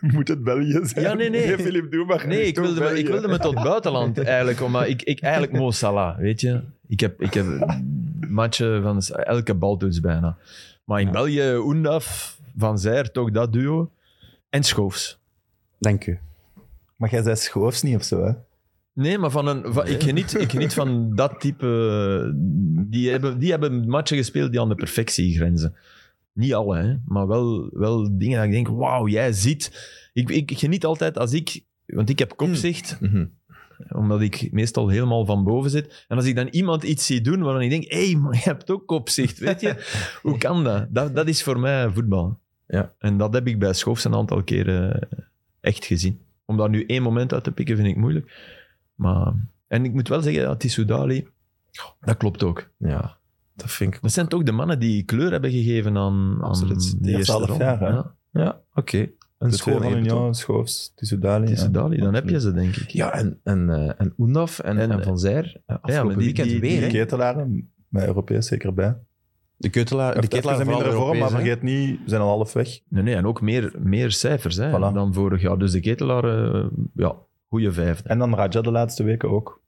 Speaker 3: Moet het België zijn?
Speaker 2: Ja, nee, nee.
Speaker 3: Filip, doe maar.
Speaker 2: Nee, ik
Speaker 3: Doe
Speaker 2: wilde, me,
Speaker 3: België.
Speaker 2: ik wilde me tot buitenland eigenlijk. Omdat ik, ik eigenlijk Mo Salah, weet je. Ik heb, ik heb matchen van s- elke baltoets bijna. Maar in
Speaker 4: Ja.
Speaker 2: België, Oendaf, Van Zijr, toch dat duo. En Schoofs.
Speaker 4: Dank u.
Speaker 3: Maar jij zei schoofs niet of zo, hè?
Speaker 2: Nee, maar van een, van, ik, geniet, ik geniet van dat type... Die hebben, die hebben matchen gespeeld die aan de perfectie grenzen. Niet alle, hè, maar wel, wel dingen dat ik denk, wauw, jij ziet... Ik, ik, ik geniet altijd als ik... Want ik heb kopzicht,
Speaker 1: Mhm.
Speaker 2: omdat ik meestal helemaal van boven zit. En als ik dan iemand iets zie doen waarvan ik denk, hé, hey, maar je hebt ook opzicht,
Speaker 1: (laughs)
Speaker 2: weet je. Hoe kan dat? dat? Dat is voor mij voetbal.
Speaker 1: Ja.
Speaker 2: En dat heb ik bij Schoofs een aantal keren echt gezien. Om daar nu één moment uit te pikken, vind ik moeilijk. Maar, en ik moet wel zeggen, ja, Tissoudali, Dat klopt ook.
Speaker 1: Ja, dat vind ik.
Speaker 2: Dat zijn toch de mannen die kleur hebben gegeven aan, aan
Speaker 1: Absoluut.
Speaker 2: de
Speaker 3: Ja,
Speaker 2: eerste
Speaker 3: twaalf
Speaker 2: ronde.
Speaker 3: jaar, hè.
Speaker 2: ja.
Speaker 1: Ja, oké. Een
Speaker 3: De twee
Speaker 1: schoon
Speaker 3: van
Speaker 1: eventueel.
Speaker 3: Union, Schoofs, Tissoudali.
Speaker 2: Het is
Speaker 3: ja.
Speaker 2: Dali, dan heb je ze, denk ik.
Speaker 1: Ja, en, en, eh, en Oendaf en, en,
Speaker 2: En-
Speaker 1: Van Zijr. eh, Afgelopen
Speaker 2: maar die-
Speaker 1: weekend
Speaker 2: die-
Speaker 1: weer.
Speaker 3: Die
Speaker 1: hè?
Speaker 3: ketelaren, bij Europees zeker bij.
Speaker 4: De keutelaar, de
Speaker 3: Heeft even
Speaker 4: keutelaar
Speaker 3: een mindere vorm, maar vergeet niet, we zijn al half weg.
Speaker 2: Nee, nee, en ook meer, meer cijfers hè,
Speaker 3: Voilà.
Speaker 2: dan vorig jaar. Dus de ketelaar, eh, ja, goede vijfde.
Speaker 3: En dan Raja de laatste weken ook.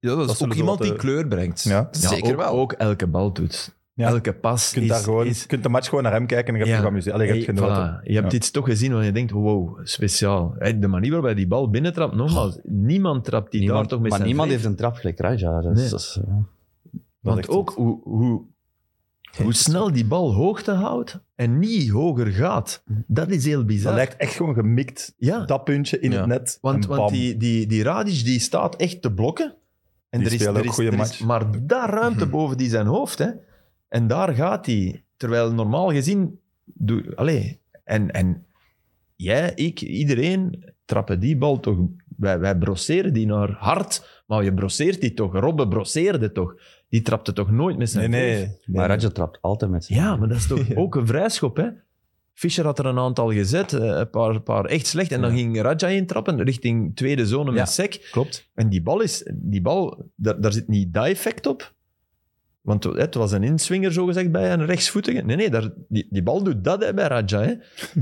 Speaker 1: Ja, dat is
Speaker 3: Dat
Speaker 1: ook
Speaker 3: zullen ze
Speaker 1: iemand
Speaker 3: wel
Speaker 1: die
Speaker 3: te-
Speaker 1: kleur brengt.
Speaker 3: Ja.
Speaker 2: Ja,
Speaker 1: Zeker
Speaker 2: ook,
Speaker 1: wel.
Speaker 2: Ook elke baltoets.
Speaker 3: Ja.
Speaker 2: Elke pas
Speaker 3: Je kunt,
Speaker 2: is...
Speaker 3: daar gewoon,
Speaker 2: is
Speaker 3: je kunt de match gewoon naar hem kijken en je hebt
Speaker 2: Ja.
Speaker 3: je geamuseerd. Allee, je hebt
Speaker 2: Hey,
Speaker 3: genoten.
Speaker 2: voilà. Je hebt
Speaker 3: Ja.
Speaker 2: iets toch gezien waar je denkt, wow, speciaal. Hey, de manier waarop hij die bal binnentrapt, nogmaals, niemand trapt die daar toch met
Speaker 4: maar
Speaker 2: zijn
Speaker 4: niemand
Speaker 2: vlees.
Speaker 4: heeft een trap gelijk Raja. Dat
Speaker 2: Nee.
Speaker 4: is, dat is, eh, ja.
Speaker 3: Dat is
Speaker 2: Want
Speaker 3: echt
Speaker 2: ook hoe, hoe, hoe snel die bal hoogte houdt en niet hoger gaat, dat is heel
Speaker 3: Dat
Speaker 2: bizar.
Speaker 3: lijkt echt gewoon gemikt.
Speaker 2: Ah. ja,
Speaker 3: Dat puntje in
Speaker 1: Ja.
Speaker 3: het net.
Speaker 2: want,
Speaker 3: en
Speaker 2: want
Speaker 3: bam.
Speaker 2: die, die, die Radic die staat echt te blokken. En
Speaker 3: Die
Speaker 2: er is,
Speaker 3: speelt ook
Speaker 2: er is,
Speaker 3: goede
Speaker 2: er is
Speaker 3: match.
Speaker 2: maar daar ruimte
Speaker 1: Mhm.
Speaker 2: boven die zijn hoofd. Hè. En daar gaat hij. Terwijl normaal gezien... Doe, allee, en, en jij, ik, iedereen trappen die bal toch... Wij, wij brosseren die naar hard, maar je brosseert die toch. Robben brosseerde toch. Die trapte toch nooit met
Speaker 3: Nee,
Speaker 2: zijn
Speaker 3: nee.
Speaker 2: vlees?
Speaker 3: nee.
Speaker 4: Maar Raja trapt altijd met zijn
Speaker 2: (laughs) Ja, maar dat is toch ook een vrijschop, hè? Fischer had er een aantal gezet, eh, een paar, een paar echt slecht. En dan
Speaker 1: Ja.
Speaker 2: ging Raja intrappen richting tweede zone
Speaker 1: Ja.
Speaker 2: met Sek.
Speaker 1: Klopt.
Speaker 2: En die bal is, die bal, daar, daar zit niet dat effect op. Want eh, het was een inswinger, zogezegd, bij een rechtsvoetige. Nee, nee, daar, die, die bal doet dat hè, bij Raja. (laughs) Hè.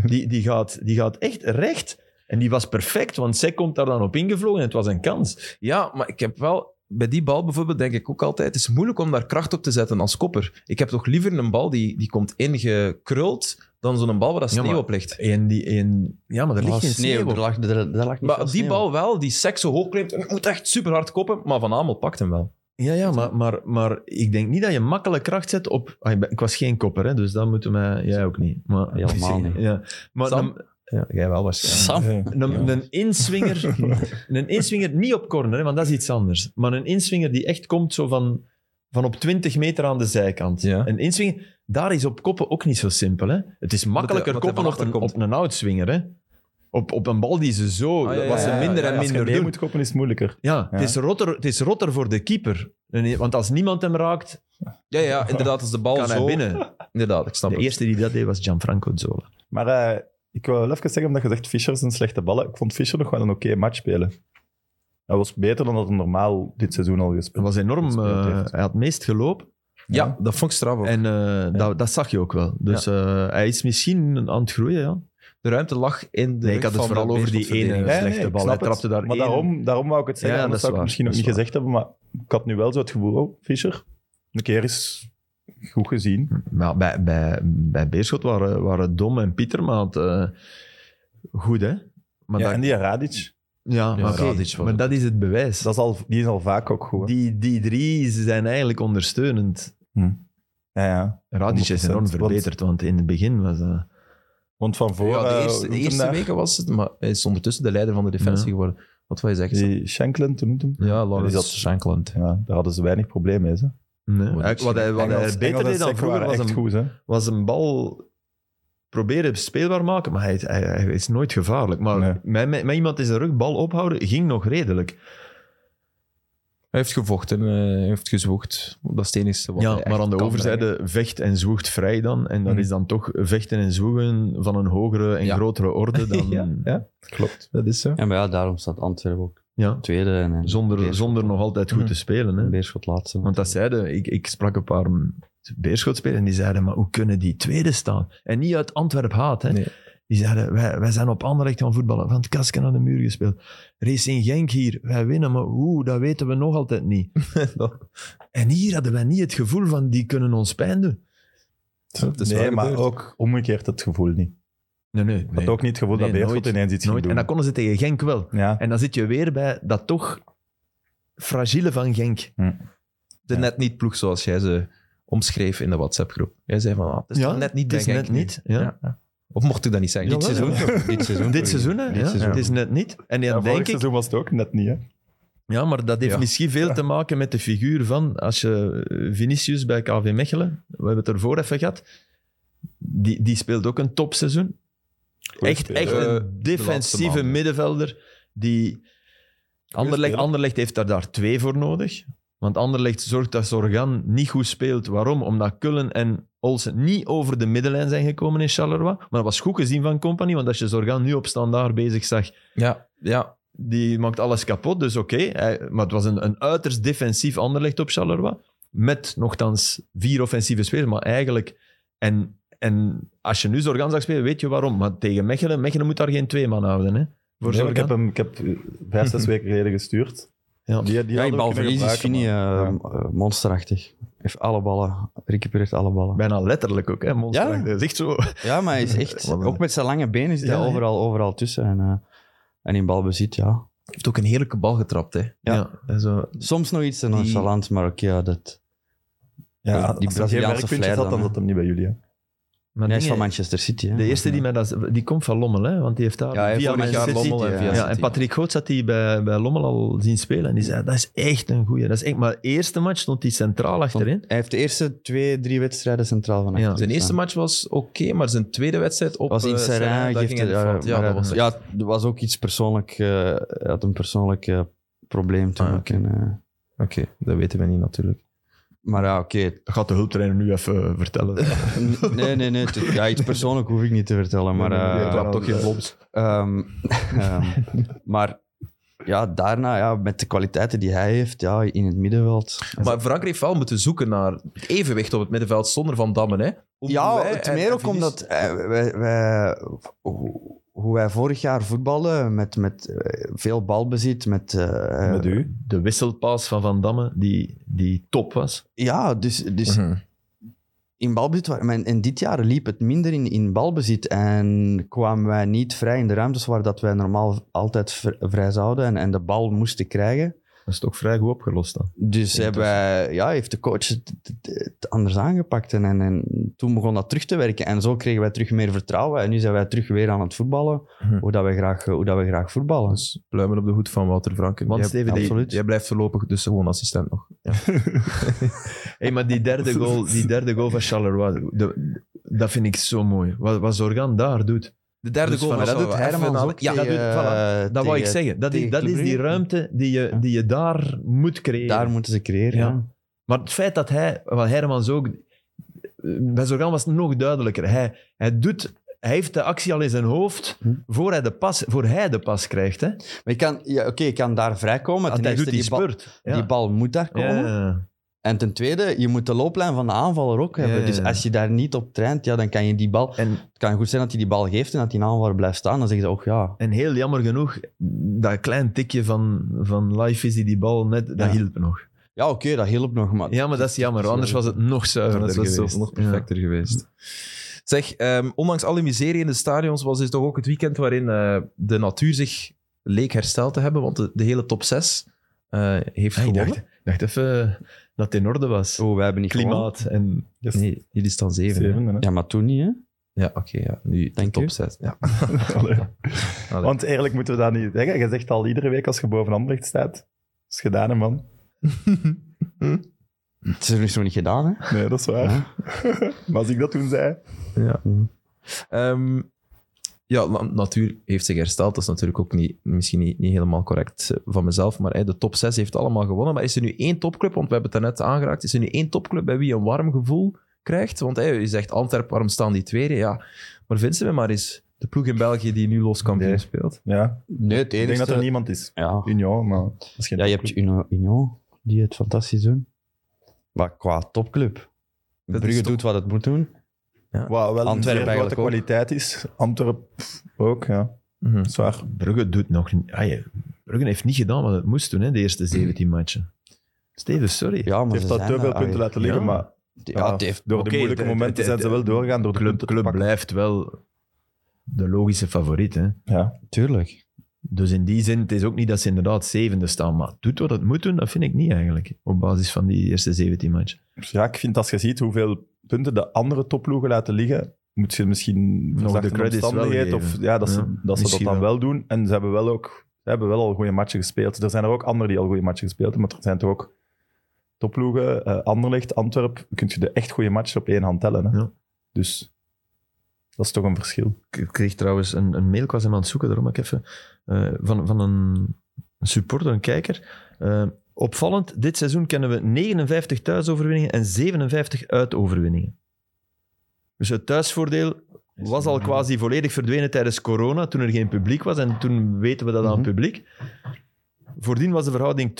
Speaker 2: Die, die, gaat, die gaat echt recht. En die was perfect, want Sek komt daar dan op ingevlogen en het was een kans.
Speaker 1: Ja, maar ik heb wel... Bij die bal bijvoorbeeld denk ik ook altijd, het is moeilijk om daar kracht op te zetten als kopper. Ik heb toch liever een bal die, die komt ingekruld dan zo'n bal waar dat
Speaker 2: Ja,
Speaker 1: sneeuw
Speaker 2: maar-
Speaker 1: op ligt.
Speaker 2: En die, en, ja, maar er ligt
Speaker 4: Ah,
Speaker 2: geen sneeuw,
Speaker 4: sneeuw.
Speaker 2: op.
Speaker 4: Er lag, er, er lag niet
Speaker 1: Maar
Speaker 4: veel
Speaker 1: die
Speaker 4: sneeuw.
Speaker 1: bal wel, die seks zo hoog klimt, ik moet echt super hard koppen, maar Van Amel pakt hem wel.
Speaker 2: Ja, ja maar, maar, maar ik denk niet dat je makkelijk kracht zet op... ah, ik ben- Ik was geen kopper, hè, dus dat moeten mij... Jij ook niet. Maar,
Speaker 4: Helemaal niet.
Speaker 2: Ja. Maar
Speaker 1: Sam?
Speaker 2: een,
Speaker 1: Ja, jij wel waarschijnlijk.
Speaker 4: Sam.
Speaker 3: Ja.
Speaker 2: een, een, inswinger,
Speaker 1: (laughs)
Speaker 2: een inswinger niet op corner, hè, want dat is iets anders. Maar een inswinger die echt komt zo van, van op 20 meter aan de zijkant.
Speaker 1: Ja.
Speaker 2: Een inswinger, daar is op koppen ook niet zo simpel. Hè. Het is makkelijker
Speaker 1: omdat hij
Speaker 2: koppen
Speaker 1: van
Speaker 2: op een,
Speaker 1: achter
Speaker 2: op
Speaker 1: komt.
Speaker 2: een outswinger. Hè. Op, op een bal die ze zo...
Speaker 1: Ah, ja, ja,
Speaker 2: wat ze
Speaker 1: ja, ja,
Speaker 2: eh, minder
Speaker 1: ja,
Speaker 2: en
Speaker 1: ja, als je
Speaker 2: minder
Speaker 3: Als je mee
Speaker 2: doen.
Speaker 3: moet kopen, is het moeilijker.
Speaker 2: Ja,
Speaker 3: Ja.
Speaker 2: Het, is rotter, het is rotter voor de keeper. En- Want als niemand hem raakt,
Speaker 1: Ja, ja, inderdaad, als de bal
Speaker 2: kan
Speaker 1: zo...
Speaker 2: hij binnen.
Speaker 1: Inderdaad, ik snap
Speaker 2: De
Speaker 1: het.
Speaker 2: eerste die dat deed was Gianfranco Zola.
Speaker 3: Maar eh, ik wil wel even zeggen, omdat je zegt Fischer is een slechte ballen. Ik vond Fischer nog wel een oké match spelen. Hij was beter dan dat hij normaal dit seizoen al
Speaker 2: Dat
Speaker 3: gespeeld
Speaker 2: was enorm.
Speaker 3: Gespeeld
Speaker 2: eh,
Speaker 3: heeft.
Speaker 2: hij had het meest gelopen.
Speaker 1: Ja, dat vond ik straf ook.
Speaker 2: En eh, dat, dat zag je ook wel. Dus eh, hij is misschien aan het groeien. Ja.
Speaker 1: De ruimte lag in de
Speaker 2: Nee, ik
Speaker 1: rug
Speaker 2: had het
Speaker 1: van
Speaker 2: vooral
Speaker 1: de
Speaker 2: over die ene
Speaker 1: Beerschotverdediging.
Speaker 3: Nee, nee,
Speaker 2: slechte
Speaker 3: ik
Speaker 2: bal.
Speaker 3: snap
Speaker 2: Hij
Speaker 3: het.
Speaker 2: trapte daar
Speaker 3: Maar
Speaker 2: één.
Speaker 3: daarom, daarom wou ik het zeggen,
Speaker 2: Ja,
Speaker 3: anders
Speaker 2: dat
Speaker 3: zou
Speaker 2: is
Speaker 3: ik het misschien
Speaker 2: waar,
Speaker 3: nog niet
Speaker 2: dat is
Speaker 3: gezegd hebben, maar ik had nu wel zo het gevoel, oh, Fischer, een keer is goed gezien.
Speaker 2: Maar bij, bij, bij Beerschot waren, waren Dom en Pieter maar het, eh, goed, hè? Maar
Speaker 3: Ja,
Speaker 2: dat,
Speaker 3: en die Radic,
Speaker 2: ja, maar,
Speaker 1: Radic
Speaker 2: oké,
Speaker 1: was het.
Speaker 2: maar dat is het bewijs.
Speaker 3: dat is al, die is al vaak ook goed. hè.
Speaker 2: die, die drie ze zijn eigenlijk ondersteunend.
Speaker 3: Ja, ja.
Speaker 2: Radic is
Speaker 3: 100%,
Speaker 2: enorm
Speaker 3: want-
Speaker 2: verbeterd, want in het begin was dat...
Speaker 3: Want van voor...
Speaker 1: Ja,
Speaker 3: eh,
Speaker 1: de eerste, de
Speaker 3: hoe noemt
Speaker 1: eerste
Speaker 3: hem daar?
Speaker 1: weken was het, maar hij is ondertussen de leider van de defensie
Speaker 2: Ja.
Speaker 1: geworden. Wat wil je zeggen? Sam?
Speaker 3: Die Shankland, toen noemt hem.
Speaker 1: Ja,
Speaker 3: die
Speaker 1: Lawrence
Speaker 3: zat-
Speaker 1: Shankland.
Speaker 3: Ja, daar hadden ze weinig problemen mee. Hè.
Speaker 2: Nee.
Speaker 1: Wat eh,
Speaker 2: Hij- Wat hij, wat hij
Speaker 3: Engels-
Speaker 2: beter
Speaker 3: Engels en
Speaker 2: deed dan
Speaker 3: Sek
Speaker 2: vroeger
Speaker 3: waren
Speaker 2: was
Speaker 3: echt
Speaker 2: een,
Speaker 3: goed, hè.
Speaker 2: was een bal proberen speelbaar maken, maar hij, hij, hij is nooit gevaarlijk. Maar
Speaker 3: Nee.
Speaker 2: met, met, met iemand die zijn rug bal ophouden ging nog redelijk.
Speaker 1: Hij heeft gevochten, eh, hij heeft gezwoegd. Dat is het enige wat
Speaker 2: Ja,
Speaker 1: hij echt
Speaker 2: maar aan de
Speaker 1: kan
Speaker 2: overzijde
Speaker 1: brengen. Hmm.
Speaker 2: vecht en zwoegt vrij dan. En dat
Speaker 3: Mhm.
Speaker 2: is dan toch vechten en zwoegen van een hogere en
Speaker 1: Ja.
Speaker 2: grotere orde dan...
Speaker 1: (laughs) Ja, ja.
Speaker 3: Klopt.
Speaker 1: Dat is zo.
Speaker 4: Ja, maar ja, daarom staat Antwerpen ook
Speaker 2: Ja,
Speaker 4: tweede en, en
Speaker 2: zonder,
Speaker 4: Beerschot,
Speaker 2: zonder nog altijd goed
Speaker 1: Mhm.
Speaker 2: te spelen. Hè.
Speaker 4: Beerschot laatste.
Speaker 2: Want dat zeiden, ik, ik sprak een paar beerschotspelers en die zeiden, maar hoe kunnen die tweede staan? En niet uit Antwerp haat, hè.
Speaker 1: Nee.
Speaker 2: Die zeiden, wij, wij zijn op Anderlecht gaan voetballen, van het kasken naar de muur gespeeld. Racing Genk hier, wij winnen, maar hoe, dat weten we nog altijd (laughs) niet.
Speaker 1: Dat-
Speaker 2: En hier hadden wij niet het gevoel van, die kunnen ons pijn doen.
Speaker 1: dat is
Speaker 3: nee,
Speaker 1: wel
Speaker 3: maar
Speaker 1: gebeurd.
Speaker 3: ook omgekeerd het gevoel niet.
Speaker 2: Nee, nee,
Speaker 3: Ik had ook niet het gevoel
Speaker 2: Nee,
Speaker 3: dat Beerschot
Speaker 2: nooit.
Speaker 3: ineens iets ging
Speaker 2: nooit.
Speaker 3: doen.
Speaker 2: En dat konden ze tegen Genk wel.
Speaker 3: Ja,
Speaker 2: En dan zit je weer bij dat toch fragile van Genk.
Speaker 1: de
Speaker 3: Ja.
Speaker 1: net niet ploeg zoals jij ze omschreef in de WhatsApp-groep. Jij zei van, ah, het is
Speaker 2: Ja,
Speaker 1: toch net niet
Speaker 2: het is
Speaker 1: bij
Speaker 2: net
Speaker 1: Genk nu?
Speaker 2: niet, ja.
Speaker 1: Of mocht ik dat niet zeggen?
Speaker 4: dit,
Speaker 2: Jawel,
Speaker 4: seizoen, dit seizoen.
Speaker 2: Dit seizoen, hè?
Speaker 4: Dit
Speaker 2: ja,
Speaker 4: seizoen.
Speaker 2: Het is net niet. En dan
Speaker 3: ja, vorig
Speaker 2: denk ik,
Speaker 3: seizoen was het ook net niet, hè.
Speaker 2: Ja, maar dat heeft
Speaker 1: Ja.
Speaker 2: misschien veel te maken met de figuur van... Als je eh, Vinicius bij KV Mechelen, we hebben het ervoor even gehad, die, die speelt ook een topseizoen.
Speaker 3: Goeie
Speaker 2: Echt,
Speaker 3: speler.
Speaker 2: echt
Speaker 1: Eh, de
Speaker 2: een
Speaker 1: laatste
Speaker 2: defensieve
Speaker 1: maanden.
Speaker 2: middenvelder die... Anderlecht,
Speaker 3: speler.
Speaker 2: Anderlecht heeft daar, daar twee voor nodig. Want Anderlecht zorgt dat Zorgan niet goed speelt. Waarom? Omdat Kullen en Olsen niet over de middenlijn zijn gekomen in Charleroi. Maar dat was goed gezien van Company, want als je Zorgan nu op standaard bezig zag,
Speaker 1: Ja, ja.
Speaker 2: die maakt alles kapot. Dus oké, hij- maar het was een, een uiterst defensief Anderlecht op Charleroi. Met nogthans vier offensieve spelers, maar eigenlijk... En, en als je nu Zorgan zag spelen, weet je waarom. Maar tegen Mechelen, Mechelen moet daar geen twee man houden. Hè? Voor
Speaker 3: Nee, maar
Speaker 2: Zorgan.
Speaker 3: ik heb hem ik heb eh, vijf, zes weken geleden gestuurd.
Speaker 2: Ja.
Speaker 3: die, die
Speaker 4: Ja, in
Speaker 3: hadden we
Speaker 4: balverlies
Speaker 3: kunnen
Speaker 4: is Vini eh,
Speaker 3: gebruiken, maar-
Speaker 4: eh, monsterachtig. Heeft alle ballen, recupereert alle ballen.
Speaker 2: Bijna letterlijk ook, hè? Monster.
Speaker 4: Ja.
Speaker 2: Dat is echt zo.
Speaker 4: Ja, maar hij is echt...
Speaker 2: Wat een-
Speaker 4: Ook met zijn lange benen is hij
Speaker 2: Ja, ja.
Speaker 4: overal, overal tussen. En, eh, en in balbezit, ja.
Speaker 1: heeft ook een heerlijke bal getrapt, hè.
Speaker 4: Ja.
Speaker 1: En zo.
Speaker 4: Soms nog iets te nonchalant, maar oké, ja, dat...
Speaker 3: Ja,
Speaker 4: Die
Speaker 3: als hij geen
Speaker 4: Braziliaanse
Speaker 3: werkpuntjes
Speaker 4: flair
Speaker 3: had,
Speaker 4: dan,
Speaker 3: dan
Speaker 4: hè.
Speaker 3: zat hem niet bij jullie. hè.
Speaker 2: Maar
Speaker 4: Nee, hij is
Speaker 2: dingen-
Speaker 4: van Manchester City, hè.
Speaker 2: de eerste die mij dat... Die komt van Lommel, hè? Want die heeft daar...
Speaker 4: Ja, hij heeft
Speaker 2: via
Speaker 4: vorig
Speaker 2: Manchester
Speaker 4: jaar
Speaker 2: City-
Speaker 4: Lommel en via
Speaker 2: Ja, en Patrick Goots had die bij, bij Lommel al zien spelen. En die zei, dat is echt een goeie. Dat is echt... Maar de eerste match stond hij centraal achterin.
Speaker 4: Hij heeft de eerste twee, drie wedstrijden centraal van achter
Speaker 2: Ja.
Speaker 1: Zijn
Speaker 4: gestaan.
Speaker 1: eerste match was oké, maar zijn tweede wedstrijd op...
Speaker 4: was in
Speaker 1: eh,
Speaker 4: Serrain,
Speaker 1: daar
Speaker 4: geeft
Speaker 1: ging hij
Speaker 4: het-
Speaker 1: niet fout.
Speaker 4: ja,
Speaker 1: Ja,
Speaker 4: maar,
Speaker 1: dat was
Speaker 4: eh, ja, er was ook iets persoonlijk, eh, hij had een persoonlijk eh, probleem toen
Speaker 1: Ah,
Speaker 4: ook.
Speaker 1: oké.
Speaker 4: En, eh,
Speaker 1: Oké, dat weten we niet natuurlijk.
Speaker 4: maar ja, oké.
Speaker 2: Dat gaat de hulptrainer nu even eh, vertellen.
Speaker 4: Nee, nee, nee. het- ja, iets persoonlijk hoef ik niet te vertellen, maar... eh,
Speaker 2: Ja,
Speaker 3: trapt
Speaker 2: toch geen flops.
Speaker 4: Ehm, ehm, maar ja, daarna, ja, met de kwaliteiten die hij heeft ja, in het middenveld.
Speaker 1: Maar Frankrijk heeft wel moeten zoeken naar het evenwicht op het middenveld zonder Van Dammen, hè. Om
Speaker 4: Ja,
Speaker 1: Douai
Speaker 4: het
Speaker 1: en-
Speaker 4: meer
Speaker 1: en
Speaker 4: ook
Speaker 1: Vinicius-
Speaker 4: omdat eh, wij, wij- hoe- hoe wij vorig jaar voetballen met, met eh, veel balbezit, met... eh,
Speaker 3: Met u.
Speaker 2: De wisselpaas van Van Damme, die, die top was.
Speaker 4: Ja, dus, dus
Speaker 1: Mhm.
Speaker 4: in balbezit. waren- maar En dit jaar liep het minder in, in balbezit. En kwamen wij niet vrij in de ruimtes waar dat wij normaal altijd vr- vrij zouden. En, en de bal moesten krijgen.
Speaker 2: Dat is toch vrij goed opgelost dan.
Speaker 4: Dus hebben wij, ja, heeft de coach het, het- het anders aangepakt. En, en, en toen begon dat terug te werken. En zo kregen wij terug meer vertrouwen. En nu zijn wij terug weer aan het voetballen.
Speaker 1: Hm.
Speaker 4: Hoe, dat wij graag, eh, hoe dat wij graag voetballen.
Speaker 1: Dus pluimen op de hoed van Wouter Franken.
Speaker 2: Want
Speaker 1: Jij-
Speaker 2: Steven, die-
Speaker 1: absoluut. Jij blijft voorlopig dus gewoon assistent nog.
Speaker 2: Hey, maar die (laughs) derde, goal, die derde goal van Charleroi, de- dat vind ik zo mooi. Wat, wat Zorgan daar doet.
Speaker 1: De derde
Speaker 2: Dus
Speaker 1: goal
Speaker 2: van-
Speaker 1: was
Speaker 2: dat
Speaker 1: wel
Speaker 2: doet
Speaker 1: even
Speaker 4: Hermans
Speaker 1: een-
Speaker 4: ook
Speaker 1: Ja, dat doet,
Speaker 4: tegen- eh,
Speaker 1: voilà.
Speaker 2: Dat wou ik
Speaker 4: tegen-
Speaker 2: zeggen. Dat, is-
Speaker 4: tegen
Speaker 2: dat is die
Speaker 4: Club Brugge.
Speaker 2: ruimte die je, die je daar moet creëren.
Speaker 4: Daar moeten ze creëren.
Speaker 2: Ja.
Speaker 4: ja.
Speaker 2: Maar het feit dat hij, wat Hermans ook, bij Zorgan was het nog duidelijker. Hij, hij, doet, hij heeft de actie al in zijn hoofd
Speaker 4: Hm.
Speaker 2: voor, hij de pas, voor hij de pas krijgt. Hè?
Speaker 4: Maar je kan, ja, oké, je kan daar vrijkomen.
Speaker 2: Want
Speaker 4: Ten
Speaker 2: hij
Speaker 4: eerste,
Speaker 2: doet die
Speaker 4: die, bal,
Speaker 2: spurt. Ja.
Speaker 4: die bal moet daar komen.
Speaker 2: Ja.
Speaker 4: En ten tweede, je moet de looplijn van de aanvaller ook hebben.
Speaker 2: Ja, ja, ja.
Speaker 4: Dus als je daar niet op traint, ja, dan kan je die bal...
Speaker 2: En,
Speaker 4: Het kan goed zijn dat hij die bal geeft en dat die aanvaller blijft staan. Dan zeg je, oh ja,
Speaker 2: en heel jammer genoeg, dat klein tikje van, van Life is die die bal net, dat
Speaker 4: Ja.
Speaker 2: hielp nog.
Speaker 4: ja oké, dat hielp nog, maar...
Speaker 2: Ja, maar dat is jammer, want anders was het nog zuiverder
Speaker 1: dat was
Speaker 2: geweest.
Speaker 1: toch nog perfecter geweest. Zeg, ehm, ondanks alle miserie in de stadions was dit toch ook het weekend waarin eh, de natuur zich leek hersteld te hebben, want de, de hele top 6 heeft
Speaker 2: Ja. Ah, ik
Speaker 1: gewonnen.
Speaker 2: dacht, ik dacht even dat het in orde was.
Speaker 4: Oh, wij hebben niet gewonnen.
Speaker 2: Klimaat en...
Speaker 3: Yes.
Speaker 1: Nee, jullie staan zeven. hè?
Speaker 3: Zevende, hè.
Speaker 4: Ja, maar toen niet, hè?
Speaker 1: Ja, oké. ja. Nu de
Speaker 4: Dank u.
Speaker 1: top 6. Ja.
Speaker 2: Ah,
Speaker 3: (laughs)
Speaker 4: (laughs)
Speaker 3: Allee.
Speaker 1: Allee.
Speaker 3: Want eerlijk moeten we dat niet zeggen. Je zegt al iedere week als je boven Anderlecht staat. Dat is gedaan, hè, man.
Speaker 4: Het is nog niet gedaan, hè?
Speaker 3: Nee, dat is waar. (laughs) maar als ik dat toen zei...
Speaker 1: Ja. Ehm, ja, na- natuur heeft zich hersteld. Dat is natuurlijk ook niet, misschien niet, niet helemaal correct eh, van mezelf. Maar eh, de top 6 heeft allemaal gewonnen. Maar is er nu één topclub? Want we hebben het daarnet aangeraakt. Is er nu één topclub bij wie je een warm gevoel krijgt? Want eh, je zegt Antwerp, waarom staan die tweede? Ja, maar vindt ze me maar eens. De ploeg in België die nu los kampioen
Speaker 3: Nee.
Speaker 1: speelt.
Speaker 3: Ja,
Speaker 4: Nee, het
Speaker 3: ik
Speaker 4: enige...
Speaker 3: denk dat er niemand is.
Speaker 4: ja.
Speaker 3: Union, maar... dat is geen
Speaker 4: ja, je
Speaker 3: topclub.
Speaker 4: hebt Uno- Union, die het fantastisch doen. Maar qua topclub.
Speaker 1: Dat is
Speaker 4: Brugge
Speaker 1: toch-
Speaker 4: doet wat het moet doen.
Speaker 3: Wat wel een
Speaker 4: Antwerpen
Speaker 3: zeer grote
Speaker 4: eigenlijk ook.
Speaker 3: kwaliteit is. Antwerpen pff, ook, ja.
Speaker 1: Mhm.
Speaker 3: Dat is waar.
Speaker 2: Brugge doet nog niet. ah, je- Brugge heeft niet gedaan wat het moest doen, hè, de eerste
Speaker 1: Mm.
Speaker 2: 17 matchen. Steven, sorry.
Speaker 4: Ja, maar
Speaker 3: Het heeft
Speaker 4: ze
Speaker 3: dat
Speaker 4: zijn
Speaker 3: te veel
Speaker 4: daar-
Speaker 3: punten laten
Speaker 2: ja.
Speaker 3: Ah. liggen, maar
Speaker 4: Ja, het heeft...
Speaker 3: door
Speaker 2: Oké,
Speaker 3: de moeilijke
Speaker 2: het- het-
Speaker 3: momenten
Speaker 2: het-
Speaker 3: zijn ze wel doorgaan door de
Speaker 2: club,
Speaker 3: punten te
Speaker 2: club
Speaker 3: pakken.
Speaker 2: blijft wel de logische favoriet. Hè.
Speaker 3: Ja.
Speaker 4: Tuurlijk.
Speaker 2: Dus in die zin, het is ook niet dat ze inderdaad zevende staan, maar het doet wat het moet doen, dat vind ik niet eigenlijk. Op basis van die eerste 17 matchen.
Speaker 3: ja, ik vind als je ziet hoeveel punten de andere topploegen laten liggen, moet je misschien
Speaker 2: Nog
Speaker 3: verzachte
Speaker 2: de credits wel
Speaker 3: omstandigheden Of,
Speaker 2: geven.
Speaker 3: ja, dat,
Speaker 2: Ja,
Speaker 3: ze, dat ze dat
Speaker 2: misschien
Speaker 3: dan
Speaker 2: wel.
Speaker 3: wel doen. En ze hebben wel ook ze hebben wel al goede matchen gespeeld. Er zijn er ook anderen die al goede matchen gespeeld hebben, maar er zijn toch ook topploegen. eh Anderlecht, Antwerp, kun je de echt goede matchen op één hand tellen. Hè?
Speaker 2: Ja.
Speaker 3: Dus dat is toch een verschil.
Speaker 2: Ik kreeg trouwens een, een mail, ik was hem aan het zoeken, daarom heb ik even, eh, van, van een supporter, een kijker. Eh, Opvallend, dit seizoen kennen we 59 thuisoverwinningen en 57 uitoverwinningen. Dus het thuisvoordeel was al quasi volledig verdwenen tijdens corona, toen er geen publiek was. En toen weten we dat aan het
Speaker 4: Mhm.
Speaker 2: publiek. Voordien was de verhouding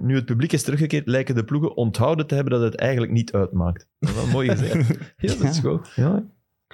Speaker 2: 2-1. Nu het publiek is teruggekeerd, lijken de ploegen onthouden te hebben dat het eigenlijk niet uitmaakt. Dat is wel mooi (laughs) gezegd. ja, dat is goed. Ja.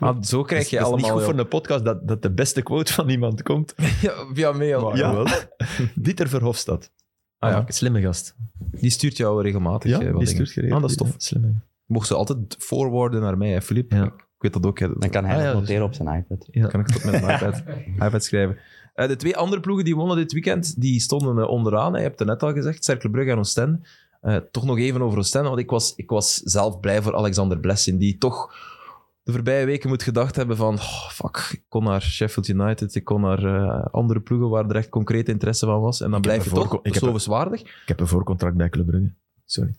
Speaker 1: Maar Ah, zo krijg je
Speaker 2: dat is
Speaker 1: allemaal...
Speaker 2: niet goed voor een podcast dat, dat de beste quote van iemand komt.
Speaker 1: (laughs) ja, via mail.
Speaker 3: Maar,
Speaker 2: Ja.
Speaker 3: jawel.
Speaker 2: (laughs) Dieter Verhofstadt.
Speaker 1: Ah, ja.
Speaker 2: Slimme gast.
Speaker 1: Die stuurt jou regelmatig. eh, wat
Speaker 2: die
Speaker 1: dingen.
Speaker 2: stuurt geregeld.
Speaker 1: Ah, dat is tof.
Speaker 2: Slimme.
Speaker 1: Mocht ze altijd voorwoorden naar mij, hè, Filip.
Speaker 2: Ja.
Speaker 1: Ik weet dat ook. Hè.
Speaker 4: Dan kan hij
Speaker 2: Ah, ja,
Speaker 4: dat
Speaker 2: dus-
Speaker 4: noteren op zijn iPad.
Speaker 2: Ja.
Speaker 1: kan ik het op mijn iPad, iPad schrijven. Eh, de twee andere ploegen die wonnen dit weekend, die stonden eh, onderaan. hè. Je hebt het net al gezegd, Cercle Brugge en Oostende. Eh, toch nog even over Oostende, want ik was, ik was zelf blij voor Alexander Blessin, die toch de voorbije weken moet gedacht hebben van "Oh, fuck, ik kon naar Sheffield United, ik kon naar eh, andere ploegen waar er echt concreet interesse van was. En dan blijf je
Speaker 2: ervoor
Speaker 1: toch
Speaker 2: ge- ik heb
Speaker 1: zo
Speaker 2: er-
Speaker 1: verzwaardig.
Speaker 2: Ik heb een voorcontract bij Club Brugge. Sorry.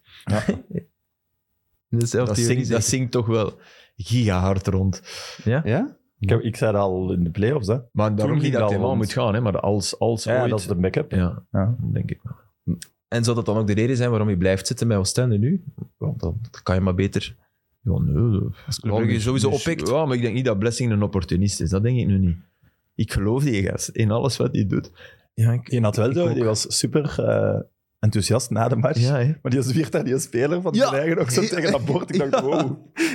Speaker 1: Dus, eh, op theorie
Speaker 2: Dat zingt, dat
Speaker 1: zeker.
Speaker 2: zingt toch wel gigahard rond.
Speaker 4: Ja?
Speaker 3: Ik, heb- ik zei dat al in de play-offs, hè.
Speaker 2: Maar daarom
Speaker 3: ging
Speaker 2: niet
Speaker 3: dat
Speaker 2: dat
Speaker 3: al
Speaker 2: hij wel
Speaker 3: rond.
Speaker 2: moet gaan, hè, maar als, als
Speaker 3: Ja,
Speaker 2: ooit...
Speaker 3: dat is de backup.
Speaker 2: Ja,
Speaker 3: Ja.
Speaker 2: denk ik wel.
Speaker 1: En zou dat dan ook de reden zijn waarom je blijft zitten bij Oostende nu? Want dan kan je maar beter
Speaker 2: Ja, nee. dat-
Speaker 1: als Club Brugge
Speaker 2: Ja, dus-
Speaker 1: sowieso
Speaker 2: dus-
Speaker 1: oppikt.
Speaker 2: Ja, maar ik denk niet dat Blessing een opportunist is. Dat denk ik nu niet. Ik geloof die gast in alles wat hij doet.
Speaker 1: Ja, ik-
Speaker 3: Die had wel
Speaker 1: Ik
Speaker 3: zo,
Speaker 1: ook.
Speaker 3: die was super eh, enthousiast na de match.
Speaker 2: Ja, hè.
Speaker 3: Maar die zwiert daar die speler van
Speaker 1: Ja.
Speaker 3: zijn eigen ook zo tegen dat bord. Ik dacht, wow,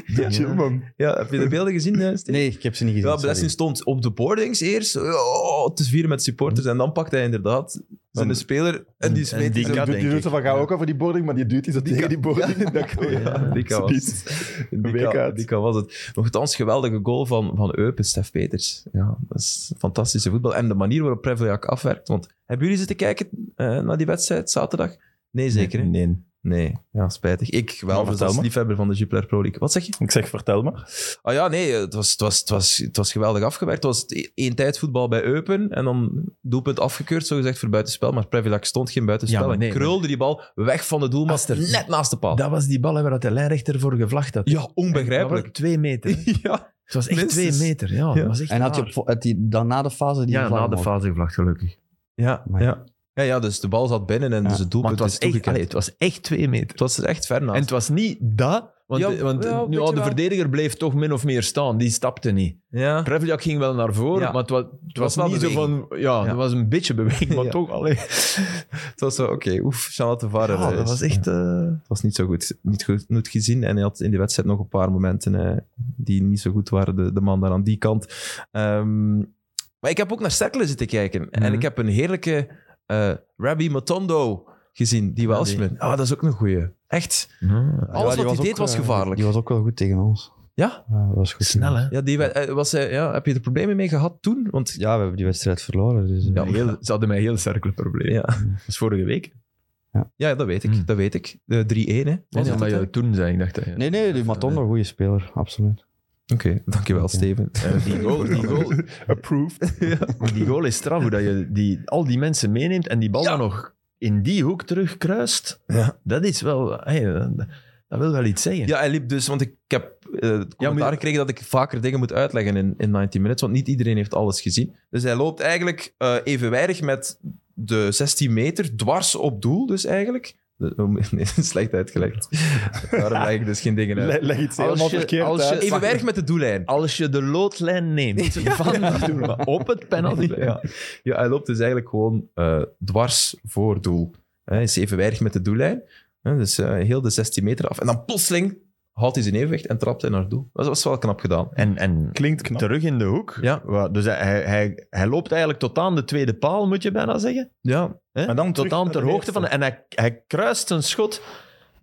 Speaker 2: Ja.
Speaker 3: chill man.
Speaker 1: Ja, heb je de beelden gezien? hè, Steve?
Speaker 4: Nee, ik heb ze niet gezien.
Speaker 1: ja,
Speaker 4: sorry.
Speaker 1: Blessing stond op de boardings eerst oh, te vieren met supporters. En dan pakt hij inderdaad zijn
Speaker 3: Dan-
Speaker 1: speler en die
Speaker 2: Mm. en
Speaker 1: smeet
Speaker 2: die
Speaker 1: die zo.
Speaker 2: kan-
Speaker 3: die
Speaker 2: denk
Speaker 3: doet, die doet
Speaker 2: ik.
Speaker 3: zo van, ga ook over die boarding, maar die duwt die zo tegen die boarding. (laughs) Ik dacht, oh, ja,
Speaker 1: Ja, Dika was,
Speaker 3: zoiets.
Speaker 1: Dika-
Speaker 3: week uit.
Speaker 1: Dika was het. Nochtans, geweldige goal van, van Eupen, Stef Peters. Ja, dat is fantastische voetbal. En de manier waarop Preveljak afwerkt. Want hebben jullie zitten kijken eh, naar die wedstrijd zaterdag? Nee, zeker. hè? Nee,
Speaker 2: Nee.
Speaker 1: ja, spijtig. Ik wel,
Speaker 3: Maar
Speaker 1: dus
Speaker 3: vertel
Speaker 1: als
Speaker 3: maar.
Speaker 1: liefhebber van de Jupiler Pro League. Wat zeg je?
Speaker 3: Ik zeg, vertel maar.
Speaker 1: Ah ja, nee, het was, het was, het was, het was geweldig afgewerkt. Het was het één tijd voetbal bij Eupen en dan doelpunt afgekeurd, zogezegd, voor buitenspel. Maar Previlak stond geen buitenspel
Speaker 2: Ja, maar
Speaker 1: en
Speaker 2: nee,
Speaker 1: krulde die bal weg van de doelmast,
Speaker 2: Aster.
Speaker 1: net naast de paal.
Speaker 2: Dat was die bal hè, waar dat de lijnrechter voor gevlacht had.
Speaker 1: ja,
Speaker 2: Dat was
Speaker 1: onbegrijpelijk.
Speaker 2: Twee meter. hè.
Speaker 1: (laughs) ja.
Speaker 2: Het was (laughs) echt
Speaker 1: Minstens.
Speaker 2: twee meter. Ja,
Speaker 1: Ja.
Speaker 2: Dat was echt
Speaker 4: En had je
Speaker 2: raar.
Speaker 4: op, vo- had die, dan na de fase die
Speaker 2: Ja,
Speaker 4: vlam
Speaker 2: na de
Speaker 4: ook?
Speaker 2: fase gevlacht, gelukkig.
Speaker 1: Ja,
Speaker 4: Maar-
Speaker 1: ja. ja, ja, dus de bal zat binnen en
Speaker 4: Ja,
Speaker 1: dus het
Speaker 2: Maar
Speaker 1: doelpunt
Speaker 2: het was,
Speaker 1: is
Speaker 2: echt,
Speaker 1: toegekend.
Speaker 2: allee, het was echt twee meter.
Speaker 1: het was er echt ver naast.
Speaker 2: En het was niet dat, want,
Speaker 1: Ja,
Speaker 2: want
Speaker 1: ja,
Speaker 2: nu,
Speaker 1: weet
Speaker 2: ja,
Speaker 1: je
Speaker 2: de
Speaker 1: wel.
Speaker 2: verdediger bleef toch min of meer staan. Die stapte niet.
Speaker 1: ja.
Speaker 2: Prevljak ging wel naar voren,
Speaker 1: Ja.
Speaker 2: maar het was, het
Speaker 1: was
Speaker 2: was,
Speaker 1: wel
Speaker 2: niet zo van... Ja,
Speaker 1: Ja.
Speaker 2: het was een beetje beweging, maar
Speaker 1: (laughs) Ja.
Speaker 2: toch... Allee.
Speaker 1: Het was zo, oké, oef, Charlotte de Vader.
Speaker 2: Ja,
Speaker 1: eh,
Speaker 2: dat was
Speaker 1: is-
Speaker 2: echt... eh,
Speaker 1: Het was niet zo goed, niet goed, niet gezien. En hij had in de wedstrijd nog een paar momenten eh, die niet zo goed waren. De, de man daar aan die kant. Ehm, maar ik heb ook naar Cercle zitten kijken. En
Speaker 2: Mhm.
Speaker 1: ik heb een heerlijke eh Rabbi Matondo gezien, die Welshman. Ah, dat is ook een goeie. Echt.
Speaker 2: ja.
Speaker 1: Alles
Speaker 4: Mhm. die
Speaker 1: wat hij
Speaker 4: ook,
Speaker 1: deed was
Speaker 4: eh,
Speaker 1: gevaarlijk.
Speaker 4: Die was ook wel goed tegen ons.
Speaker 1: Ja?
Speaker 4: Ja, dat was goed.
Speaker 2: Snel, hè?
Speaker 1: Ja, die, we- eh, was, hij- ja, heb je er problemen mee gehad toen? Want
Speaker 4: Ja, we hebben die wedstrijd verloren. Dus, eh,
Speaker 2: Ja, heel, ze hadden mij heel cirkelprobleem.
Speaker 1: ja,
Speaker 2: Dat is vorige week.
Speaker 1: ja dat weet ik.
Speaker 4: Mhm.
Speaker 2: Mm.
Speaker 1: Dat weet ik. De 3-1, hè? Was
Speaker 2: Nee,
Speaker 1: het
Speaker 2: maar
Speaker 1: het, hè?
Speaker 2: je toen zei ik, dacht dat je-
Speaker 4: Nee, nee, die Matondo, goede speler, absoluut.
Speaker 1: Oké, dankjewel,
Speaker 4: Oké.
Speaker 1: Steven.
Speaker 2: Eh, die, goal, die, goal,
Speaker 3: (laughs) Approved.
Speaker 2: die goal is straf, hoe dat je die, al die mensen meeneemt en die bal dan nog in die hoek terugkruist.
Speaker 1: Ja.
Speaker 2: Dat is wel... hey, dat, dat wil wel iets zeggen.
Speaker 1: Ja, hij liep dus, want ik heb eh, het commentaar
Speaker 2: maar-
Speaker 1: gekregen dat ik vaker dingen moet uitleggen in, in 19 minutes, want niet iedereen heeft alles gezien. Dus hij loopt eigenlijk eh, evenwijdig met de 16 meter dwars op doel, dus eigenlijk. De- oh, (laughs) Nee, slecht uitgelegd. Daarom leg ik dus geen dingen uit.
Speaker 3: Leg, leg iets
Speaker 2: Als
Speaker 3: helemaal
Speaker 2: je-
Speaker 3: verkeerd
Speaker 2: als je-
Speaker 3: uit.
Speaker 1: Evenwijdig met de doellijn.
Speaker 2: Als je de loodlijn
Speaker 3: (laughs)
Speaker 2: neemt van dat doel, maar op het penalty.
Speaker 1: Ja. Ja, hij loopt dus eigenlijk gewoon eh, dwars voor doel. Hij is evenwijdig met de doellijn. Hè, dus eh, heel de 16 meter af. En dan plotseling houdt hij zijn evenwicht en trapt hij naar het doel. Dat was wel knap gedaan.
Speaker 2: En, en
Speaker 3: Klinkt knap.
Speaker 2: terug in de hoek.
Speaker 1: Ja.
Speaker 2: Wa- Dus hij, hij, hij, hij loopt eigenlijk tot aan de tweede paal, moet je bijna zeggen.
Speaker 1: Ja.
Speaker 2: Hè?
Speaker 3: Maar dan
Speaker 2: tot
Speaker 3: terug
Speaker 2: aan
Speaker 3: naar
Speaker 2: ter
Speaker 3: de
Speaker 2: hoogte van.
Speaker 3: eerste.
Speaker 2: En hij, hij kruist een schot,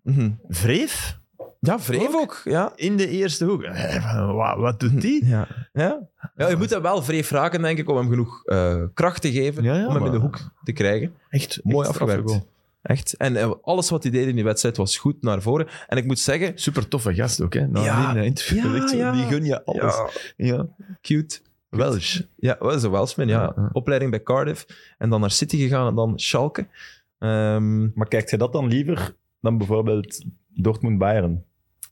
Speaker 1: Mhm.
Speaker 2: wreef,
Speaker 1: Ja, vreef ook. Ja.
Speaker 2: in de eerste hoek. Eh, wa- Wat
Speaker 3: Hm.
Speaker 2: doet die?
Speaker 1: Ja. Ja? je moet hem wel vreef raken, denk ik, om hem genoeg eh, kracht te geven
Speaker 2: Ja, ja,
Speaker 1: om hem
Speaker 2: maar-
Speaker 1: in de hoek te krijgen.
Speaker 2: Echt
Speaker 1: Mooi
Speaker 2: echt straffe
Speaker 1: afgewerkt.
Speaker 2: goal.
Speaker 1: Echt. En eh, alles wat hij deed in die wedstrijd was goed naar voren. En ik moet zeggen...
Speaker 2: Super toffe gast ook, hè? Na
Speaker 1: Ja.
Speaker 2: die eh, interview.
Speaker 1: Ja,
Speaker 2: echt zo,
Speaker 1: ja.
Speaker 2: Die gun je alles. Ja.
Speaker 1: cute.
Speaker 2: Welsh.
Speaker 1: Ja, wel een Welshman, ja.
Speaker 2: Ja.
Speaker 1: Opleiding bij Cardiff. En dan naar City gegaan en dan Schalke. Ehm,
Speaker 3: Maar kijkt je dat dan liever dan bijvoorbeeld Dortmund-Bayern?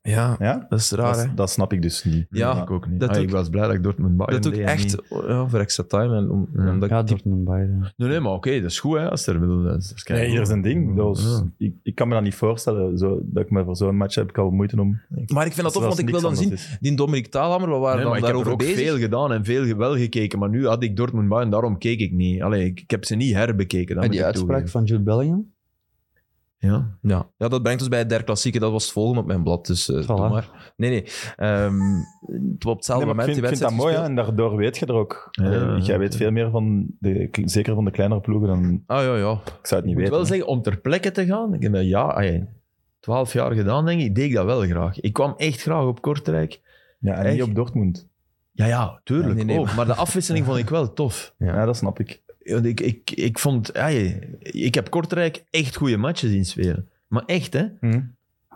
Speaker 1: Ja,
Speaker 3: Ja?
Speaker 1: dat is raar, hè.
Speaker 3: Dat, dat snap ik dus niet.
Speaker 1: Ja,
Speaker 2: ik ook niet.
Speaker 1: dat
Speaker 2: Ah,
Speaker 1: doe
Speaker 2: ik
Speaker 1: ik-
Speaker 2: was blij dat ik Dortmund Bayern
Speaker 1: Dat doe ik
Speaker 2: deed en niet-
Speaker 1: echt ja, voor extra time. En om,
Speaker 2: Ja.
Speaker 1: omdat ik
Speaker 4: Ja,
Speaker 1: die-
Speaker 4: Dortmund Bayern.
Speaker 2: Nee, nee, maar oké, dat is goed, hè. Als er, bedoel, dat is, dat is
Speaker 3: Nee, ieder zijn ding. Dat was-
Speaker 2: Ja.
Speaker 3: ik, ik kan me dat niet voorstellen. Zo, dat ik me voor zo'n match heb ik al moeite om.
Speaker 1: Maar ik vind dat tof, want ik wil dan zien... Die Dominic Taalhammer, we waren
Speaker 2: Nee, maar
Speaker 1: dan
Speaker 2: ik heb er
Speaker 1: daarover
Speaker 2: ook
Speaker 1: bezig.
Speaker 2: veel gedaan en veel ge- wel gekeken, maar nu had ik Dortmund Bayern, daarom keek ik niet. Allee, ik, ik heb ze niet herbekeken. Dat
Speaker 4: En
Speaker 2: moet
Speaker 4: die
Speaker 2: ik
Speaker 4: uitspraak
Speaker 2: toegeven.
Speaker 4: van Jude Bellingham?
Speaker 2: Ja.
Speaker 1: Ja. ja, dat brengt ons bij der klassieke. Dat was het volgende op mijn blad, dus eh,
Speaker 4: Voilà.
Speaker 1: doe maar. Nee, nee. Ehm, het was op hetzelfde
Speaker 3: Nee, maar
Speaker 1: moment.
Speaker 3: ik
Speaker 1: die
Speaker 3: vind, ik vind dat
Speaker 1: wedstrijd
Speaker 3: mooi, hè,
Speaker 1: gespeeld.
Speaker 3: en daardoor weet je er ook.
Speaker 2: Ja,
Speaker 3: Eh,
Speaker 2: ja,
Speaker 3: Jij weet
Speaker 2: ja.
Speaker 3: veel meer van, de, zeker van de kleinere ploegen, dan
Speaker 1: Ah, ja, ja.
Speaker 3: ik zou het
Speaker 2: Ik
Speaker 3: niet
Speaker 2: moet
Speaker 3: weten.
Speaker 2: wel zeggen, om ter plekke te gaan, ik heb dat ja, allee, 12 jaar gedaan, denk ik, deed ik dat wel graag. Ik kwam echt graag op Kortrijk.
Speaker 3: ja, en
Speaker 2: echt.
Speaker 3: niet op Dortmund.
Speaker 2: Ja, ja, tuurlijk
Speaker 1: Nee, nee,
Speaker 2: ook. Maar de afwisseling vond ik wel tof.
Speaker 3: Ja. dat snap ik.
Speaker 2: Want ik, ik, ik vond, ja, je- ik heb Kortrijk echt goede matches zien spelen. Maar echt, hè?
Speaker 3: Hm.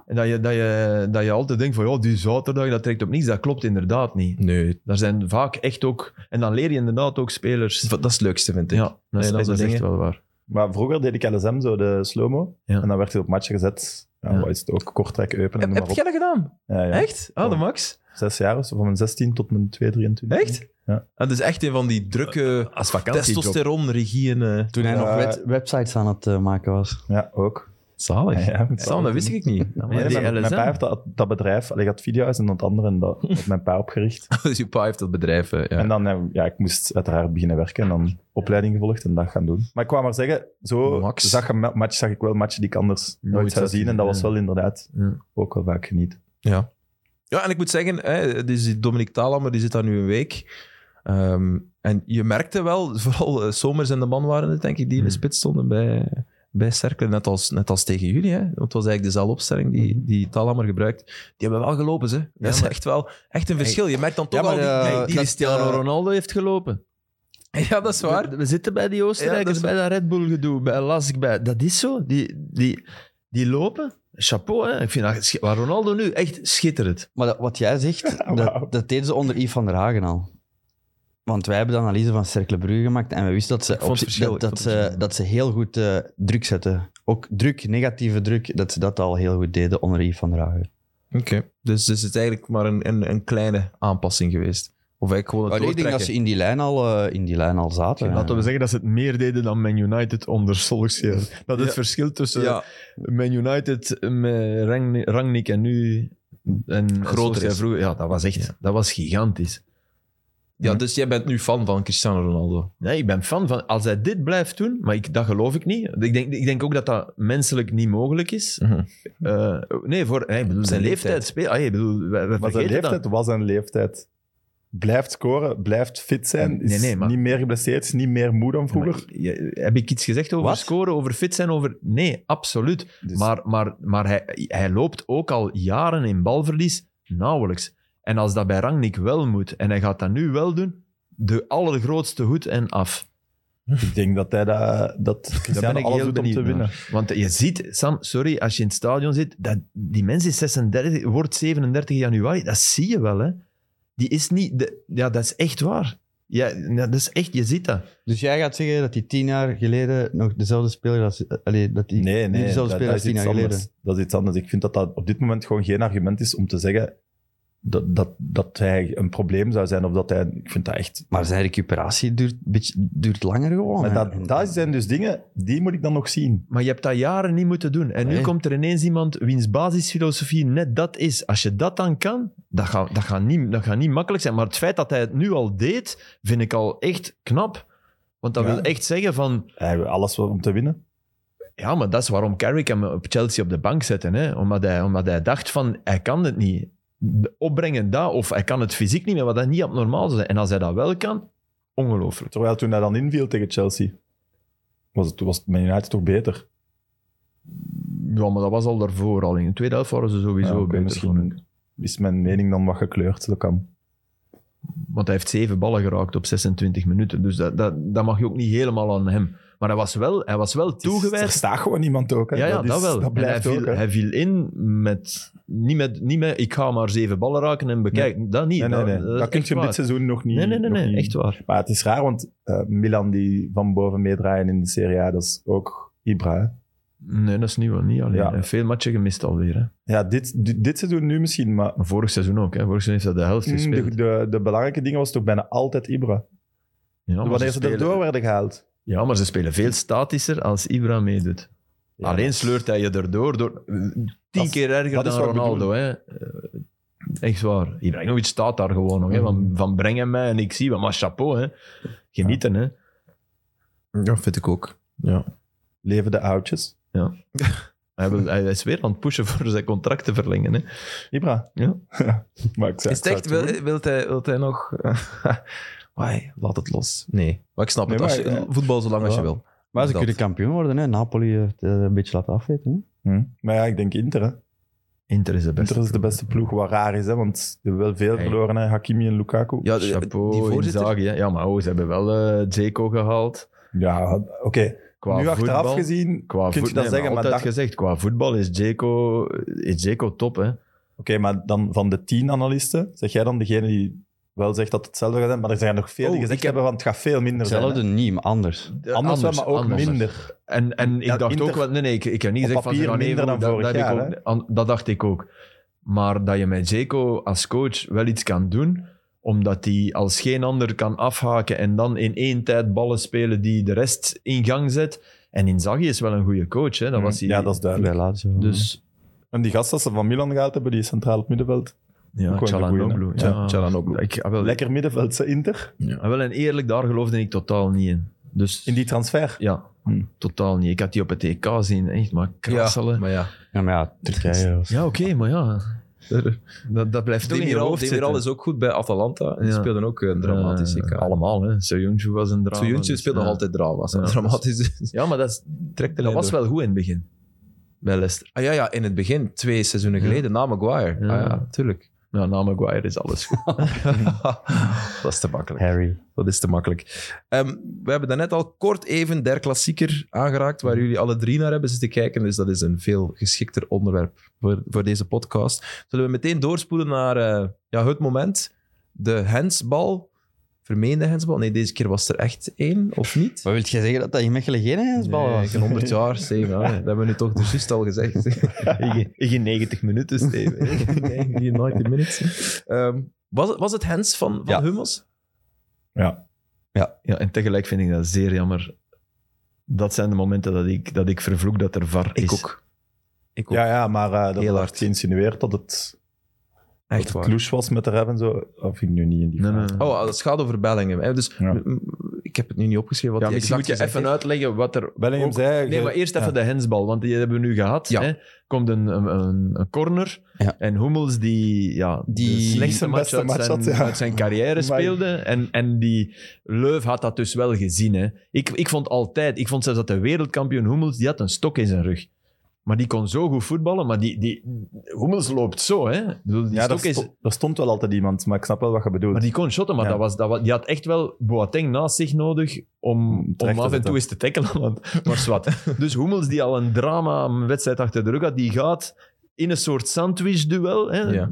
Speaker 2: En dat je, dat je, dat je altijd denkt van, ja, die zaterdag, dat trekt op niets. Dat klopt inderdaad niet.
Speaker 1: Nee,
Speaker 2: Daar zijn vaak echt ook... En dan leer je inderdaad ook spelers...
Speaker 1: dat is het leukste, vind ik.
Speaker 2: ja, dat,
Speaker 1: Nee,
Speaker 2: is,
Speaker 1: dat
Speaker 2: dat is
Speaker 1: soort
Speaker 2: echt
Speaker 1: dingen.
Speaker 2: wel waar.
Speaker 3: Maar vroeger deed ik LSM zo de slow-mo.
Speaker 2: Ja.
Speaker 3: En dan werd hij op matchen gezet. Ja,
Speaker 2: Ja.
Speaker 3: wat Is het ook Kortrijk, Eupen en
Speaker 1: Heb,
Speaker 3: noem
Speaker 1: heb
Speaker 3: maar op.
Speaker 1: jij dat gedaan?
Speaker 3: Ja, ja.
Speaker 1: Echt? Ah, de Max?
Speaker 3: Zes jaar, dus van mijn 16 tot mijn 2, 23.
Speaker 1: Echt?
Speaker 3: Ja.
Speaker 1: Dat is echt een van die
Speaker 3: Eh,
Speaker 1: drukke
Speaker 2: Als vakantiejob.
Speaker 1: testosteron-regieën. eh.
Speaker 4: Toen hij
Speaker 3: Ja.
Speaker 4: nog wet- websites aan het eh, maken was.
Speaker 3: Ja, ook.
Speaker 1: Zalig.
Speaker 3: Ja, ja, moet
Speaker 1: Sam, dat
Speaker 3: ook
Speaker 1: wist
Speaker 3: doen.
Speaker 1: ik niet.
Speaker 2: Ja,
Speaker 3: Nee,
Speaker 2: maar die
Speaker 3: mijn, mijn
Speaker 2: LSM.
Speaker 3: pa heeft dat, dat bedrijf, allee, ik had video's en dat andere, en dat had mijn pa opgericht.
Speaker 1: (laughs) Dus je pa heeft dat bedrijf. eh, ja.
Speaker 3: En dan, eh, ja, ik moest uiteraard beginnen werken en dan opleiding gevolgd en dat gaan doen. Maar ik kwam maar zeggen, zo
Speaker 1: Max.
Speaker 3: zag, je ma- match, zag ik wel matchen die ik anders nooit,
Speaker 2: Nooit
Speaker 3: zou
Speaker 2: had
Speaker 3: zien. En dat was
Speaker 2: gezien,
Speaker 3: wel inderdaad
Speaker 2: Ja.
Speaker 3: ook wel vaak geniet.
Speaker 1: Ja, en ik moet zeggen, hè, dus die Dominic Thalammer die zit daar nu een week. Ehm, en je merkte wel, (laughs) vooral eh, Somers en de man waren het, denk ik, die in de
Speaker 2: Hmm.
Speaker 1: spits stonden bij, bij Cercle, net als, net als tegen jullie. Hè? Want het was eigenlijk dezelfde opstelling
Speaker 4: Hmm.
Speaker 1: die, die Thalammer gebruikt. Die hebben wel gelopen, ze. Dat is
Speaker 2: maar-
Speaker 1: echt wel echt een verschil. Je merkt dan toch
Speaker 4: Ja, maar,
Speaker 1: al die...
Speaker 4: eh,
Speaker 1: die-
Speaker 4: dat-
Speaker 2: Cristiano Ronaldo heeft gelopen.
Speaker 1: (laughs) ja, dat is waar.
Speaker 2: We, we zitten bij die Oostenrijkers,
Speaker 1: Ja, dat is-
Speaker 2: bij dat Red Bull gedoe, bij Lask, bij... Dat is zo. Die, die, die lopen. Chapeau, hè. Ik vind dat... schi- Maar Ronaldo nu, echt schitterend.
Speaker 4: Maar dat- wat jij (laughs) zegt,
Speaker 3: wauw.
Speaker 4: dat, dat deden ze onder Yves van der Hagen al. Want wij hebben de analyse van Cercle Brugge gemaakt en we wisten dat ze,
Speaker 1: vond het verschil,
Speaker 4: dat,
Speaker 1: ik
Speaker 4: dat
Speaker 1: vond het
Speaker 4: ze,
Speaker 1: verschil.
Speaker 4: dat ze heel goed eh, druk zetten. Ook druk, negatieve druk, dat ze dat al heel goed deden onder Yves van der Hagen.
Speaker 1: Oké. Dus, dus het is eigenlijk maar een, een, een kleine aanpassing geweest. Of eigenlijk gewoon het
Speaker 4: Maar ik denk dat
Speaker 1: doortrekken.
Speaker 4: ze in die lijn al, eh, in die lijn al zaten.
Speaker 2: Laten we zeggen dat ze het meer deden dan Man United onder Solskjaer. Dat is
Speaker 1: Ja.
Speaker 2: het verschil tussen
Speaker 4: eh,
Speaker 1: Ja,
Speaker 2: Man United met Rang- Rangnick en nu... En
Speaker 1: Groter
Speaker 2: Solskjaer
Speaker 1: is.
Speaker 2: vroeger. Ja, dat was echt... Dat was gigantisch.
Speaker 1: ja, dus jij bent nu fan van Cristiano Ronaldo.
Speaker 2: Nee, ik ben fan van... Als hij dit blijft doen... Maar ik, dat geloof ik niet. Ik denk, ik denk ook dat dat menselijk niet mogelijk is. Eh, nee, voor nee, ik bedoel, zijn
Speaker 1: Mhm. Zijn
Speaker 2: leeftijd.
Speaker 1: leeftijd.
Speaker 2: speel- ah, ik bedoel, we, we
Speaker 3: Maar zijn
Speaker 2: vergeten dat.
Speaker 3: leeftijd was een leeftijd. Blijft scoren, blijft fit zijn, is
Speaker 2: Nee, nee, maar-
Speaker 3: niet meer geblesseerd, is niet meer moe dan vroeger.
Speaker 2: Maar, je- heb ik iets gezegd over
Speaker 3: Wat?
Speaker 2: scoren, over fit zijn? Over... Nee, absoluut.
Speaker 3: Dus-
Speaker 2: Maar, maar, maar hij, hij loopt ook al jaren in balverlies nauwelijks. En als dat bij Rangnick wel moet, en hij gaat dat nu wel doen, de allergrootste hoed en af.
Speaker 3: ik denk dat hij dat, dat
Speaker 2: Daar
Speaker 3: Cristiano
Speaker 2: ben ik
Speaker 3: alles
Speaker 2: heel
Speaker 3: doet om
Speaker 2: benieuwd
Speaker 3: te
Speaker 2: naar.
Speaker 3: winnen.
Speaker 2: Want je ziet, Sam, sorry, als je in het stadion zit, dat, die mens is 36, wordt 37 januari, dat zie je wel, hè. Die is niet... de- ja, dat is echt waar. Ja, dat is echt, je ziet dat.
Speaker 4: Dus jij gaat zeggen dat die tien jaar geleden nog dezelfde speler als... eh, allee, dat die
Speaker 3: Nee,
Speaker 4: niet
Speaker 3: nee,
Speaker 4: dezelfde
Speaker 3: dat,
Speaker 4: speler
Speaker 3: dat
Speaker 4: als
Speaker 3: is
Speaker 4: tien
Speaker 3: iets
Speaker 4: jaar geleden.
Speaker 3: anders. Dat is iets anders. Ik vind dat dat op dit moment gewoon geen argument is om te zeggen dat, dat, dat hij een probleem zou zijn. Of dat hij, ik vind dat echt...
Speaker 4: Maar zijn recuperatie duurt, beetje- duurt langer gewoon.
Speaker 3: Maar
Speaker 4: hè.
Speaker 3: dat, dat zijn dus dingen, die moet ik dan nog zien.
Speaker 2: Maar je hebt dat jaren niet moeten doen. En nu
Speaker 4: Nee.
Speaker 2: komt er ineens iemand wiens basisfilosofie net dat is. Als je dat dan kan, dat gaat dat gaat niet, dat gaat niet makkelijk zijn. Maar het feit dat hij het nu al deed, vind ik al echt knap. Want dat
Speaker 3: Ja.
Speaker 2: wil echt zeggen van...
Speaker 3: Hij wil alles wel om te winnen.
Speaker 2: Ja, maar dat is waarom Carrick hem op Chelsea op de bank zette. Hè? Omdat, hij, omdat hij dacht van, hij kan het niet. De- Opbrengen dat, of hij kan het fysiek niet meer, wat dat niet abnormaal zou zijn. En als hij dat wel kan, ongelooflijk.
Speaker 3: Terwijl toen hij dan inviel tegen Chelsea, was het, was het Man United toch beter?
Speaker 2: Ja, maar dat was al daarvoor al. In de tweede helft waren ze sowieso
Speaker 3: Ja, oké,
Speaker 2: beter. vond ik.
Speaker 3: Misschien is mijn mening dan wat gekleurd. Dat kan.
Speaker 2: Want hij heeft zeven ballen geraakt op 26 minuten. Dus dat, dat, dat mag je ook niet helemaal aan hem. Maar hij was wel, hij was wel
Speaker 3: Er
Speaker 2: toegewijd.
Speaker 3: staat gewoon iemand ook. Hè?
Speaker 2: Ja, ja, dat,
Speaker 3: is-
Speaker 2: wel.
Speaker 3: Dat
Speaker 2: En hij,
Speaker 3: blijft
Speaker 2: viel,
Speaker 3: ook. hè.
Speaker 2: hij viel in met niet, met... niet met ik ga maar zeven ballen raken en bekijk. Dat niet.
Speaker 3: Nee, nee, nee.
Speaker 2: Dat,
Speaker 3: Dat,
Speaker 2: is
Speaker 3: kun
Speaker 2: echt
Speaker 3: je hem
Speaker 2: waar.
Speaker 3: dit seizoen nog niet.
Speaker 2: Nee, nee, nee,
Speaker 3: nog
Speaker 2: nee,
Speaker 3: niet-
Speaker 2: echt waar.
Speaker 3: Maar het is raar, want eh, Milan die van boven meedraaien in de Serie A, dat is ook Ibra. hè.
Speaker 2: Nee, dat is niet wat niet alleen.
Speaker 3: Ja.
Speaker 2: Hij heeft Veel matchen gemist alweer. Hè.
Speaker 3: Ja, dit, dit, dit seizoen nu misschien, maar
Speaker 2: Maar vorig seizoen ook. Hè. Vorig seizoen heeft hij de helft
Speaker 3: mm,
Speaker 2: gespeeld.
Speaker 3: de, de, de belangrijke dingen was toch bijna altijd Ibra.
Speaker 2: ja, maar
Speaker 3: Wanneer ze
Speaker 2: spelen-
Speaker 3: erdoor werden gehaald.
Speaker 2: Ja, maar ze spelen veel statischer als Ibra meedoet. Alleen sleurt hij je erdoor door tien
Speaker 3: Dat-
Speaker 2: keer erger
Speaker 3: dat is
Speaker 2: dan
Speaker 3: wat ik
Speaker 2: Ronaldo. Hè. Eh, Echt waar. Ibrahimovic staat daar gewoon nog. Hè. Van, van breng hem mij en ik zie hem. Maar chapeau, hè. Genieten, hè.
Speaker 1: Ja, vind ik ook. Ja.
Speaker 3: Leven de oudjes.
Speaker 2: Hij,
Speaker 3: (laughs)
Speaker 2: wil- hij is weer aan het pushen voor zijn contract te verlengen. Hè.
Speaker 3: Ibra.
Speaker 2: Ja.
Speaker 3: (laughs) maar ik zei,
Speaker 1: Is het echt, wil, wilt, hij, wilt hij nog... (laughs) Wai, laat het los. Nee, maar ik snap
Speaker 3: Nee,
Speaker 1: het. Als
Speaker 3: maar,
Speaker 1: je-
Speaker 3: eh,
Speaker 1: voetbal zo lang als je
Speaker 3: ja.
Speaker 1: wil.
Speaker 4: Maar ze
Speaker 1: Dat.
Speaker 4: kunnen kampioen worden, hè. Napoli heeft eh, een beetje laten afweten. Hè.
Speaker 3: Hm. Maar ja, ik denk Inter. Hè.
Speaker 2: Inter is de beste.
Speaker 3: Inter is de beste ploeg, wat raar is, hè, want we hebben wel veel
Speaker 2: Hey.
Speaker 3: verloren. Hè. Hakimi en Lukaku.
Speaker 1: Ja, de-
Speaker 2: Chapeau,
Speaker 1: die voorzitter...
Speaker 2: Inzaghi, hè. Ja, maar oh, ze hebben wel eh Dzeko gehaald.
Speaker 3: Ja, oké.
Speaker 2: Qua
Speaker 3: nu
Speaker 2: voetbal,
Speaker 3: achteraf gezien
Speaker 2: Qua
Speaker 3: kun je
Speaker 2: voet-
Speaker 3: dat
Speaker 2: nee,
Speaker 3: zeggen, maar,
Speaker 2: altijd
Speaker 3: dat-
Speaker 2: gezegd, qua voetbal is Dzeko, is Dzeko top, hè.
Speaker 3: Oké, maar dan van de tien analisten, zeg jij dan degene die wel zegt dat het hetzelfde gaat zijn, maar er zijn er nog veel
Speaker 1: Oh,
Speaker 3: die gezegd
Speaker 1: ik heb-
Speaker 3: hebben van het gaat veel minder
Speaker 4: Hetzelfde
Speaker 3: zijn.
Speaker 4: niet, maar anders.
Speaker 3: hè. Anders, wel, maar ook
Speaker 2: anders.
Speaker 3: minder.
Speaker 2: En, en ik
Speaker 3: Ja,
Speaker 2: dacht
Speaker 3: Inter-
Speaker 2: ook wel... Nee, nee, ik, ik heb niet
Speaker 3: Op
Speaker 2: gezegd van... ze
Speaker 3: papier
Speaker 2: gaan even-
Speaker 3: minder dan
Speaker 2: dat,
Speaker 3: vorig
Speaker 2: dat heb ik
Speaker 3: jaar,
Speaker 2: ook- an- dat dacht ik ook. Maar dat je met Zeko als coach wel iets kan doen, omdat hij als geen ander kan afhaken en dan in één tijd ballen spelen die de rest in gang zet. En Inzaghi is wel een goede coach, hè. Dat was hij...
Speaker 3: Mhm. Ja, dat is duidelijk.
Speaker 4: Bij
Speaker 3: Mhm.
Speaker 4: Lazio.
Speaker 2: Dus...
Speaker 3: En die gast dat ze van Milan gehaald hebben, die is centraal op middenveld.
Speaker 2: Ja,
Speaker 3: Ook wel een
Speaker 2: Çalhanoğlu.
Speaker 3: goeie, hè.
Speaker 2: Ja,
Speaker 1: Çalhanoğlu.
Speaker 2: Ik, ah, wel,
Speaker 3: Lekker middenveld, ze Inter.
Speaker 2: ah, wel, en eerlijk, daar geloofde ik totaal niet in. Dus...
Speaker 3: In die transfer.
Speaker 2: Ja,
Speaker 3: Hm.
Speaker 2: totaal niet. Ik had die op het EK zien, echt, maar krasselen.
Speaker 1: Ja, maar ja.
Speaker 4: Ja, maar ja, Turkije was...
Speaker 2: Ja, oké, maar ja. Dat, dat blijft toch in je
Speaker 1: Demiral,
Speaker 2: hoofd
Speaker 1: Demiral
Speaker 2: zitten.
Speaker 1: is ook goed bij Atalanta. En die
Speaker 2: Ja.
Speaker 1: speelden ook een dramatisch.
Speaker 2: Eh,
Speaker 1: EK.
Speaker 2: allemaal, hè. Soyuncu was een drama.
Speaker 1: Soyuncu
Speaker 2: dus,
Speaker 1: speelt nog
Speaker 2: ja.
Speaker 1: altijd drama's.
Speaker 2: Ja.
Speaker 1: Ja. Dramatisch.
Speaker 2: (laughs) Ja, maar dat, is,
Speaker 1: Trekt
Speaker 2: dat was wel goed in het begin. Bij Leicester.
Speaker 1: Ah ja, ja, in het begin, twee seizoenen
Speaker 2: Ja.
Speaker 1: geleden, na Maguire.
Speaker 2: Ja.
Speaker 1: Ah ja, tuurlijk.
Speaker 2: Ja, na Maguire is alles goed. (laughs)
Speaker 1: Dat is te makkelijk.
Speaker 4: Harry.
Speaker 1: Dat is te makkelijk. Ehm, we hebben daarnet al kort even der klassieker aangeraakt, waar jullie alle drie naar hebben zitten kijken. Dus dat is een veel geschikter onderwerp voor, voor deze podcast. Zullen we meteen doorspoelen naar eh, ja, het moment? De hensbal. Vermeende hensbal. Nee, deze keer was er echt één, of
Speaker 4: (laughs)
Speaker 1: niet?
Speaker 4: Wat wil jij zeggen, dat dat in Mechelen geen hensbal
Speaker 1: Nee,
Speaker 4: was?
Speaker 1: ik een 100 jaar, Steven. Ah, nee, Dat hebben we nu toch dus juist al gezegd.
Speaker 2: Ik in 90 minuten, Steven.
Speaker 1: (laughs) nee, die 90 minutes. Ehm, was, het- was het Hens van, van
Speaker 4: Ja.
Speaker 1: Hummels?
Speaker 2: Ja, en tegelijk vind ik dat zeer jammer. Dat zijn de momenten dat ik, dat ik vervloek dat er VAR is.
Speaker 1: Ik ook. Ik ook.
Speaker 3: Ja, ja, maar eh, dat
Speaker 1: Heel
Speaker 3: werd
Speaker 1: hard.
Speaker 3: geïnsinueerd dat het
Speaker 1: Echt waar.
Speaker 3: kloes was met de ref en zo. Dat vind ik nu niet in die
Speaker 2: Nee,
Speaker 3: vraag.
Speaker 2: nee.
Speaker 1: Oh, dat gaat over Bellingham. Hè? Dus
Speaker 3: Ja.
Speaker 1: m- m- ik heb het nu niet opgeschreven. Wat
Speaker 2: ja,
Speaker 1: hij
Speaker 2: misschien moet
Speaker 1: exact
Speaker 2: je even
Speaker 1: gezegd heeft.
Speaker 2: uitleggen wat er
Speaker 3: Bellingham
Speaker 2: ook-
Speaker 3: zei...
Speaker 2: Nee, maar eerst even de hensbal, want die hebben we nu gehad.
Speaker 1: Ja.
Speaker 2: Hè? Komt een, een, een- een corner
Speaker 4: Ja.
Speaker 2: en Hummels die, ja,
Speaker 4: Die-
Speaker 2: de slechtste
Speaker 3: Zijn
Speaker 2: match
Speaker 3: beste
Speaker 2: uit,
Speaker 3: match
Speaker 2: zijn,
Speaker 3: had, ja.
Speaker 2: uit zijn carrière
Speaker 3: (laughs) Maar-
Speaker 2: speelde. En, en die Leuv had dat dus wel gezien. Hè? Ik, ik vond altijd, ik vond zelfs dat de wereldkampioen Hummels, die had een stok in zijn rug. Maar die kon zo goed voetballen, maar die, die, Hummels loopt zo. Hè? Ik bedoel, die
Speaker 3: Ja,
Speaker 2: stok
Speaker 3: daar,
Speaker 2: is,
Speaker 3: sto- daar stond wel altijd iemand, Dus maar ik snap wel wat je bedoelt.
Speaker 2: maar die kon shotten, maar
Speaker 3: Ja.
Speaker 2: dat was, dat was, die had echt wel Boateng naast zich nodig om,
Speaker 3: Om terecht
Speaker 2: om
Speaker 3: te
Speaker 2: af en
Speaker 3: zetten.
Speaker 2: toe eens te tackelen. (laughs) Want, maar zwart. dus Hummels, die al een drama een wedstrijd achter de rug had, die gaat in een soort sandwich-duel. Hè?
Speaker 1: Ja.
Speaker 4: Ja,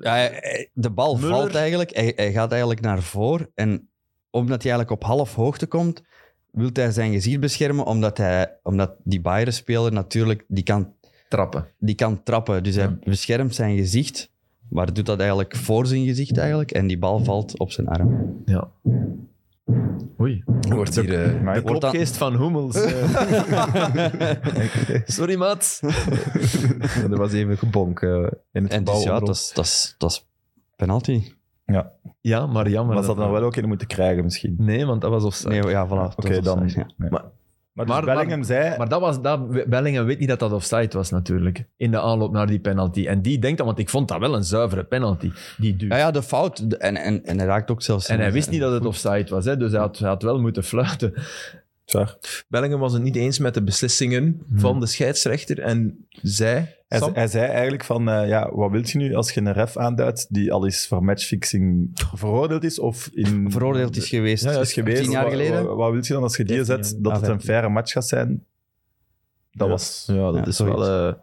Speaker 4: hij- hij- de bal
Speaker 2: Muller.
Speaker 4: valt eigenlijk. Hij, hij gaat eigenlijk naar voor. En omdat hij eigenlijk op half hoogte komt, wil hij zijn gezicht beschermen. Omdat, hij, omdat die Bayern-speler natuurlijk die kan,
Speaker 2: Trappen.
Speaker 4: die kan trappen. Dus hij beschermt zijn gezicht. Maar doet dat eigenlijk voor zijn gezicht eigenlijk. En die bal valt op zijn arm.
Speaker 2: Ja. Oei.
Speaker 1: Wordt hier, eh,
Speaker 3: Maar
Speaker 2: De
Speaker 3: ik-
Speaker 4: Wordt dat-
Speaker 2: klopgeest van Hummels.
Speaker 3: (laughs) dus
Speaker 2: eh. Sorry, maat.
Speaker 1: er was even gebonk eh, in het
Speaker 4: En
Speaker 1: gebouw.
Speaker 4: dus ja,
Speaker 1: onder
Speaker 4: dat
Speaker 1: ons.
Speaker 4: is, dat, is, dat is penalty.
Speaker 2: Ja, maar jammer.
Speaker 3: Maar ze hadden
Speaker 2: dat-
Speaker 3: er wel ook in moeten krijgen, misschien.
Speaker 2: Nee, want dat was offside.
Speaker 4: Nee, ja, voilà. dat
Speaker 3: Oké,
Speaker 4: is
Speaker 3: dan.
Speaker 4: offside, ja.
Speaker 3: Nee.
Speaker 1: Maar-
Speaker 3: maar, dus
Speaker 2: maar-
Speaker 3: Bellingham zei...
Speaker 2: Maar dat was, dat, Bellingham weet niet dat dat offside was natuurlijk. In de aanloop naar die penalty. En die denkt dan, want ik vond dat wel een zuivere penalty. Die duwt.
Speaker 4: Ja, ja, de fout. De- En, en, en hij raakt ook zelfs...
Speaker 2: En hij
Speaker 4: zijn-
Speaker 2: wist niet dat het offside was, hè? dus hij had, hij had wel moeten fluiten. (laughs)
Speaker 3: Zwaar.
Speaker 1: Bellingham was het niet eens met de beslissingen
Speaker 2: Hmm.
Speaker 1: van de scheidsrechter. En zij...
Speaker 3: Hij,
Speaker 1: Sam?
Speaker 3: hij zei eigenlijk van, eh, ja, wat wil je nu als je een ref aanduidt die al eens voor matchfixing veroordeeld is of in...
Speaker 4: Veroordeeld is geweest.
Speaker 3: Ja, ja, is geweest.
Speaker 4: Tien jaar
Speaker 3: Wat-
Speaker 4: geleden.
Speaker 3: Wat, wat, wil je dan als je die
Speaker 2: Dertien
Speaker 3: zet,
Speaker 2: jaar.
Speaker 3: dat
Speaker 4: Ah,
Speaker 3: het een
Speaker 4: vijftien.
Speaker 3: faire match gaat zijn? Dat
Speaker 1: Ja.
Speaker 3: was...
Speaker 1: Ja, dat
Speaker 4: Ja,
Speaker 1: is
Speaker 4: zoiets.
Speaker 1: wel... eh,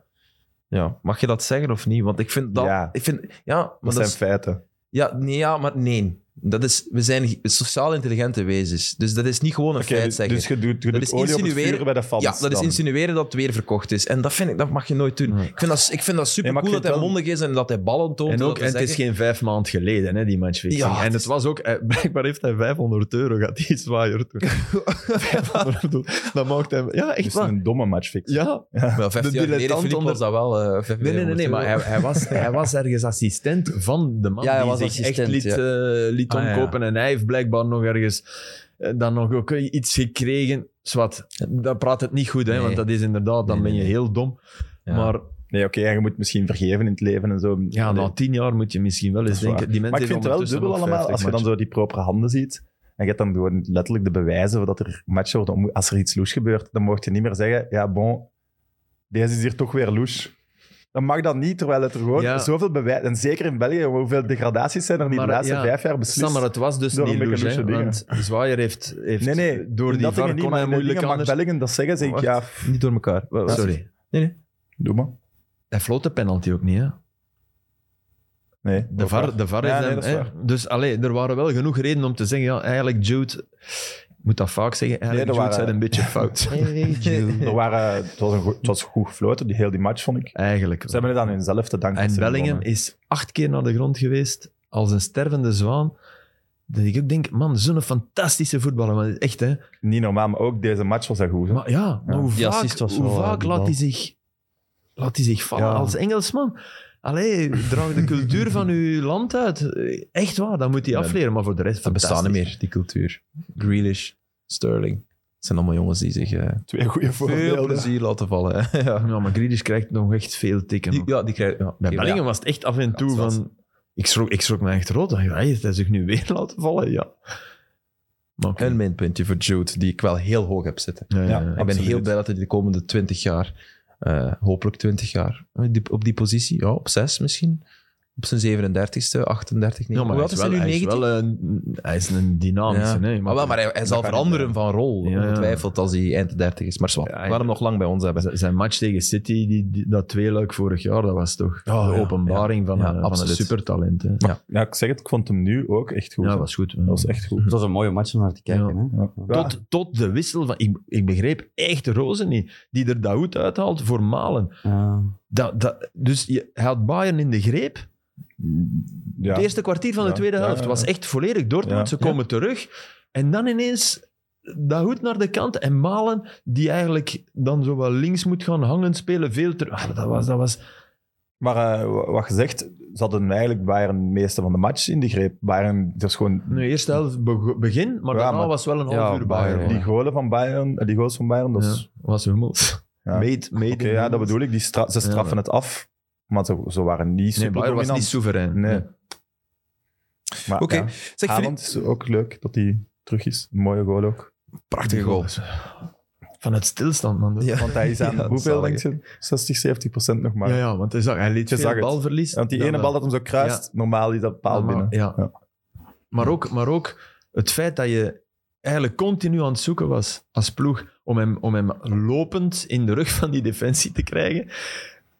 Speaker 1: ja, mag je dat zeggen of niet? Want ik vind dat...
Speaker 3: Ja.
Speaker 1: Ik vind, ja, maar
Speaker 3: Dat
Speaker 1: dat
Speaker 3: zijn
Speaker 1: is-
Speaker 3: feiten.
Speaker 1: ja, nee, ja, maar nee. Dat is, we zijn ge- sociaal intelligente wezens. Dus dat is niet gewoon een
Speaker 3: Oké,
Speaker 1: feit
Speaker 3: dus,
Speaker 1: zeggen.
Speaker 3: dus je doet, je doet
Speaker 1: is
Speaker 3: olie op het
Speaker 1: insinueren-
Speaker 3: vuur bij de fans.
Speaker 1: ja, dat is
Speaker 3: dan.
Speaker 1: insinueren dat het weer verkocht is. En dat, vind ik, dat mag je nooit doen.
Speaker 2: Nee.
Speaker 1: Ik, vind dat, ik vind dat super
Speaker 3: Nee, maar
Speaker 1: cool
Speaker 3: ik
Speaker 1: dat
Speaker 3: vind
Speaker 1: hij
Speaker 3: wel-
Speaker 1: mondig is en dat hij ballen toont.
Speaker 2: En,
Speaker 1: dat
Speaker 2: ook,
Speaker 1: we
Speaker 2: en het is
Speaker 1: zeggen-
Speaker 2: geen vijf maanden geleden, hè, die matchfixing.
Speaker 1: Ja,
Speaker 2: en het was ook, eh, blijkbaar heeft hij 500 euro, gaat hij zwaaier
Speaker 1: (laughs)
Speaker 2: doen. 500 euro. Dan mocht hij, ja,
Speaker 3: Dus
Speaker 2: echt waar.
Speaker 3: een domme matchfix.
Speaker 2: Ja,
Speaker 1: Wel, 15
Speaker 2: de
Speaker 1: jaar geleden,
Speaker 2: dilettant
Speaker 1: Philippe,
Speaker 2: onder-
Speaker 1: was dat wel. eh, 15
Speaker 2: nee, nee, nee, nee,
Speaker 1: jaar
Speaker 2: maar hij, hij, was, hij was ergens assistent van de man
Speaker 4: Ja, hij
Speaker 2: die
Speaker 4: was
Speaker 2: zich echt
Speaker 4: assistent,
Speaker 2: liet,
Speaker 4: ja.
Speaker 2: eh, liet
Speaker 1: Ah, ja.
Speaker 2: omkopen. En hij heeft blijkbaar nog ergens eh, dan nog ook eh, iets gekregen. Zwat, dan praat het niet goed, hè,
Speaker 1: Nee.
Speaker 2: want dat is inderdaad, dan
Speaker 1: Nee,
Speaker 2: ben je
Speaker 1: nee,
Speaker 2: heel dom.
Speaker 1: Ja.
Speaker 2: Maar
Speaker 3: Nee, oké, en je moet misschien vergeven in het leven en zo.
Speaker 2: ja,
Speaker 3: Allee.
Speaker 2: na tien jaar moet je misschien wel eens
Speaker 3: is waar.
Speaker 2: denken... Die
Speaker 3: Maar
Speaker 2: mensen
Speaker 3: ik vind het wel dubbel allemaal, als je dan zo die propere handen ziet, en je hebt dan gewoon letterlijk de bewijzen dat er matchen worden omge- Als er iets loes gebeurt, dan mocht je niet meer zeggen, ja, bon, deze is hier toch weer loes. Dan mag dat niet, terwijl het er gewoon
Speaker 2: Ja.
Speaker 3: zoveel bewijzen... En zeker in België, hoeveel degradaties zijn er die
Speaker 2: Maar,
Speaker 3: de laatste
Speaker 2: ja,
Speaker 3: vijf jaar
Speaker 2: Sam,
Speaker 3: beslist.
Speaker 2: maar het was dus
Speaker 3: Door
Speaker 2: niet
Speaker 3: een beetje
Speaker 2: loes, hè,
Speaker 3: loesje dingen.
Speaker 2: want Zwaaier heeft, heeft
Speaker 3: nee, nee,
Speaker 2: door die
Speaker 3: dat
Speaker 2: var kon
Speaker 3: dingen niet,
Speaker 2: hij
Speaker 3: maar in de
Speaker 2: moeilijk
Speaker 3: dingen mag
Speaker 2: anders...
Speaker 3: Belgen dat zeggen, zeg ik,
Speaker 1: Wacht.
Speaker 3: ja,
Speaker 1: geleden. Niet door elkaar. Wel, Sorry.
Speaker 2: Sorry,
Speaker 3: doe maar.
Speaker 2: hij floot de penalty ook niet, hè?
Speaker 3: Nee,
Speaker 2: De VAR, de VAR is
Speaker 3: Ja, nee,
Speaker 2: dan-
Speaker 3: dat is
Speaker 2: hè.
Speaker 3: waar.
Speaker 2: Dus allee, er waren wel genoeg redenen om te zeggen, ja, eigenlijk Jude... Ik moet dat vaak zeggen, eigenlijk
Speaker 3: Nee, er
Speaker 2: Jude
Speaker 3: waren-
Speaker 2: zei een beetje
Speaker 3: (laughs)
Speaker 2: fout. (laughs)
Speaker 3: Er waren, het, was een goed, het was goed gefloten, die, heel die match, vond ik.
Speaker 2: eigenlijk.
Speaker 3: Ze hebben het aan hunzelf te danken. dat
Speaker 2: En
Speaker 3: ze
Speaker 2: Bellingham
Speaker 3: gewonnen.
Speaker 2: is acht keer naar de grond geweest, als een stervende zwaan. Dat ik ook denk, man, zo'n fantastische voetballer. Maar echt, hè.
Speaker 3: Niet normaal, maar ook deze match was dat goed. hè.
Speaker 2: Maar ja, maar
Speaker 3: Ja.
Speaker 2: hoe
Speaker 4: Die
Speaker 2: vaak,
Speaker 4: assist was
Speaker 2: hoe
Speaker 4: wel,
Speaker 2: vaak
Speaker 4: die
Speaker 2: laat,
Speaker 4: bal.
Speaker 2: hij zich, laat hij zich vallen
Speaker 3: Ja.
Speaker 2: als Engelsman? Allee, draag de cultuur van uw land uit. Echt waar, dat moet hij
Speaker 1: Ja.
Speaker 2: afleren. Maar voor de rest,
Speaker 1: Dat bestaat niet
Speaker 2: fantastisch.
Speaker 1: meer, die cultuur. Grealish, Sterling. Het zijn allemaal jongens die zich eh,
Speaker 3: Twee goede
Speaker 1: veel
Speaker 3: voorbeelden.
Speaker 1: plezier laten vallen. hè. (laughs) ja.
Speaker 2: Ja, maar Grealish krijgt nog echt veel tikken.
Speaker 1: Die,
Speaker 2: man.
Speaker 1: ja, die krijgen... Ja,
Speaker 2: Bij
Speaker 1: oké,
Speaker 2: Bellingham was het echt af en toe
Speaker 1: Ja, het was-
Speaker 2: van... Ik schrok, ik schrok me echt rood. Ik dacht, Hij heeft hij zich nu weer (laughs) laten vallen, ja. Maar oké.
Speaker 1: Een minpuntje voor Jude, die ik wel heel hoog heb zitten.
Speaker 2: Ja, ja,
Speaker 3: Ja,
Speaker 2: ja.
Speaker 1: Ik ben
Speaker 3: Absoluut.
Speaker 1: heel blij dat hij de komende 20 jaar, eh, hopelijk 20 jaar, eh, die- op die positie, ja, op 6 misschien, op zijn 37ste, 38, 39.
Speaker 2: Ja, maar
Speaker 1: Hoe
Speaker 2: hij
Speaker 1: oud
Speaker 2: is,
Speaker 1: is
Speaker 2: wel,
Speaker 1: hij nu?
Speaker 2: hij, is
Speaker 1: 19?
Speaker 2: wel een, hij is een
Speaker 1: Ja.
Speaker 2: dynamische. hè. Je
Speaker 1: Maar, wel,
Speaker 2: mag-
Speaker 1: maar hij, hij zal
Speaker 3: kan
Speaker 1: veranderen
Speaker 3: niet,
Speaker 1: van rol,
Speaker 2: Ja, ja.
Speaker 1: ongetwijfeld, als hij eind 30 is. Maar zwart,
Speaker 2: Ja,
Speaker 1: we
Speaker 2: hij-
Speaker 1: gaan hem nog lang bij ons hebben.
Speaker 2: Z- Zijn match tegen City, die, die, dat tweeluik vorig jaar, dat was toch
Speaker 1: ja.
Speaker 3: Oh,
Speaker 2: de openbaring van,
Speaker 1: Ja,
Speaker 2: een, van een
Speaker 1: absoluut.
Speaker 2: supertalent. Hè.
Speaker 3: Ja, ik zeg het, ik vond hem nu ook echt goed.
Speaker 2: Ja,
Speaker 3: hè.
Speaker 2: dat was goed.
Speaker 3: Dat was echt goed.
Speaker 4: Het was een mooie match om naar te kijken.
Speaker 2: Ja.
Speaker 4: Hè?
Speaker 3: Ja.
Speaker 2: Tot, tot de wissel van... Ik, ik begreep echt Rozen niet, die er Daoud uithaalt voor Malen.
Speaker 4: Ja.
Speaker 2: Dat, dat, dus je, hij had Bayern in de greep.
Speaker 3: Ja.
Speaker 2: Het eerste kwartier van de
Speaker 3: Ja.
Speaker 2: tweede
Speaker 3: Ja,
Speaker 2: helft
Speaker 3: ja, ja.
Speaker 2: was echt volledig Dortmund.
Speaker 3: Ja.
Speaker 2: Ze komen terug en dan ineens Dahoud naar de kant en Malen, die eigenlijk dan zo wel links moet gaan hangen, spelen veel terug. Ah, dat was, dat was...
Speaker 3: Maar eh, wa- wat gezegd, ze hadden eigenlijk Bayern de meeste van de match in de greep. Bayern, dus gewoon...
Speaker 2: De eerste helft be- begin, maar
Speaker 3: Ja,
Speaker 2: daarna
Speaker 3: maar-
Speaker 2: was wel een
Speaker 4: Ja,
Speaker 2: half uur Bayern.
Speaker 4: Bayern,
Speaker 2: hè.
Speaker 3: Die golen van Bayern, eh, die goals van Bayern, dat
Speaker 2: Ja,
Speaker 3: is...
Speaker 2: was Hummels.
Speaker 3: Ja.
Speaker 2: Made, made
Speaker 3: Oké,
Speaker 2: in
Speaker 3: ja, dat
Speaker 2: Hummels.
Speaker 3: bedoel ik. Die stra- ze straffen
Speaker 2: Ja.
Speaker 3: het af, maar ze, ze waren niet
Speaker 2: Nee,
Speaker 3: super
Speaker 2: Bayern was niet soeverein.
Speaker 3: Nee.
Speaker 2: Nee.
Speaker 3: Maar
Speaker 1: Oké,
Speaker 3: ja,
Speaker 1: zeg
Speaker 3: Haaland
Speaker 1: Filip,
Speaker 3: is ook leuk dat hij terug is. Een mooie goal ook.
Speaker 1: prachtige goal.
Speaker 2: eh, Van het stilstand, man. Ja,
Speaker 1: Ja.
Speaker 3: Want hij is aan (laughs)
Speaker 1: Ja, dat
Speaker 3: hoeveel,
Speaker 1: zalig,
Speaker 3: denk je? 60, 70 procent nog maar.
Speaker 2: ja, want hij, zag, hij liet
Speaker 3: Je
Speaker 2: veel
Speaker 3: zag het.
Speaker 2: balverlies.
Speaker 3: Want die
Speaker 2: Dan
Speaker 3: ene
Speaker 2: wel.
Speaker 3: bal dat hem zo kruist, normaal is dat paal
Speaker 2: Maar-
Speaker 3: binnen.
Speaker 2: Ja.
Speaker 3: Ja.
Speaker 2: Maar, ook, maar ook het feit dat je eigenlijk continu aan het zoeken was als ploeg om hem, om hem lopend in de rug van die defensie te krijgen.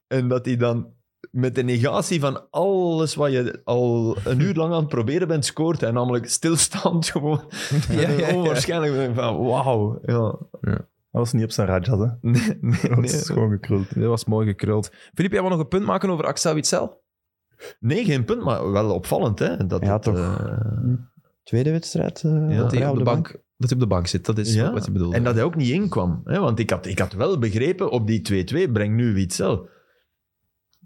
Speaker 2: En dat hij dan met de negatie van alles wat je al een uur lang aan het proberen bent, scoort. En namelijk stilstaand gewoon.
Speaker 1: ja, ja.
Speaker 2: Onwaarschijnlijk ben ik van, wauw. Ja.
Speaker 3: Dat was niet op zijn Rajas, hè.
Speaker 2: Nee, nee,
Speaker 3: Dat
Speaker 2: nee.
Speaker 3: is gewoon
Speaker 1: (laughs)
Speaker 3: gekruld.
Speaker 1: Dat was mooi gekruld. Filip, jij wil nog een punt maken over Axel Witsel?
Speaker 2: Nee, geen punt, maar wel opvallend. Hè? Dat
Speaker 4: Ja,
Speaker 2: het,
Speaker 4: toch.
Speaker 2: eh,
Speaker 4: Tweede wedstrijd. eh,
Speaker 2: Ja.
Speaker 1: Dat hij
Speaker 4: vrij
Speaker 1: op de bank, dat hij op de bank zit, dat is
Speaker 2: Ja,
Speaker 1: wat je bedoelde.
Speaker 2: En dat hij ook niet inkwam. Hè? Want ik had, ik had wel begrepen, op die 2-2 breng nu Witzel.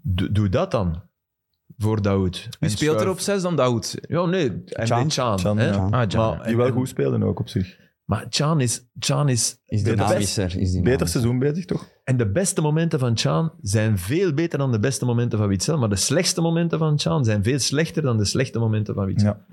Speaker 2: Doe, doe dat dan. Voor Daoud.
Speaker 1: Wie
Speaker 2: En
Speaker 1: speelt er op
Speaker 2: schuif-
Speaker 1: 6 dan Daoud?
Speaker 2: Ja, nee. En
Speaker 4: Chan.
Speaker 2: Chan. Chan,
Speaker 3: Chan,
Speaker 2: hè?
Speaker 3: ja.
Speaker 4: Ja.
Speaker 1: Ah, ja.
Speaker 2: Maar,
Speaker 3: Die wel
Speaker 2: en-
Speaker 3: goed spelen ook op zich.
Speaker 2: Maar Chan is, Chan is...
Speaker 4: Is
Speaker 3: Beter-
Speaker 4: dynamischer. Is dynamischer.
Speaker 3: Beter seizoen bezig, toch?
Speaker 2: En de beste momenten van Chan zijn veel beter dan de beste momenten van Witzel. Maar de slechtste momenten van Chan zijn veel slechter dan de slechte momenten van Witzel.
Speaker 3: Ja.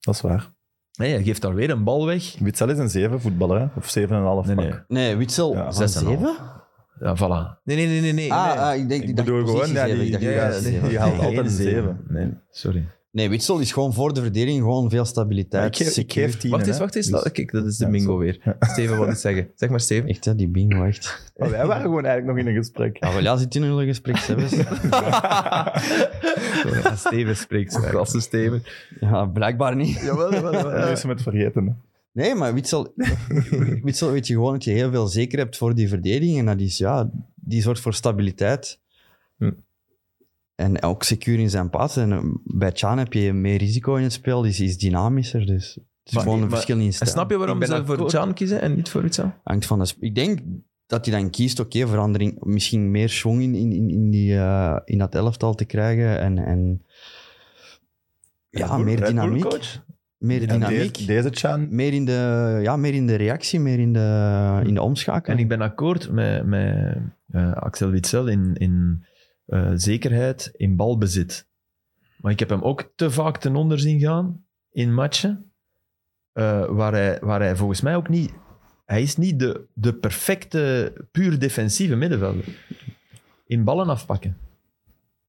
Speaker 3: Dat is waar.
Speaker 2: Nee, hij geeft daar weer een bal weg.
Speaker 3: Witzel is een 7 voetballer, hè? Of 7,5
Speaker 2: Nee,
Speaker 3: pak.
Speaker 2: nee.
Speaker 4: Nee, Witsel.
Speaker 3: Ja,
Speaker 4: van
Speaker 2: zes en een half.
Speaker 4: zeven?
Speaker 2: Ja, voilà.
Speaker 1: Nee, nee, nee, nee. nee, nee.
Speaker 4: Ah, ah, ik denk
Speaker 3: Ik
Speaker 4: ik dacht
Speaker 3: bedoel gewoon,
Speaker 4: positie
Speaker 3: ja,
Speaker 4: zeven,
Speaker 3: die,
Speaker 4: ik dacht
Speaker 3: die,
Speaker 4: positie
Speaker 3: die-
Speaker 4: zeven.
Speaker 3: die haalt
Speaker 2: Geen
Speaker 3: altijd een
Speaker 2: zeven.
Speaker 3: 7.
Speaker 2: Nee, sorry.
Speaker 4: Nee, Witsel is gewoon voor de verdediging gewoon veel
Speaker 3: Ja,
Speaker 4: stabiliteit.
Speaker 3: ik, geef, ik
Speaker 4: secuur.
Speaker 3: geef tien.
Speaker 1: Wacht eens,
Speaker 3: hè.
Speaker 1: wacht eens.
Speaker 3: Dus-
Speaker 1: Dat- kijk, dat is de
Speaker 3: Ja,
Speaker 1: bingo
Speaker 3: zo.
Speaker 1: weer. Steven wil iets zeggen. Zeg maar,
Speaker 4: (laughs)
Speaker 1: Steven.
Speaker 4: Echt, hè, die bingo, echt.
Speaker 3: Maar wij waren gewoon eigenlijk nog in een gesprek.
Speaker 4: Ja, Ah, wel, ja, zit in een gesprek, Sebes.
Speaker 2: Ja, Steven spreekt zo.
Speaker 1: Klasse Steven.
Speaker 4: (laughs) Ja, blijkbaar niet.
Speaker 2: Jawel, jawel, jawel.
Speaker 3: Dat
Speaker 2: (laughs)
Speaker 3: is hem het vergeten. hè.
Speaker 4: Nee,
Speaker 3: (laughs)
Speaker 4: maar Witsel, Witsel weet je gewoon dat je heel veel zeker hebt voor die verdediging. En dat is, ja, die zorgt voor stabiliteit.
Speaker 1: Hm.
Speaker 4: En ook secuur in zijn pas. En eh, bij Chan heb je meer risico in het spel. Die is, is dynamischer, dus... Het is
Speaker 2: Maar-
Speaker 4: gewoon een
Speaker 2: maar-
Speaker 4: verschil in
Speaker 1: En
Speaker 4: stijl.
Speaker 1: snap je waarom
Speaker 2: Ik ben
Speaker 1: ze voor
Speaker 2: akkoord.
Speaker 1: Jan kiezen en niet voor Witzel?
Speaker 4: hangt van de sp- Ik denk dat hij dan kiest, oké, verandering, misschien meer schwung in, in, in, in die, eh, in dat elftal te krijgen en, en ja,
Speaker 3: Red Bull-
Speaker 4: meer
Speaker 3: Red Bull
Speaker 4: dynamiek.
Speaker 3: coach?
Speaker 4: Meer
Speaker 3: En
Speaker 4: dynamiek.
Speaker 3: deze- Deze Chan.
Speaker 4: Meer, in de, ja, meer in de reactie, meer in de, in
Speaker 2: En
Speaker 4: de omschakeling.
Speaker 2: ik ben akkoord met, met eh, Axel Witsel in, in eh, zekerheid, in balbezit. Maar ik heb hem ook te vaak ten onder zien gaan in matchen, eh, waar, hij, waar hij volgens mij ook niet... Hij is niet de, de perfecte, puur defensieve middenvelder. In ballen afpakken.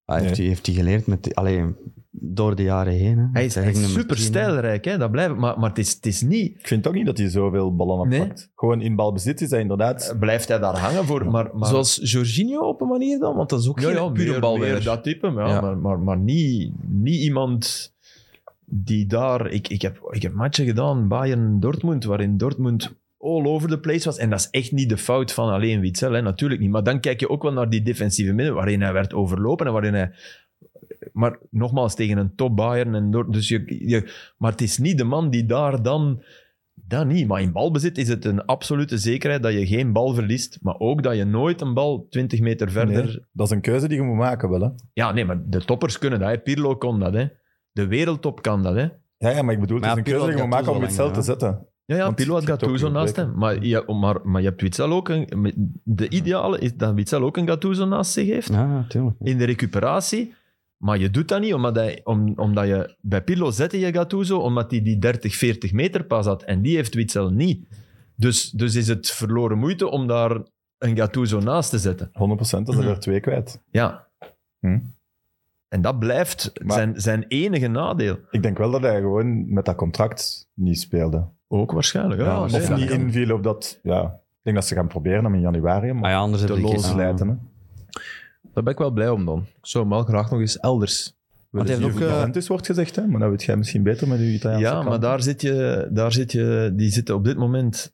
Speaker 4: Ah, heeft, hij, heeft hij geleerd met, die- allee, door de jaren heen. Hè.
Speaker 2: Hij is, hij is
Speaker 4: nummer
Speaker 2: super
Speaker 4: 10, hè.
Speaker 2: stijlrijk, hè? dat blijf ik. Maar, maar het, is, het is niet...
Speaker 3: Ik vind ook niet dat hij zoveel ballen
Speaker 2: Nee.
Speaker 3: afpakt. Gewoon in balbezit is hij inderdaad...
Speaker 2: Blijft hij daar hangen voor, maar... maar
Speaker 1: Zoals Jorginho op een manier dan? Want dat is ook geen pure
Speaker 2: meer-
Speaker 1: balwerker.
Speaker 2: meer dat type, maar, ja,
Speaker 1: Ja.
Speaker 2: maar, maar, maar niet, niet iemand die daar... Ik, ik, heb, ik heb matchen gedaan, Bayern-Dortmund, waarin Dortmund all over the place was. En dat is echt niet de fout van alleen Witzel, hè, natuurlijk niet. Maar dan kijk je ook wel naar die defensieve midden, waarin hij werd overlopen en waarin hij... Maar nogmaals, tegen een top Bayern en Dortmund... Dus je, je, maar het is niet de man die daar dan... Dat niet, maar in balbezit is het een absolute zekerheid dat je geen bal verliest, maar ook dat je nooit een bal 20 meter verder
Speaker 3: Nee, dat is een keuze die je moet maken wel, hè.
Speaker 2: ja, nee, maar de toppers kunnen dat. Hè. Pirlo kon dat. Hè. De wereldtop kan dat. Hè.
Speaker 3: Ja, ja, maar ik bedoel,
Speaker 4: Maar
Speaker 3: het
Speaker 4: ja,
Speaker 3: is een keuze die je
Speaker 4: Pirlo
Speaker 3: moet
Speaker 4: had
Speaker 3: maken om
Speaker 4: Gattuso
Speaker 3: het
Speaker 4: al
Speaker 3: zelf te
Speaker 4: langer,
Speaker 3: zetten.
Speaker 2: Ja, ja
Speaker 3: Want
Speaker 2: Pirlo had
Speaker 3: je hebt ook
Speaker 2: Gattuso
Speaker 3: een
Speaker 2: naast hem.
Speaker 3: breker.
Speaker 2: Maar, ja, maar, maar je hebt Witsel ook een... De ideale is dat Witsel ook een Gattuso naast zich heeft.
Speaker 4: Ja, natuurlijk.
Speaker 2: In de recuperatie. Maar je doet dat niet, omdat, hij, om, omdat je... Bij Pirlo zette je Gattuso, omdat hij die 30, 40 meter pas had. En die heeft Witsel niet. Dus, dus is het verloren moeite om daar een Gattuso naast te zetten.
Speaker 3: 100% als hij
Speaker 2: Mhm.
Speaker 3: er twee kwijt.
Speaker 2: Ja.
Speaker 3: Hm.
Speaker 2: En dat blijft
Speaker 3: Maar-
Speaker 2: zijn, zijn enige nadeel.
Speaker 3: Ik denk wel dat hij gewoon met dat contract niet speelde.
Speaker 2: Ook waarschijnlijk. Ja,
Speaker 3: Ja,
Speaker 2: nee,
Speaker 3: of
Speaker 2: dat
Speaker 3: niet
Speaker 2: kan.
Speaker 3: inviel op dat... Ja, ik denk dat ze gaan proberen hem in januari om
Speaker 4: Ah ja, anders heb
Speaker 3: te
Speaker 4: je geen- Ah,
Speaker 3: loslijten. hè.
Speaker 1: Daar ben ik wel blij om dan. Ik zou hem wel graag nog eens elders.
Speaker 3: Want
Speaker 4: hij
Speaker 3: hij
Speaker 4: heeft
Speaker 3: heeft
Speaker 4: ook, eh,
Speaker 3: wordt gezegd, hè? maar dat weet jij misschien beter met uw Italiaanse
Speaker 2: Ja, maar
Speaker 3: kant.
Speaker 2: daar zit je, daar zit je, die zitten op dit moment.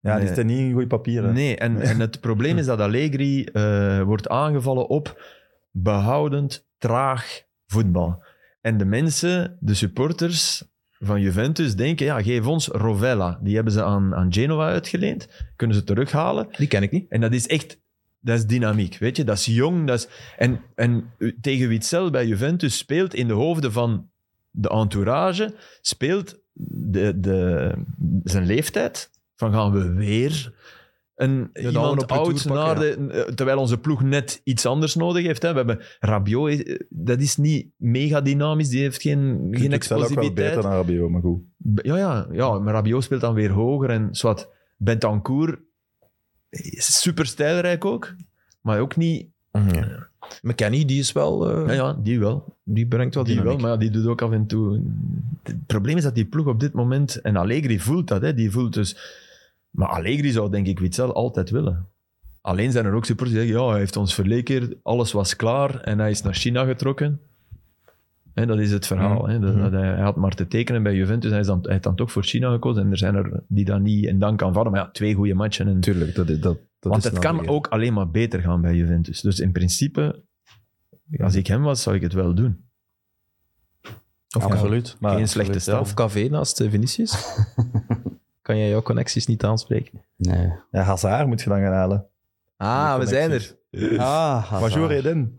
Speaker 3: Ja, die
Speaker 2: Nee.
Speaker 3: staan niet in goede papieren.
Speaker 2: Nee, en, en het probleem is dat Allegri eh, wordt aangevallen op behoudend, traag voetbal. En de mensen, de supporters van Juventus, denken: ja, geef ons Rovella. Die hebben ze aan, aan Genoa uitgeleend. Kunnen ze terughalen.
Speaker 1: Die ken ik niet.
Speaker 2: En dat is echt, dat is dynamiek, weet je. Dat is jong, dat is... En, en eh, tegen Witzel bij Juventus speelt in de hoofden van de entourage, speelt de, de, zijn leeftijd, van gaan we weer een,
Speaker 1: Ja, de oude
Speaker 2: iemand
Speaker 1: op retour
Speaker 2: oud
Speaker 1: pakken,
Speaker 2: naar de... eh, Terwijl onze ploeg net iets anders nodig heeft. Hè. We hebben Rabiot, eh, dat is niet mega dynamisch, die heeft geen,
Speaker 3: Ik
Speaker 2: geen
Speaker 3: vind het zelf ook wel
Speaker 2: explosiviteit.
Speaker 3: beter dan Rabiot, maar goed.
Speaker 2: Ja, ja, ja, maar Rabiot speelt dan weer hoger en zwart. Bentancur is super stijlrijk ook, maar ook niet.
Speaker 1: McKennie, die is wel... eh,
Speaker 2: Ja, ja die wel.
Speaker 1: Die brengt wel
Speaker 2: Die
Speaker 1: dynamiek.
Speaker 2: wel, maar ja, die doet ook af en toe. Het probleem is dat die ploeg op dit moment, en Allegri voelt dat, hè, die voelt dus. Maar Allegri zou denk ik Witzel altijd willen. Alleen zijn er ook supporters die zeggen, ja, hij heeft ons verleken, alles was klaar en hij is naar China getrokken. En dat is het verhaal. Hè? Dat,
Speaker 1: Mhm.
Speaker 2: dat hij, hij had maar te tekenen bij Juventus. Hij is dan, hij heeft dan toch voor China gekozen. En er zijn er die dat niet en dan kan vallen. Maar ja, twee goede matchen. En,
Speaker 1: Tuurlijk, dat, is- dat, dat
Speaker 2: want
Speaker 1: is
Speaker 2: het
Speaker 1: nou
Speaker 2: kan
Speaker 1: weer.
Speaker 2: ook alleen maar beter gaan bij Juventus. Dus in principe, als ik hem was, zou ik het wel doen.
Speaker 1: Of,
Speaker 3: Ja,
Speaker 1: K-
Speaker 3: absoluut. Maar,
Speaker 2: Geen slechte
Speaker 1: ja,
Speaker 2: staf.
Speaker 1: of KV naast eh, Vinicius. kan jij jouw connecties niet aanspreken?
Speaker 4: Nee.
Speaker 3: ja, Hazard moet je dan gaan halen.
Speaker 1: Ah, we zijn er.
Speaker 4: Ah, Hazard.
Speaker 3: Bonjour Eden.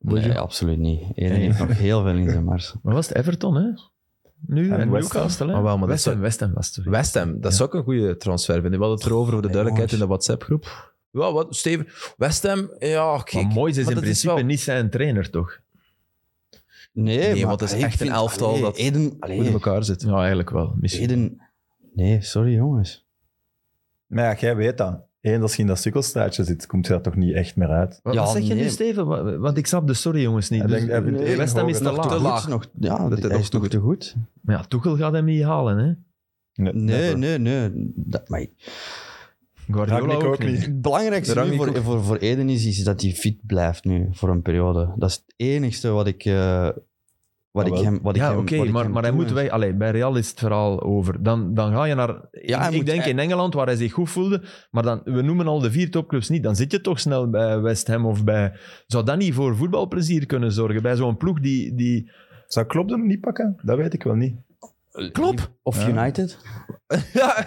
Speaker 4: Nee, absoluut niet. Eden heeft nog heel veel in zijn mars.
Speaker 2: Maar was het Everton, hè? Nu
Speaker 3: En
Speaker 2: en
Speaker 3: West Ham.
Speaker 2: Newcastle, hè?
Speaker 1: Ah, wel, maar dat
Speaker 2: West Ham,
Speaker 1: zou-
Speaker 2: West Ham was het.
Speaker 1: West Ham, dat
Speaker 2: Ja.
Speaker 1: zou ik een goede transfer vinden. We hadden het erover voor de
Speaker 2: Nee,
Speaker 1: duidelijkheid in
Speaker 2: jongens.
Speaker 1: de WhatsApp-groep. Ja, wat, Steven? West Ham, ja, kijk.
Speaker 2: Maar Moyes is
Speaker 1: Maar
Speaker 2: in
Speaker 1: dat is
Speaker 2: principe
Speaker 1: wel-
Speaker 2: niet zijn trainer, toch?
Speaker 4: Nee,
Speaker 1: Nee,
Speaker 4: maar
Speaker 1: want het is
Speaker 4: ik
Speaker 1: echt een
Speaker 4: vind-
Speaker 1: elftal
Speaker 4: allee,
Speaker 1: dat
Speaker 4: Eden,
Speaker 1: Hoe in
Speaker 4: allee,
Speaker 1: elkaar zit.
Speaker 2: Ja, eigenlijk wel. Misschien.
Speaker 4: Eden... Nee, sorry jongens.
Speaker 3: Maar ja, jij weet dat. Eén, als je in dat sukkelstraatje zit, komt je daar toch niet echt meer uit.
Speaker 2: Wat,
Speaker 4: Ja,
Speaker 2: wat zeg je
Speaker 4: nee.
Speaker 2: nu, Steven? Wa- Want ik snap de sorry jongens niet.
Speaker 3: Hij
Speaker 2: Dus,
Speaker 3: denkt, hij vindt
Speaker 2: eh,
Speaker 3: één
Speaker 2: West Ham is
Speaker 3: hoger
Speaker 2: te
Speaker 3: nog
Speaker 2: laag.
Speaker 4: Te laag. Nog, ja,
Speaker 1: Dat
Speaker 4: dat
Speaker 1: hij
Speaker 4: is
Speaker 1: nog
Speaker 4: nog te goed.
Speaker 2: Maar ja, Tuchel gaat hem niet halen. Hè?
Speaker 4: Nee,
Speaker 3: never.
Speaker 4: nee, nee. Dat, maar
Speaker 2: Guardiola
Speaker 3: Rangnick
Speaker 2: ook,
Speaker 3: ook
Speaker 2: niet.
Speaker 3: niet.
Speaker 4: het belangrijkste
Speaker 1: Rangnick
Speaker 4: nu voor,
Speaker 1: ook.
Speaker 4: voor, voor Eden is, is dat hij fit blijft nu voor een periode. Dat is het enigste wat ik, eh, wat ik
Speaker 3: Jawel.
Speaker 4: hem wat ik
Speaker 2: Ja,
Speaker 4: hem-
Speaker 2: oké,
Speaker 4: wat ik
Speaker 2: maar,
Speaker 4: hem
Speaker 2: maar hij moet
Speaker 4: toewens.
Speaker 2: weg. Allee, bij Real is het verhaal over. Dan, dan ga je naar...
Speaker 4: Ja, hij
Speaker 2: ik
Speaker 4: moet-
Speaker 2: denk
Speaker 4: hij-
Speaker 2: in Engeland, waar hij zich goed voelde. Maar dan, we noemen al de vier topclubs niet. Dan zit je toch snel bij West Ham of bij... Zou dat niet voor voetbalplezier kunnen zorgen? Bij zo'n ploeg die... die
Speaker 3: Zou Klopp hem niet pakken? Dat weet ik wel niet.
Speaker 2: Klopp!
Speaker 4: Of
Speaker 3: Ja.
Speaker 4: United.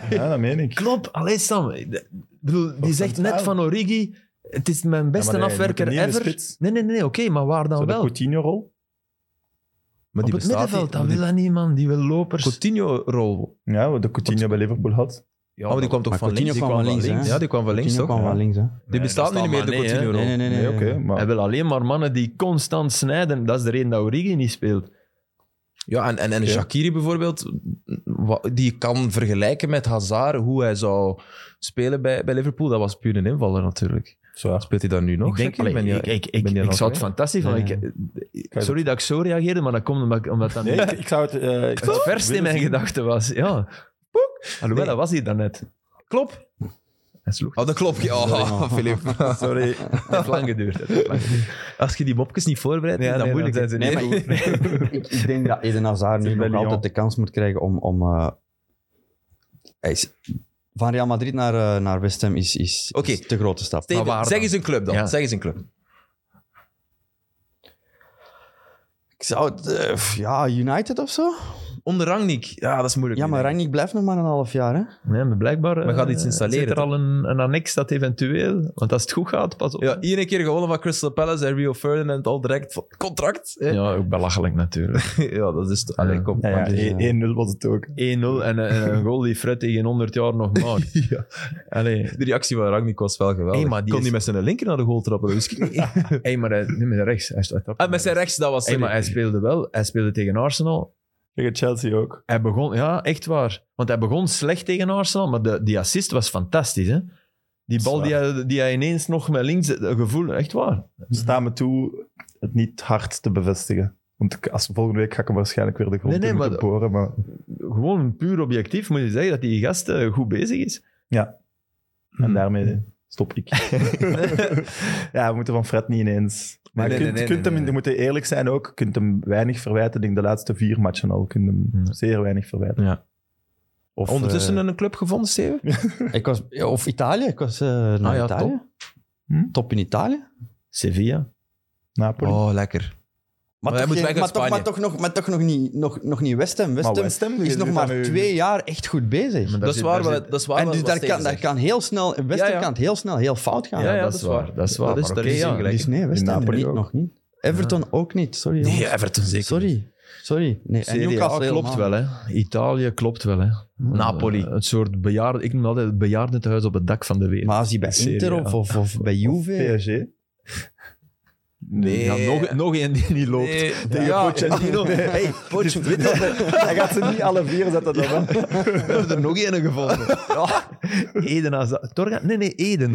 Speaker 3: Ja, dat meen ik.
Speaker 2: Klopp! Allee, Sam. Ik bedoel, die zegt net
Speaker 3: centraal.
Speaker 2: van Origi... Het is mijn beste
Speaker 3: nee, je
Speaker 2: afwerker
Speaker 3: moet hem niet in de
Speaker 2: ever.
Speaker 3: spits.
Speaker 2: Nee, nee, nee, oké, maar waar dan
Speaker 3: Zo de
Speaker 2: wel?
Speaker 3: Coutinho-rol?
Speaker 1: Maar
Speaker 2: Op
Speaker 1: die
Speaker 2: het
Speaker 1: bestaat
Speaker 2: middenveld,
Speaker 1: niet.
Speaker 2: dat
Speaker 1: Maar
Speaker 2: wil
Speaker 1: die
Speaker 2: dat niet, man. Die wil lopers.
Speaker 1: Coutinho-rol.
Speaker 3: Ja, wat de Coutinho bij Liverpool had.
Speaker 2: Ja,
Speaker 1: Ah, maar die kwam toch
Speaker 4: maar
Speaker 1: van links?
Speaker 4: Coutinho kwam van links, hè?
Speaker 1: Ja, die kwam van links,
Speaker 4: Coutinho
Speaker 1: toch?
Speaker 4: kwam wel
Speaker 3: Ja.
Speaker 4: links, hè?
Speaker 1: Die bestaat nu niet meer, de
Speaker 2: Coutinho.
Speaker 1: Coutinho-rol.
Speaker 4: Nee, nee, nee. nee,
Speaker 3: Nee, oké,
Speaker 4: nee.
Speaker 3: maar...
Speaker 2: Hij wil alleen maar mannen die constant snijden. Dat is de reden dat Origi niet speelt.
Speaker 1: Ja, en, en, en
Speaker 3: Oké.
Speaker 1: Shakiri bijvoorbeeld, wa- die kan vergelijken met Hazard, hoe hij zou spelen bij, bij Liverpool. Dat was puur een invaller natuurlijk.
Speaker 3: Zwaar.
Speaker 1: Speelt hij dat nu nog?
Speaker 2: ik denk,
Speaker 1: Shaqiri?
Speaker 2: allee,
Speaker 1: Ben je-
Speaker 2: ik, ik, ik,
Speaker 1: ben je
Speaker 2: ik
Speaker 1: nog
Speaker 2: zou het
Speaker 1: kwijt?
Speaker 2: fantastisch vinden.
Speaker 4: Ja,
Speaker 2: Ik- eh, Sorry dat ik zo reageerde, maar dat komt omdat, omdat dat
Speaker 3: Nee,
Speaker 2: niet
Speaker 3: ik, ik zou het... eh, ik zou
Speaker 2: het
Speaker 3: het
Speaker 2: verst in
Speaker 3: willen
Speaker 2: mijn
Speaker 3: zien.
Speaker 2: gedachten was. Ja. Poek. Alhoewel,
Speaker 1: Nee.
Speaker 2: dat was hij daarnet.
Speaker 1: Klopt.
Speaker 2: Hij sloeg.
Speaker 1: Oh, dat klopt. (laughs) Ja, Oh, Filip.
Speaker 3: Sorry.
Speaker 2: Het heeft lang geduurd. Het heeft lang geduurd.
Speaker 1: Als je die mopjes niet voorbereidt,
Speaker 2: Ja,
Speaker 1: is dat
Speaker 2: nee,
Speaker 1: moeilijk.
Speaker 2: dan zijn ze
Speaker 1: hè?
Speaker 4: niet ik, ik denk dat Eden Hazard
Speaker 3: Het
Speaker 4: nu
Speaker 3: is bij
Speaker 4: nog
Speaker 3: Lyon.
Speaker 4: altijd de kans moet krijgen om... om eh, hij is, van Real Madrid naar, eh, naar West Ham is, is,
Speaker 1: Oké.
Speaker 4: is de grote stap.
Speaker 1: Steven,
Speaker 2: Maar waar
Speaker 1: zeg
Speaker 2: dan?
Speaker 1: eens een club dan.
Speaker 2: Ja.
Speaker 1: Zeg eens een club.
Speaker 4: Ik zou het... eh, pff, ja, United of zo?
Speaker 1: Onder Rangnick. Ja, dat is moeilijk.
Speaker 4: Ja, maar Rangnick blijft nog maar een half jaar, hè?
Speaker 2: Nee, maar blijkbaar
Speaker 1: Maar gaat iets
Speaker 2: eh,
Speaker 1: installeren,
Speaker 2: zit er
Speaker 1: toch?
Speaker 2: al een, een annex dat eventueel... Want als het goed gaat, pas op.
Speaker 1: Ja, iedere keer gewonnen van Crystal Palace en Rio Ferdinand al direct van contract. hè? (laughs) Ja,
Speaker 2: Ja, ook belachelijk natuurlijk. 1-0
Speaker 1: dat is...
Speaker 2: Ja.
Speaker 1: Allee, kom.
Speaker 3: Ja, ja,
Speaker 4: Dus, eh,
Speaker 3: 1-0 was het ook.
Speaker 2: en, (laughs) een- en een goal die Fred tegen 100 jaar nog maakt.
Speaker 1: (laughs) Ja.
Speaker 2: (laughs) Allee.
Speaker 1: De reactie van Rangnick was wel geweldig.
Speaker 2: Hey, maar die
Speaker 1: Kon
Speaker 2: is-
Speaker 1: die met zijn linker naar de goal trappen?
Speaker 2: (laughs)
Speaker 1: Dat wist ik niet.
Speaker 2: Hé, maar hij, nee, met rechts. Hij, hij trapte
Speaker 1: Ah, met zijn rechts, dat was...
Speaker 2: Hey, maar hij speelde wel. Hij speelde tegen Arsenal.
Speaker 3: Tegen Chelsea ook.
Speaker 2: Hij begon, ja, echt waar. Want hij begon slecht tegen Arsenal, maar de, die assist was fantastisch. Hè? Die bal
Speaker 3: Zwaar.
Speaker 2: die hij, die hij ineens nog met links, het gevoel, echt waar.
Speaker 3: Sta me toe het niet hard te bevestigen. Want ik- als, volgende week ga ik hem waarschijnlijk weer de grond
Speaker 2: Nee, nee,
Speaker 3: in moeten
Speaker 2: maar-
Speaker 3: boren. Maar
Speaker 2: Gewoon puur objectief moet je zeggen dat die gast eh, goed bezig is.
Speaker 3: En daarmee stop ik. ja, we moeten van Fred niet ineens. Maar
Speaker 1: Nee,
Speaker 3: je
Speaker 1: nee,
Speaker 3: kunt,
Speaker 1: nee,
Speaker 3: kunt
Speaker 1: nee,
Speaker 3: hem,
Speaker 1: nee.
Speaker 3: je moet eerlijk zijn ook, je kunt hem weinig verwijten. Ik denk de laatste vier matchen al, je kunt hem
Speaker 2: Ja.
Speaker 3: zeer weinig verwijten.
Speaker 1: Ja.
Speaker 3: Of,
Speaker 1: Ondertussen
Speaker 3: eh,
Speaker 1: een club gevonden, Steven?
Speaker 4: Ik was, of Italië. Ik was eh, naar
Speaker 1: Ah ja,
Speaker 4: Italië.
Speaker 1: top.
Speaker 4: Top.
Speaker 3: Hm?
Speaker 4: in Italië.
Speaker 2: Sevilla.
Speaker 3: Napoli.
Speaker 1: Oh, lekker. Maar hij
Speaker 4: toch
Speaker 1: moet
Speaker 4: geen-
Speaker 1: weg uit
Speaker 4: maar toch-
Speaker 1: Spanje.
Speaker 4: maar toch nog- Maar toch nog niet, nog, nog niet West Ham. West
Speaker 3: Maar
Speaker 4: Ham
Speaker 3: West Ham
Speaker 4: is nog
Speaker 3: zit
Speaker 4: maar
Speaker 3: aan uw-
Speaker 4: twee jaar echt goed bezig.
Speaker 2: Maar daar
Speaker 1: Dat is
Speaker 2: zit-
Speaker 1: waar,
Speaker 2: daar
Speaker 1: wel-
Speaker 2: zit-
Speaker 1: dat is waar.
Speaker 4: en
Speaker 1: wel
Speaker 4: dus
Speaker 1: wat
Speaker 4: daar
Speaker 1: Steven
Speaker 4: kan, daar
Speaker 1: zegt.
Speaker 4: kan heel snel, West Ham
Speaker 1: Ja, ja.
Speaker 4: kan het heel snel heel fout gaan.
Speaker 2: Ja, ja, dat, is waar. Dat is waar.
Speaker 1: Dat is-
Speaker 2: Maar
Speaker 1: daar
Speaker 2: oké,
Speaker 1: is hij
Speaker 2: ja.
Speaker 1: gelijk.
Speaker 4: Dus nee, West
Speaker 3: In
Speaker 4: Ham
Speaker 3: Napoli
Speaker 4: niet,
Speaker 3: ook.
Speaker 4: nog niet. Everton ook niet, sorry.
Speaker 1: Nee,
Speaker 4: jongens.
Speaker 1: Everton zeker.
Speaker 4: Sorry. Sorry. Nee, en
Speaker 2: Serie A
Speaker 4: Newcastle
Speaker 2: klopt
Speaker 4: helemaal.
Speaker 2: wel, hè. Italië klopt wel, hè.
Speaker 1: Napoli.
Speaker 2: Een soort bejaarde... Ik noem altijd het bejaardentehuis op het dak van de wereld.
Speaker 4: Maar als hij bij
Speaker 2: Serie
Speaker 4: Inter
Speaker 2: A.
Speaker 4: of, of, of bij Juve...
Speaker 3: PSG.
Speaker 1: Nee.
Speaker 2: Ja, nog, nog één die niet loopt.
Speaker 1: Nee,
Speaker 3: Tegen
Speaker 4: Ah,
Speaker 1: ja,
Speaker 3: Pochettino. Hey, Pochettino. Hij gaat ze niet alle vier zetten dan. hè.
Speaker 2: We hebben er nog (laughs) één gevonden. Eden Hazard. Torgan? Nee, nee, Eden.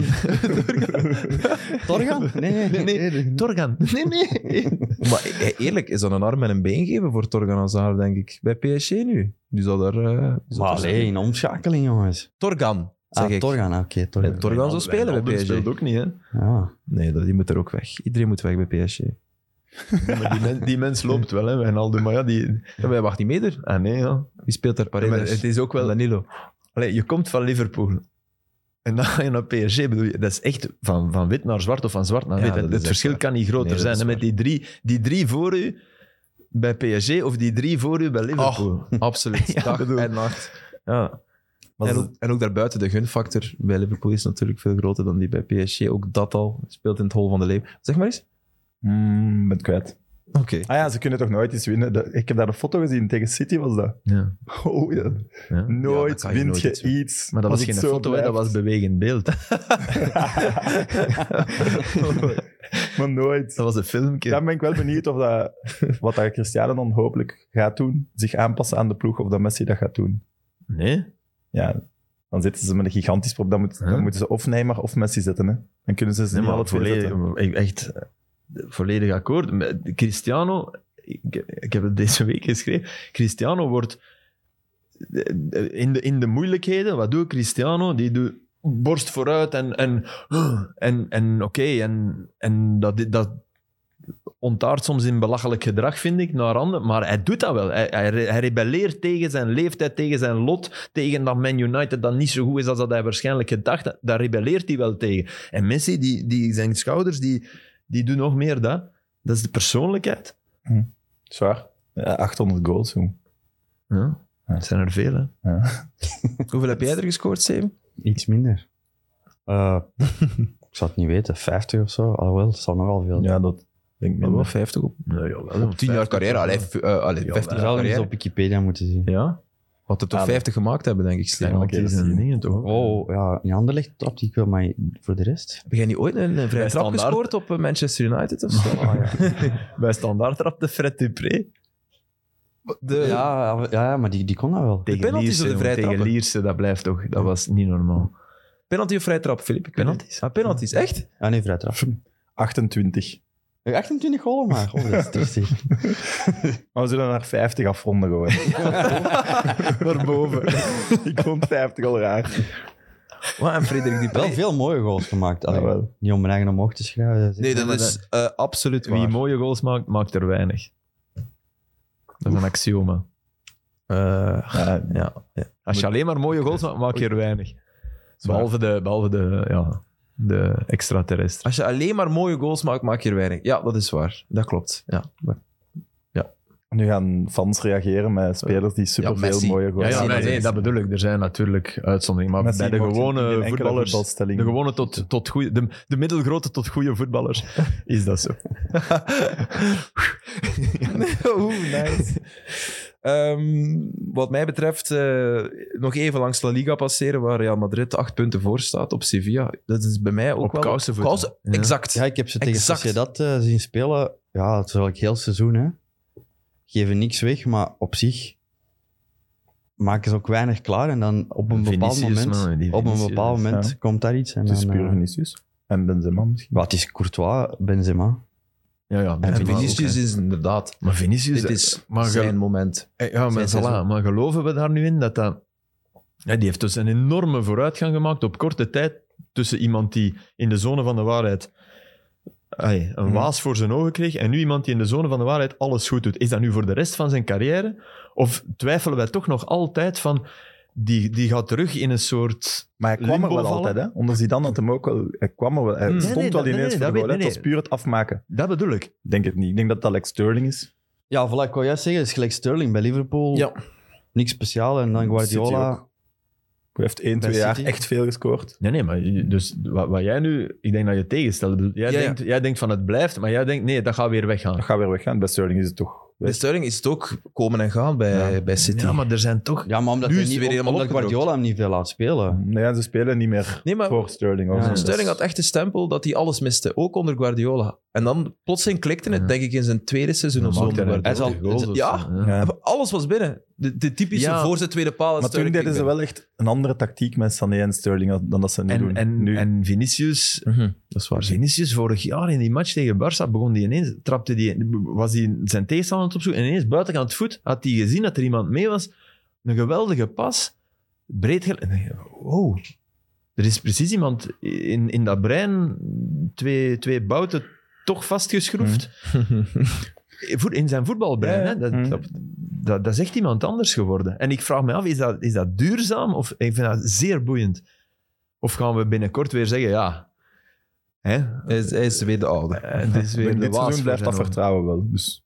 Speaker 4: Torgan? Nee, nee, nee.
Speaker 2: Nee, Torgan. Nee, nee.
Speaker 1: maar e- eerlijk, is dat een arm en een been geven voor Torgan Hazard, denk ik? Bij PSG nu. Die zal daar... eh, die zal
Speaker 4: Maar
Speaker 1: daar-
Speaker 4: alleen, een omschakeling, jongens.
Speaker 1: Torgan, zeg
Speaker 4: Ah,
Speaker 1: ik.
Speaker 4: Torgan, ah, oké, Torgan.
Speaker 1: Nee, Torgan zou spelen bij PSG.
Speaker 2: speelt ook niet, hè.
Speaker 4: Ja.
Speaker 1: Nee, dat- die moet er ook weg. Iedereen moet weg bij PSG.
Speaker 2: Maar die, men- die mens loopt wel, hè. Wijnaldum, maar ja, die...
Speaker 1: Ja, wij wachten niet meer.
Speaker 2: Ah, nee, ja.
Speaker 1: Wie speelt daar
Speaker 2: Ja, maar
Speaker 1: Paredes?
Speaker 2: het is ook wel...
Speaker 1: Danilo.
Speaker 2: Allee, je komt van Liverpool. En dan ga je naar PSG. Bedoel je, dat is echt van, van wit naar zwart of van zwart naar
Speaker 1: Ja,
Speaker 2: wit. hè.
Speaker 1: dat is
Speaker 2: het
Speaker 1: echt
Speaker 2: verschil
Speaker 1: waar.
Speaker 2: kan niet groter
Speaker 1: Nee, dat
Speaker 2: zijn.
Speaker 1: is
Speaker 2: hè. Met
Speaker 1: waar.
Speaker 2: die drie, die drie voor u bij PSG of die drie voor u bij
Speaker 1: (laughs)
Speaker 2: Liverpool.
Speaker 1: Oh,
Speaker 2: (laughs)
Speaker 1: Absoluut. Dag
Speaker 2: bedoel-
Speaker 1: en nacht. Ja.
Speaker 3: Maar
Speaker 1: en,
Speaker 3: ze-
Speaker 1: ook, en ook daarbuiten, de gunfactor bij Liverpool is natuurlijk veel groter dan die bij PSG. Ook dat al speelt in het hol van de leeuw. Zeg maar eens.
Speaker 3: Mm, ben het kwijt.
Speaker 1: Oké.
Speaker 3: Ah ja, ze kunnen toch nooit iets winnen? Dat- Ik heb daar een foto gezien. Tegen City was dat.
Speaker 2: Ja.
Speaker 3: Oh ja.
Speaker 2: Ja.
Speaker 1: Ja,
Speaker 3: Nooit
Speaker 1: dat kan je
Speaker 3: wint
Speaker 1: nooit
Speaker 3: je
Speaker 1: iets
Speaker 3: iets.
Speaker 1: winnen.
Speaker 2: Maar dat
Speaker 3: Als
Speaker 2: was
Speaker 3: het
Speaker 2: geen
Speaker 3: zo
Speaker 2: foto, hè, dat was
Speaker 3: blijft.
Speaker 2: bewegend
Speaker 1: (laughs)
Speaker 2: beeld. (laughs)
Speaker 3: (laughs) maar nooit.
Speaker 2: Dat was een filmpje.
Speaker 3: Dan ben ik wel benieuwd of
Speaker 2: (laughs)
Speaker 3: dat, wat dat Cristiano dan hopelijk gaat doen. Zich aanpassen aan de ploeg of dat Messi dat gaat doen.
Speaker 2: Nee?
Speaker 3: Ja, Dan zitten ze met een gigantisch probleem. Dan, moet-
Speaker 2: Huh?
Speaker 3: dan moeten ze of Neymar of Messi zetten. Hè. Dan kunnen ze ze
Speaker 2: Nee,
Speaker 3: niet alle
Speaker 2: maar
Speaker 3: twee
Speaker 2: volledig,
Speaker 3: zetten.
Speaker 2: ik- echt eh, volledig akkoord. Met Cristiano, ik, ik heb het deze week geschreven, Cristiano wordt eh, in de, in de moeilijkheden, wat doet Cristiano? Die doet borst vooruit en, en, en, en oké, en, en dat, dat ontaart soms in belachelijk gedrag, vind ik, naar anderen. Maar hij doet dat wel. Hij, hij, re- hij rebelleert tegen zijn leeftijd, tegen zijn lot, tegen dat Man United dat niet zo goed is als dat hij waarschijnlijk gedacht had. Daar rebelleert hij wel tegen. En Messi, die, die, zijn schouders, die, die doen nog meer dat. Dat is de persoonlijkheid.
Speaker 3: Zwaar. Ja, 800 goals, jong.
Speaker 2: Ja. Het zijn er veel, hè.
Speaker 1: Hoeveel heb jij er gescoord, Steven?
Speaker 4: Iets
Speaker 3: (laughs)
Speaker 4: minder. Eh, ik zou het niet weten, 50 of zo. Alhoewel, het zal nogal veel.
Speaker 3: Ja, dat denk ik
Speaker 1: Wel
Speaker 3: minder.
Speaker 1: 50 op.
Speaker 2: Nee, jawel,
Speaker 1: Op 10 jaar carrière. Allee, v- eh, allee, 15
Speaker 2: Ja,
Speaker 4: Je
Speaker 1: jaar
Speaker 4: zou hem eens
Speaker 1: carrière.
Speaker 4: op Wikipedia moeten zien.
Speaker 2: Ja?
Speaker 1: Wat er toch
Speaker 3: Ah,
Speaker 1: 50 gemaakt hebben, denk ik, Steven.
Speaker 2: want
Speaker 3: oké,
Speaker 2: die
Speaker 3: dat
Speaker 2: zijn
Speaker 3: zie je.
Speaker 2: dingen toch? ook.
Speaker 4: Oh, ja, in handen ligt trapt ik wel, maar voor de (laughs) rest?
Speaker 1: Heb jij niet ooit een, een vrije
Speaker 2: Bij
Speaker 1: trap
Speaker 2: Standaard.
Speaker 1: gescoord op eh, Manchester United (laughs) of zo?
Speaker 4: Oh,
Speaker 2: Bij standaard trapte Fred Dupré.
Speaker 1: eh, De,
Speaker 4: Ja, ja, ja, maar die, die kon dat wel.
Speaker 2: Tegen
Speaker 1: penalties
Speaker 2: Lierse,
Speaker 1: of de
Speaker 2: jongen,
Speaker 1: vrije
Speaker 2: tegen
Speaker 1: trappen?
Speaker 2: Lierse, dat blijft toch... Dat was niet normaal.
Speaker 1: Penalty of vrije trap, Filip? Ik weet
Speaker 2: Penalties.
Speaker 1: niet. Ah, penalties, echt?
Speaker 4: Ja, nee, vrij
Speaker 3: (laughs)
Speaker 4: trap.
Speaker 3: 28.
Speaker 4: 28 golen maar. Oh, dat
Speaker 3: (laughs)
Speaker 4: is triestig.
Speaker 3: Maar we zullen naar 50 afronden gewoon.
Speaker 2: (laughs) Naar boven.
Speaker 3: ik vond 50 al raar.
Speaker 1: Wat, en Frederik
Speaker 2: (laughs)
Speaker 1: Dupré?
Speaker 4: wel veel mooie goals gemaakt. Allee,
Speaker 3: Jawel.
Speaker 4: Niet om mijn eigen omhoog te schrijven.
Speaker 1: Nee, dat
Speaker 2: maar
Speaker 1: is eh, absoluut
Speaker 2: Wie
Speaker 1: waar.
Speaker 2: mooie goals maakt, maakt er weinig. Dat is een axioma.
Speaker 1: Eh,
Speaker 3: Ja,
Speaker 1: ja. ja.
Speaker 2: Als je alleen maar mooie goals maakt, maak je er weinig. Behalve de, behalve de, ja, de extraterrestri.
Speaker 1: Als je alleen maar mooie goals maakt, maak je er weinig. Ja, dat is waar. Dat klopt. Ja.
Speaker 3: nu gaan fans reageren met spelers die superveel
Speaker 1: Messi.
Speaker 3: mooie
Speaker 2: Ja,
Speaker 3: goals
Speaker 2: ja,
Speaker 1: Messi,
Speaker 2: nee,
Speaker 1: dat
Speaker 2: nee,
Speaker 1: is-
Speaker 2: dat bedoel ik. Er zijn natuurlijk uitzonderingen. Maar
Speaker 3: Messi
Speaker 2: bij de
Speaker 3: wordt in geen
Speaker 2: gewone
Speaker 3: enkele
Speaker 2: voetballers,
Speaker 3: voetbalstelling.
Speaker 2: de gewone tot,
Speaker 1: (laughs)
Speaker 2: tot goede, de, de middelgrote tot goede voetballers, is dat zo.
Speaker 1: Oeh, nice. Ehm, wat mij betreft, eh, nog even langs La Liga passeren, waar Real Madrid acht punten voor staat op Sevilla. Dat is bij mij ook
Speaker 2: Op
Speaker 1: wel...
Speaker 2: kousenvoeten.
Speaker 1: kousen-
Speaker 2: Ja.
Speaker 1: Exact.
Speaker 4: Ja, ik heb ze tegen
Speaker 1: Exact.
Speaker 4: Sociedad eh, zien spelen. Ja, het is eigenlijk heel seizoen, hè. Geven niks weg, maar op zich maken ze ook weinig klaar. En dan op een bepaald
Speaker 2: Vinicius,
Speaker 4: moment,
Speaker 2: man, die
Speaker 4: op een
Speaker 2: Vinicius,
Speaker 4: bepaald moment
Speaker 3: ja.
Speaker 4: komt daar iets. En
Speaker 3: Het is
Speaker 4: dan,
Speaker 3: puur
Speaker 4: eh,
Speaker 3: Vinicius. En Benzema misschien.
Speaker 4: wat is Courtois, Benzema?
Speaker 2: Ja, ja,
Speaker 1: En
Speaker 2: Benzema
Speaker 1: Vinicius
Speaker 2: ook, hè.
Speaker 1: is inderdaad...
Speaker 2: Maar Vinicius... eh,
Speaker 1: Dit is
Speaker 2: maar gel-
Speaker 1: zijn moment.
Speaker 2: Eh, Ja, maar,
Speaker 1: Zijn
Speaker 2: voilà,
Speaker 1: seizoen.
Speaker 2: maar geloven we daar nu in dat dat... Ja, die heeft dus een enorme vooruitgang gemaakt op korte tijd tussen iemand die in de zone van de waarheid ai, een
Speaker 3: Mhm.
Speaker 2: waas voor zijn ogen kreeg en nu iemand die in de zone van de waarheid alles goed doet. Is dat nu voor de rest van zijn carrière? Of twijfelen wij toch nog altijd van... Die, die gaat terug in een soort...
Speaker 3: Maar hij kwam er
Speaker 2: Limbo
Speaker 3: wel
Speaker 2: vallen.
Speaker 3: altijd, hè? Onder Zidane had hem ook wel... Hij kwam er wel... Hij
Speaker 1: Hmm.
Speaker 3: stond
Speaker 2: Nee, nee,
Speaker 3: wel
Speaker 2: dat- nee,
Speaker 3: ineens
Speaker 2: nee,
Speaker 3: voor
Speaker 2: dat
Speaker 3: de goal.
Speaker 2: weet-
Speaker 3: hè.
Speaker 2: nee,
Speaker 3: Het was puur het afmaken.
Speaker 2: Dat bedoel ik.
Speaker 3: Denk het niet. Ik denk dat het Alex Sterling is.
Speaker 4: Ja, voilà, ik wou juist zeggen, het is gelijk Sterling bij Liverpool.
Speaker 1: Ja.
Speaker 4: Niks speciaal. En dan
Speaker 3: City
Speaker 4: Guardiola.
Speaker 3: Hij heeft één,
Speaker 4: Bij
Speaker 3: twee jaar
Speaker 4: City.
Speaker 3: echt veel gescoord.
Speaker 2: Nee, nee, maar je- dus wat, wat jij nu... Ik denk dat je tegenstelt. Ik bedoel, Jij,
Speaker 1: Ja, ja.
Speaker 2: denkt, jij denkt van het blijft, maar jij denkt nee, dat gaat weer weggaan.
Speaker 3: Dat gaat weer weggaan. Bij Sterling is het toch...
Speaker 1: Bij Sterling is het ook komen en gaan bij, bij City.
Speaker 2: Ja, maar er zijn toch...
Speaker 4: Ja, maar omdat,
Speaker 1: Nu
Speaker 4: hij
Speaker 1: is het
Speaker 4: niet,
Speaker 1: weer helemaal
Speaker 4: omdat Guardiola hem niet veel laat spelen.
Speaker 3: Nee, ze spelen niet meer
Speaker 1: nee,
Speaker 2: Oh.
Speaker 1: maar
Speaker 3: voor Sterling. of
Speaker 4: Ja,
Speaker 3: zo.
Speaker 4: Dus-
Speaker 1: Sterling had echt de stempel dat hij alles miste, ook onder Guardiola. En dan plotseling klikte het,
Speaker 2: Ja.
Speaker 1: denk ik, in zijn tweede seizoen
Speaker 2: Dan
Speaker 1: of zo.
Speaker 2: maakt
Speaker 1: onder
Speaker 2: hij
Speaker 1: Guardiola.
Speaker 4: zal-
Speaker 2: een goal of
Speaker 1: ja.
Speaker 2: zo,
Speaker 3: Ja.
Speaker 1: Alles was binnen. De, de typische
Speaker 2: Ja.
Speaker 1: voor zijn tweede paal. en
Speaker 3: Maar toen
Speaker 1: Sterling
Speaker 3: deden
Speaker 1: ging
Speaker 3: ze
Speaker 1: binnen.
Speaker 3: wel echt een andere tactiek met Sané en Sterling dan dat ze nu
Speaker 2: En,
Speaker 3: doen.
Speaker 2: en,
Speaker 3: nu,
Speaker 2: en Vinicius,
Speaker 1: Mhm, dat is waar.
Speaker 2: Vinicius vorig jaar in die match tegen Barça begon die ineens, trapte die, was hij zijn tegenstander aan het opzoeken en ineens buitenkant voet had hij gezien dat er iemand mee was. Een geweldige pas, breed gel- en dan denk je, Wow. Er is precies iemand in, in dat brein, twee, twee bouten toch vastgeschroefd. (laughs) Voet- In zijn voetbalbrein.
Speaker 3: Ja, ja.
Speaker 2: Hè? Dat,
Speaker 3: Mm.
Speaker 2: dat, dat, dat is echt iemand anders geworden. En ik vraag me af, is dat, is dat duurzaam? Of, ik vind dat zeer boeiend. Of gaan we binnenkort weer zeggen, ja... Hè?
Speaker 1: Hij is, hij is weer de oude.
Speaker 2: Eh, Het is weer
Speaker 3: in
Speaker 2: de
Speaker 3: dit
Speaker 2: waas
Speaker 3: seizoen blijft
Speaker 2: voor
Speaker 3: dat
Speaker 2: zijn
Speaker 3: vertrouwen wel. Dus.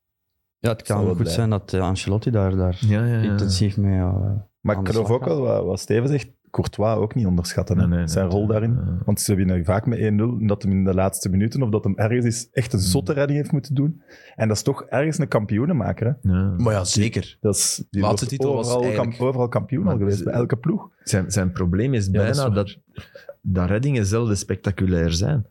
Speaker 4: Ja,
Speaker 3: Zal
Speaker 4: het kan
Speaker 3: wel
Speaker 4: goed
Speaker 3: blijven.
Speaker 4: zijn dat eh, Ancelotti daar, daar
Speaker 2: ogen. Ja, ja, ja.
Speaker 4: intensief mee... eh,
Speaker 3: Maar
Speaker 4: Aan
Speaker 3: ik
Speaker 4: de
Speaker 3: geloof
Speaker 4: slag
Speaker 3: ook wel wat, wat Steven zegt, Courtois ook niet onderschatten. hè.
Speaker 2: Nee, nee, nee.
Speaker 3: zijn rol daarin.
Speaker 2: Ja.
Speaker 3: Want ze winnen vaak met 1-0 en dat hem in de laatste minuten of dat hem ergens is echt een zotte
Speaker 2: Hmm.
Speaker 3: redding heeft moeten doen. En dat is toch ergens een kampioenenmaker. Hè?
Speaker 2: Ja.
Speaker 1: Maar ja, zeker.
Speaker 3: Dat is, die
Speaker 1: Laatste
Speaker 3: wordt
Speaker 1: titel was
Speaker 3: overal,
Speaker 1: eigenlijk-
Speaker 3: kam- overal kampioen
Speaker 2: Maar
Speaker 3: al geweest,
Speaker 2: is-
Speaker 3: bij elke ploeg.
Speaker 2: Zijn, zijn probleem is
Speaker 1: dat
Speaker 2: bijna
Speaker 1: is waar.
Speaker 2: dat, dat reddingen zelden spectaculair zijn.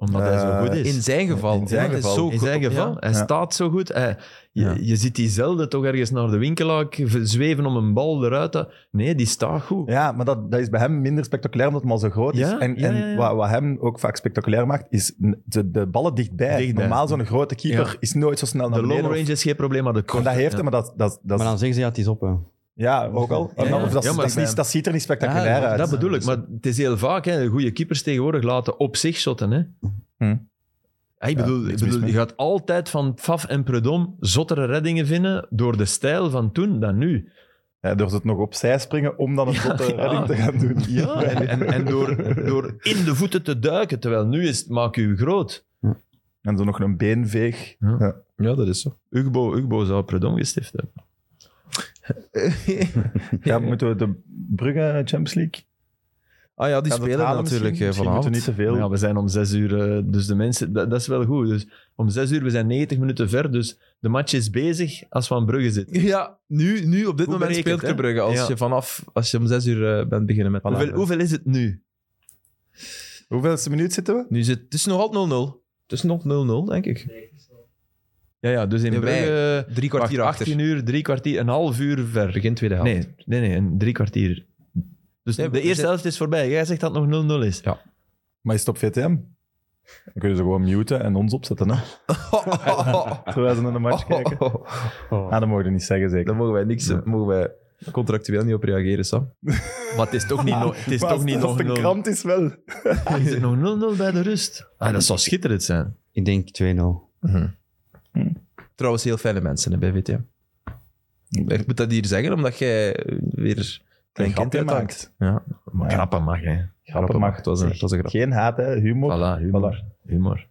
Speaker 2: Omdat hij
Speaker 3: Eh,
Speaker 2: zo goed is.
Speaker 1: In zijn geval.
Speaker 3: In zijn
Speaker 1: omdat hij
Speaker 3: geval.
Speaker 1: zo
Speaker 2: In
Speaker 1: goed-
Speaker 2: zijn geval.
Speaker 1: ja.
Speaker 2: Hij
Speaker 3: Ja.
Speaker 2: staat zo goed. Hij, je,
Speaker 3: Ja.
Speaker 2: je ziet die zelden toch ergens naar de winkelaak zweven om een bal eruit te... Nee, die staat goed.
Speaker 3: Ja, maar dat, dat is bij hem minder spectaculair omdat het maar zo groot is.
Speaker 2: Ja,
Speaker 3: en
Speaker 2: ja,
Speaker 3: en
Speaker 2: ja, ja.
Speaker 3: Wat, wat hem ook vaak spectaculair maakt, is de, de ballen dichtbij.
Speaker 2: Dichtbij.
Speaker 3: Normaal zo'n grote keeper
Speaker 2: Ja.
Speaker 3: is nooit zo snel naar
Speaker 2: De long
Speaker 3: beneden.
Speaker 2: range is geen probleem, maar de
Speaker 3: Want
Speaker 2: korte...
Speaker 3: dat heeft
Speaker 2: ja.
Speaker 3: hem, maar dat, dat, dat,
Speaker 4: Maar dan zeggen ze, ja, het is op. Hè.
Speaker 3: ja, ook al.
Speaker 2: Ja, ja.
Speaker 3: Of dat,
Speaker 2: Ja, maar
Speaker 3: dat, is
Speaker 2: bij
Speaker 3: niet-
Speaker 2: hem-
Speaker 3: dat ziet er niet spectaculair
Speaker 2: Ja,
Speaker 3: uit. dus-
Speaker 2: Dat bedoel ik, maar het is heel vaak. Hè, de goede keepers tegenwoordig laten op zich shotten. Hè.
Speaker 3: Hm.
Speaker 2: Ja, ik bedoel,
Speaker 3: niks
Speaker 2: ik
Speaker 3: mis
Speaker 2: bedoel,
Speaker 3: mee.
Speaker 2: je gaat altijd van Faf en Predom zottere reddingen vinden door de stijl van toen dan nu.
Speaker 3: Ja, door het nog opzij springen om dan een zotte
Speaker 2: ja.
Speaker 3: redding te gaan doen.
Speaker 2: Ja, en, en, en door, door in de voeten te duiken, terwijl nu is het maak u groot.
Speaker 3: En zo nog een beenveeg.
Speaker 2: Ja.
Speaker 3: Ja.
Speaker 1: Ja, dat is zo.
Speaker 2: Ugbo, Ugbo zou Predom gestift hebben.
Speaker 3: Ja, moeten we de Brugge Champions League?
Speaker 1: (laughs) ah ja, die
Speaker 3: Gaan we het
Speaker 1: spelen
Speaker 3: halen
Speaker 1: natuurlijk eh,
Speaker 3: misschien? Misschien moeten
Speaker 1: vanavond.
Speaker 3: we niet te veel.
Speaker 2: Ja, we zijn om zes uur, eh, dus de mensen, dat, dat is wel goed. Dus om zes uur, we zijn 90 minuten ver, dus de match is bezig als we aan Brugge
Speaker 1: (laughs)
Speaker 2: zitten.
Speaker 1: Ja, nu, nu op dit moment
Speaker 2: Goed berekend,
Speaker 1: speelt
Speaker 2: hè?
Speaker 1: Club Brugge. Als,
Speaker 2: Ja.
Speaker 1: je vanaf, als je om zes uur eh, bent beginnen met...
Speaker 2: Hoeveel, hoeveel is het nu?
Speaker 3: Hoeveelste minuut zitten we?
Speaker 1: Nu zit, het is nog altijd 0-0. Het is nog 0-0, denk ik.
Speaker 2: Ja, ja dus in
Speaker 1: Ja, wij-
Speaker 2: Brugge...
Speaker 1: Drie kwartier
Speaker 2: Wacht,
Speaker 1: achter.
Speaker 2: 18
Speaker 1: (laughs)
Speaker 2: uur, drie kwartier, een half uur ver.
Speaker 1: Begin tweede helft.
Speaker 2: Nee, nee, nee, een drie kwartier. Dus
Speaker 1: Nee,
Speaker 2: de
Speaker 1: we
Speaker 2: eerste
Speaker 1: zijn-
Speaker 2: helft is voorbij. Jij zegt dat het nog 0-0 is.
Speaker 3: Maar is het op VTM? Dan kunnen ze gewoon muten en ons opzetten,
Speaker 1: (laughs)
Speaker 3: hè? Terwijl ze naar de
Speaker 1: Oh.
Speaker 3: match kijken. Ah, dat mogen we niet zeggen, zeker.
Speaker 1: Daar mogen wij niks... Mogen wij contractueel niet op reageren, Sam.
Speaker 2: Maar het is toch niet, no-
Speaker 1: (laughs)
Speaker 3: (laughs)
Speaker 2: het is
Speaker 3: Maar
Speaker 2: toch
Speaker 3: als-
Speaker 2: niet
Speaker 3: als
Speaker 2: nog 0-0.
Speaker 3: de krant is wel.
Speaker 2: (laughs) Is het nog 0-0 bij de rust? Ah, dat zou schitterend zijn.
Speaker 4: Ik denk 2-0.
Speaker 1: Trouwens, heel fijne mensen hè, bij VTM. Ik moet dat hier zeggen, omdat jij eh, weer klein kind
Speaker 3: Grappen
Speaker 1: uithangt.
Speaker 3: maakt.
Speaker 1: Ja,
Speaker 3: Maar ja,
Speaker 2: Grappen mag, hè.
Speaker 3: grappen
Speaker 1: maar
Speaker 3: mag.
Speaker 1: Het was een, het was een grap.
Speaker 3: Geen haat, hè. humor.
Speaker 2: Voilà, humor. humor.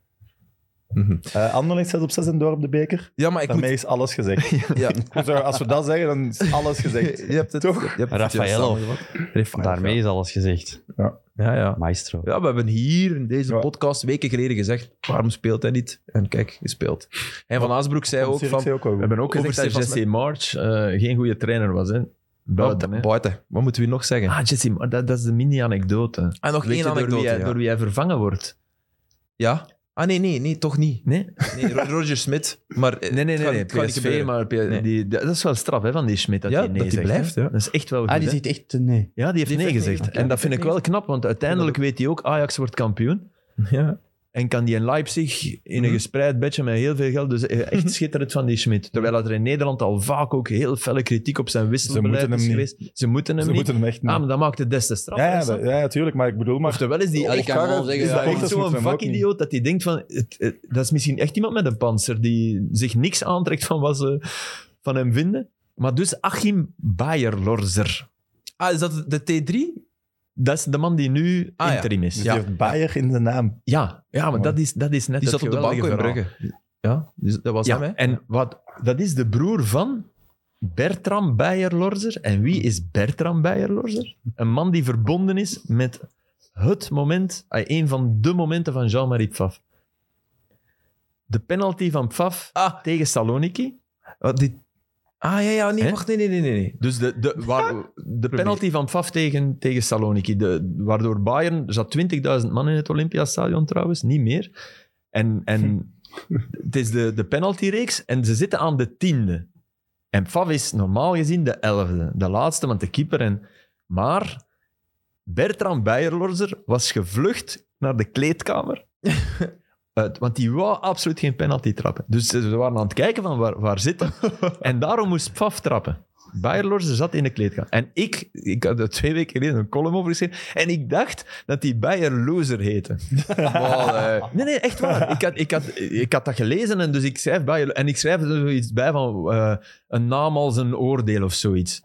Speaker 1: Mhm.
Speaker 3: Eh Anderlecht 6 op 6 en door op de beker.
Speaker 1: Ja, maar ik
Speaker 3: Daarmee
Speaker 1: moet...
Speaker 3: is alles gezegd.
Speaker 1: (laughs) Ja,
Speaker 3: (laughs) Ik wou zeggen, Als we dat zeggen, dan is alles gezegd.
Speaker 1: (laughs) je hebt het...
Speaker 3: Toch?
Speaker 1: je hebt het juist
Speaker 4: Raffaello.
Speaker 1: samengevat. Raffaello.
Speaker 4: Daarmee is alles gezegd.
Speaker 1: Ja, ja.
Speaker 4: Maestro.
Speaker 1: Ja, we hebben hier in deze
Speaker 3: Ja.
Speaker 1: podcast weken geleden gezegd, waarom speelt hij niet? En kijk, gespeeld. En Van Aasbroek zei ook
Speaker 3: Sirk
Speaker 1: van...
Speaker 3: zei ook wel
Speaker 2: We
Speaker 3: goed.
Speaker 2: hebben ook
Speaker 1: Over
Speaker 2: gezegd dat
Speaker 1: Stefan
Speaker 2: Jesse March eh, geen goede trainer was, hè. Buiten,
Speaker 1: Oh,
Speaker 2: hè.
Speaker 1: buiten. Wat moeten we hier nog zeggen?
Speaker 2: Ah, Jesse March, dat, dat is de mini-anekdote.
Speaker 1: En nog
Speaker 2: Weet je
Speaker 1: één
Speaker 2: door wie
Speaker 1: anekdote.
Speaker 2: hij-
Speaker 1: ja.
Speaker 2: door wie hij vervangen wordt? Eh,
Speaker 1: Ja? Ah, nee, nee, nee, toch niet.
Speaker 2: Nee?
Speaker 1: Nee, Ro-
Speaker 2: (laughs)
Speaker 1: Roger Smit. Maar eh,
Speaker 2: Nee,
Speaker 1: het
Speaker 2: nee, nee.
Speaker 1: gaat-
Speaker 2: nee.
Speaker 1: het gaat niet
Speaker 2: PSV,
Speaker 1: gebeuren.
Speaker 2: maar P-
Speaker 1: Nee.
Speaker 2: die, dat is wel straf hè, van die Schmidt. Dat
Speaker 1: Ja,
Speaker 2: hij nee
Speaker 1: dat die
Speaker 2: zegt,
Speaker 1: blijft,
Speaker 2: hè.
Speaker 1: ja.
Speaker 2: Dat is echt wel goed.
Speaker 4: Ah, die
Speaker 2: hè.
Speaker 4: zegt echt eh, nee.
Speaker 2: Ja, die heeft
Speaker 1: Die
Speaker 2: nee
Speaker 1: heeft nee
Speaker 2: gezegd.
Speaker 1: gezegd.
Speaker 2: En dat vind ik wel knap, want uiteindelijk
Speaker 1: Ja,
Speaker 2: weet hij ook, Ajax wordt kampioen.
Speaker 1: Ja.
Speaker 2: En kan die in Leipzig in een
Speaker 1: Mhm.
Speaker 2: gespreid bedje met heel veel geld. Dus eh, echt schitterend van die Schmidt. Terwijl dat er in Nederland al vaak ook heel felle kritiek op zijn wisselbeleid
Speaker 3: moeten
Speaker 2: is
Speaker 3: hem
Speaker 2: geweest. Ze moeten hem
Speaker 3: Ze
Speaker 2: niet.
Speaker 3: moeten hem echt niet.
Speaker 2: Ah, maar dat maakt het des te straf.
Speaker 3: Ja, ja, dat- ja, tuurlijk, maar ik bedoel maar...
Speaker 2: Oftewel is die
Speaker 4: Ja, ik kan
Speaker 3: Algarve
Speaker 4: wel zeggen,
Speaker 3: is
Speaker 4: ja,
Speaker 3: daar
Speaker 4: ja.
Speaker 3: ook,
Speaker 2: echt
Speaker 3: dat moeten
Speaker 2: zo'n
Speaker 3: we hem ook niet.
Speaker 2: vakidioot dat hij denkt van... Het, het- dat is misschien echt iemand met een panzer die zich niks aantrekt van wat ze van hem vinden. Maar dus Achim Bayerlorzer.
Speaker 1: Ah, is dat de T3?
Speaker 2: Dat is de man die nu
Speaker 1: Ah, ja.
Speaker 2: interim is.
Speaker 3: Dus
Speaker 2: Ja,
Speaker 3: die heeft Bayer in de naam.
Speaker 2: ja, maar
Speaker 3: Mooi.
Speaker 2: dat is, dat is net
Speaker 1: Die
Speaker 2: het
Speaker 1: zat op de bank
Speaker 2: geweldige
Speaker 1: in
Speaker 2: verhaal.
Speaker 1: Brugge. Ja, dus dat was
Speaker 2: Ja,
Speaker 1: hem, hè?
Speaker 2: en wat, dat is de broer van Bertram Beierlorzer. En wie is Bertram Beierlorzer? Een man die verbonden is met het moment, ah, een van de momenten van Jean-Marie Pfaff. De penalty van Pfaff
Speaker 1: Ah.
Speaker 2: tegen Saloniki.
Speaker 1: Ah, die... ah ja, ja, nee,
Speaker 2: Hè?
Speaker 1: wacht, nee, nee, nee, nee, nee.
Speaker 2: Dus de, de, waar, de penalty van Pfaff tegen, tegen Saloniki. De, waardoor Bayern... Er zat 20.000 man in het Olympiastadion trouwens, niet meer. En, en het is de, de penaltyreeks en ze zitten aan de tiende. En Pfaff is normaal gezien de elfde. De laatste, want de keeper... En, maar Bertram Beierlorzer was gevlucht naar de kleedkamer. Uit, want die wou absoluut geen penalty trappen. Dus ze waren aan het kijken van waar, waar zit hem. En daarom moest Pfaff trappen. Bayerlorzer zat in de kleedkamer. En ik, ik had er twee weken geleden een column over geschreven. En ik dacht dat die Bayer Loser heette.
Speaker 1: Wow, eh.
Speaker 2: Nee, nee, echt waar. Ik had, ik had, ik had dat gelezen en dus ik schrijf bij, en ik schrijf er zoiets bij van eh, een naam als een oordeel of zoiets.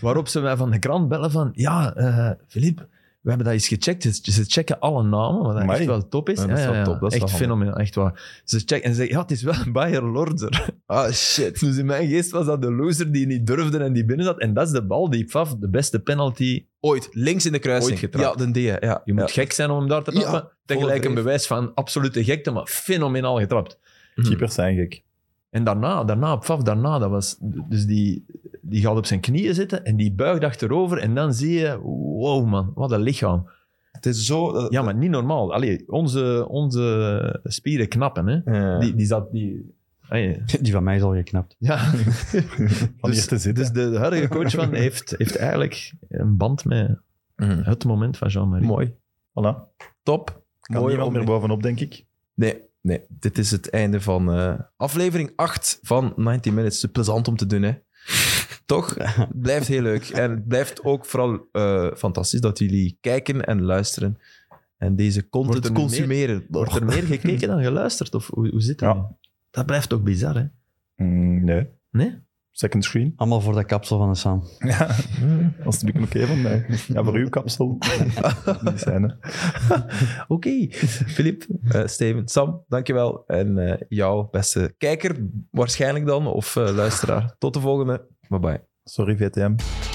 Speaker 2: Waarop ze mij van de krant bellen van, ja, eh Filip, we hebben dat eens gecheckt. Ze- Ze checken alle namen, wat
Speaker 3: Amai.
Speaker 2: echt wel top is.
Speaker 1: Ja, dat is
Speaker 2: Ja, ja,
Speaker 1: wel
Speaker 2: ja.
Speaker 1: top, dat is
Speaker 2: echt
Speaker 1: wel handig.
Speaker 2: fenomenaal, echt waar. Ze checken en ze zeggen, ja, het is wel een Bayer Lorzer. (laughs)
Speaker 1: Ah, shit.
Speaker 2: Dus in mijn geest was dat de loser die niet durfde en die binnen zat. En dat is de bal die Pfaff, de beste penalty.
Speaker 1: Ooit, links in de kruising.
Speaker 2: Ooit getrapt.
Speaker 1: Ja, de D, ja.
Speaker 2: Je moet gek zijn om hem daar te
Speaker 1: Ja,
Speaker 2: trappen. Tegelijk een
Speaker 1: dreef.
Speaker 2: bewijs van absolute gekte, maar fenomenaal getrapt.
Speaker 3: Keepers zijn gek.
Speaker 2: En daarna, daarna, op Faf, daarna, dat was... Dus die, die gaat op zijn knieën zitten en die buigt achterover en dan zie je... Wow, man, wat een lichaam.
Speaker 1: Het is zo... dat-
Speaker 2: Ja, maar niet normaal. Allee, onze, onze spieren knappen, hè.
Speaker 1: Ja.
Speaker 2: Die, die zat... Die... Allee,
Speaker 4: (laughs) Die van mij is al geknapt.
Speaker 2: ja.
Speaker 3: Van hier
Speaker 2: dus,
Speaker 3: te zitten.
Speaker 2: dus de huidige coach van heeft, heeft eigenlijk een band met
Speaker 1: Mm.
Speaker 2: het moment van Jean-Marie.
Speaker 1: Mooi.
Speaker 3: Voilà.
Speaker 1: Top.
Speaker 3: Kan
Speaker 1: Mooi
Speaker 3: niemand
Speaker 1: om-
Speaker 3: meer bovenop, denk ik.
Speaker 1: Nee, nee. Dit is het einde van eh, aflevering 8 van 90 Minutes. Te plezant om te doen,
Speaker 2: (laughs)
Speaker 1: hè. Toch? Het blijft heel leuk. En het blijft ook vooral eh, fantastisch dat jullie kijken en luisteren. En deze
Speaker 2: Wordt
Speaker 1: content
Speaker 2: er nu meer-
Speaker 1: consumeren.
Speaker 2: Wordt er meer gekeken dan geluisterd? Of hoe, hoe zit dat?
Speaker 3: Ja.
Speaker 2: Dat blijft toch bizar, hè?
Speaker 3: Mm, nee.
Speaker 2: Nee?
Speaker 3: Second screen.
Speaker 4: Allemaal voor dat kapsel van de Sam.
Speaker 3: Ja, alsjeblieft oké van mij. Ja, voor uw kapsel. Niet zijn, hè.
Speaker 1: Oké. Filip, eh, Steven, Sam, dankjewel. En eh, jouw beste kijker waarschijnlijk dan, of eh, luisteraar. Tot de volgende. Bye-bye.
Speaker 3: Sorry, VTM.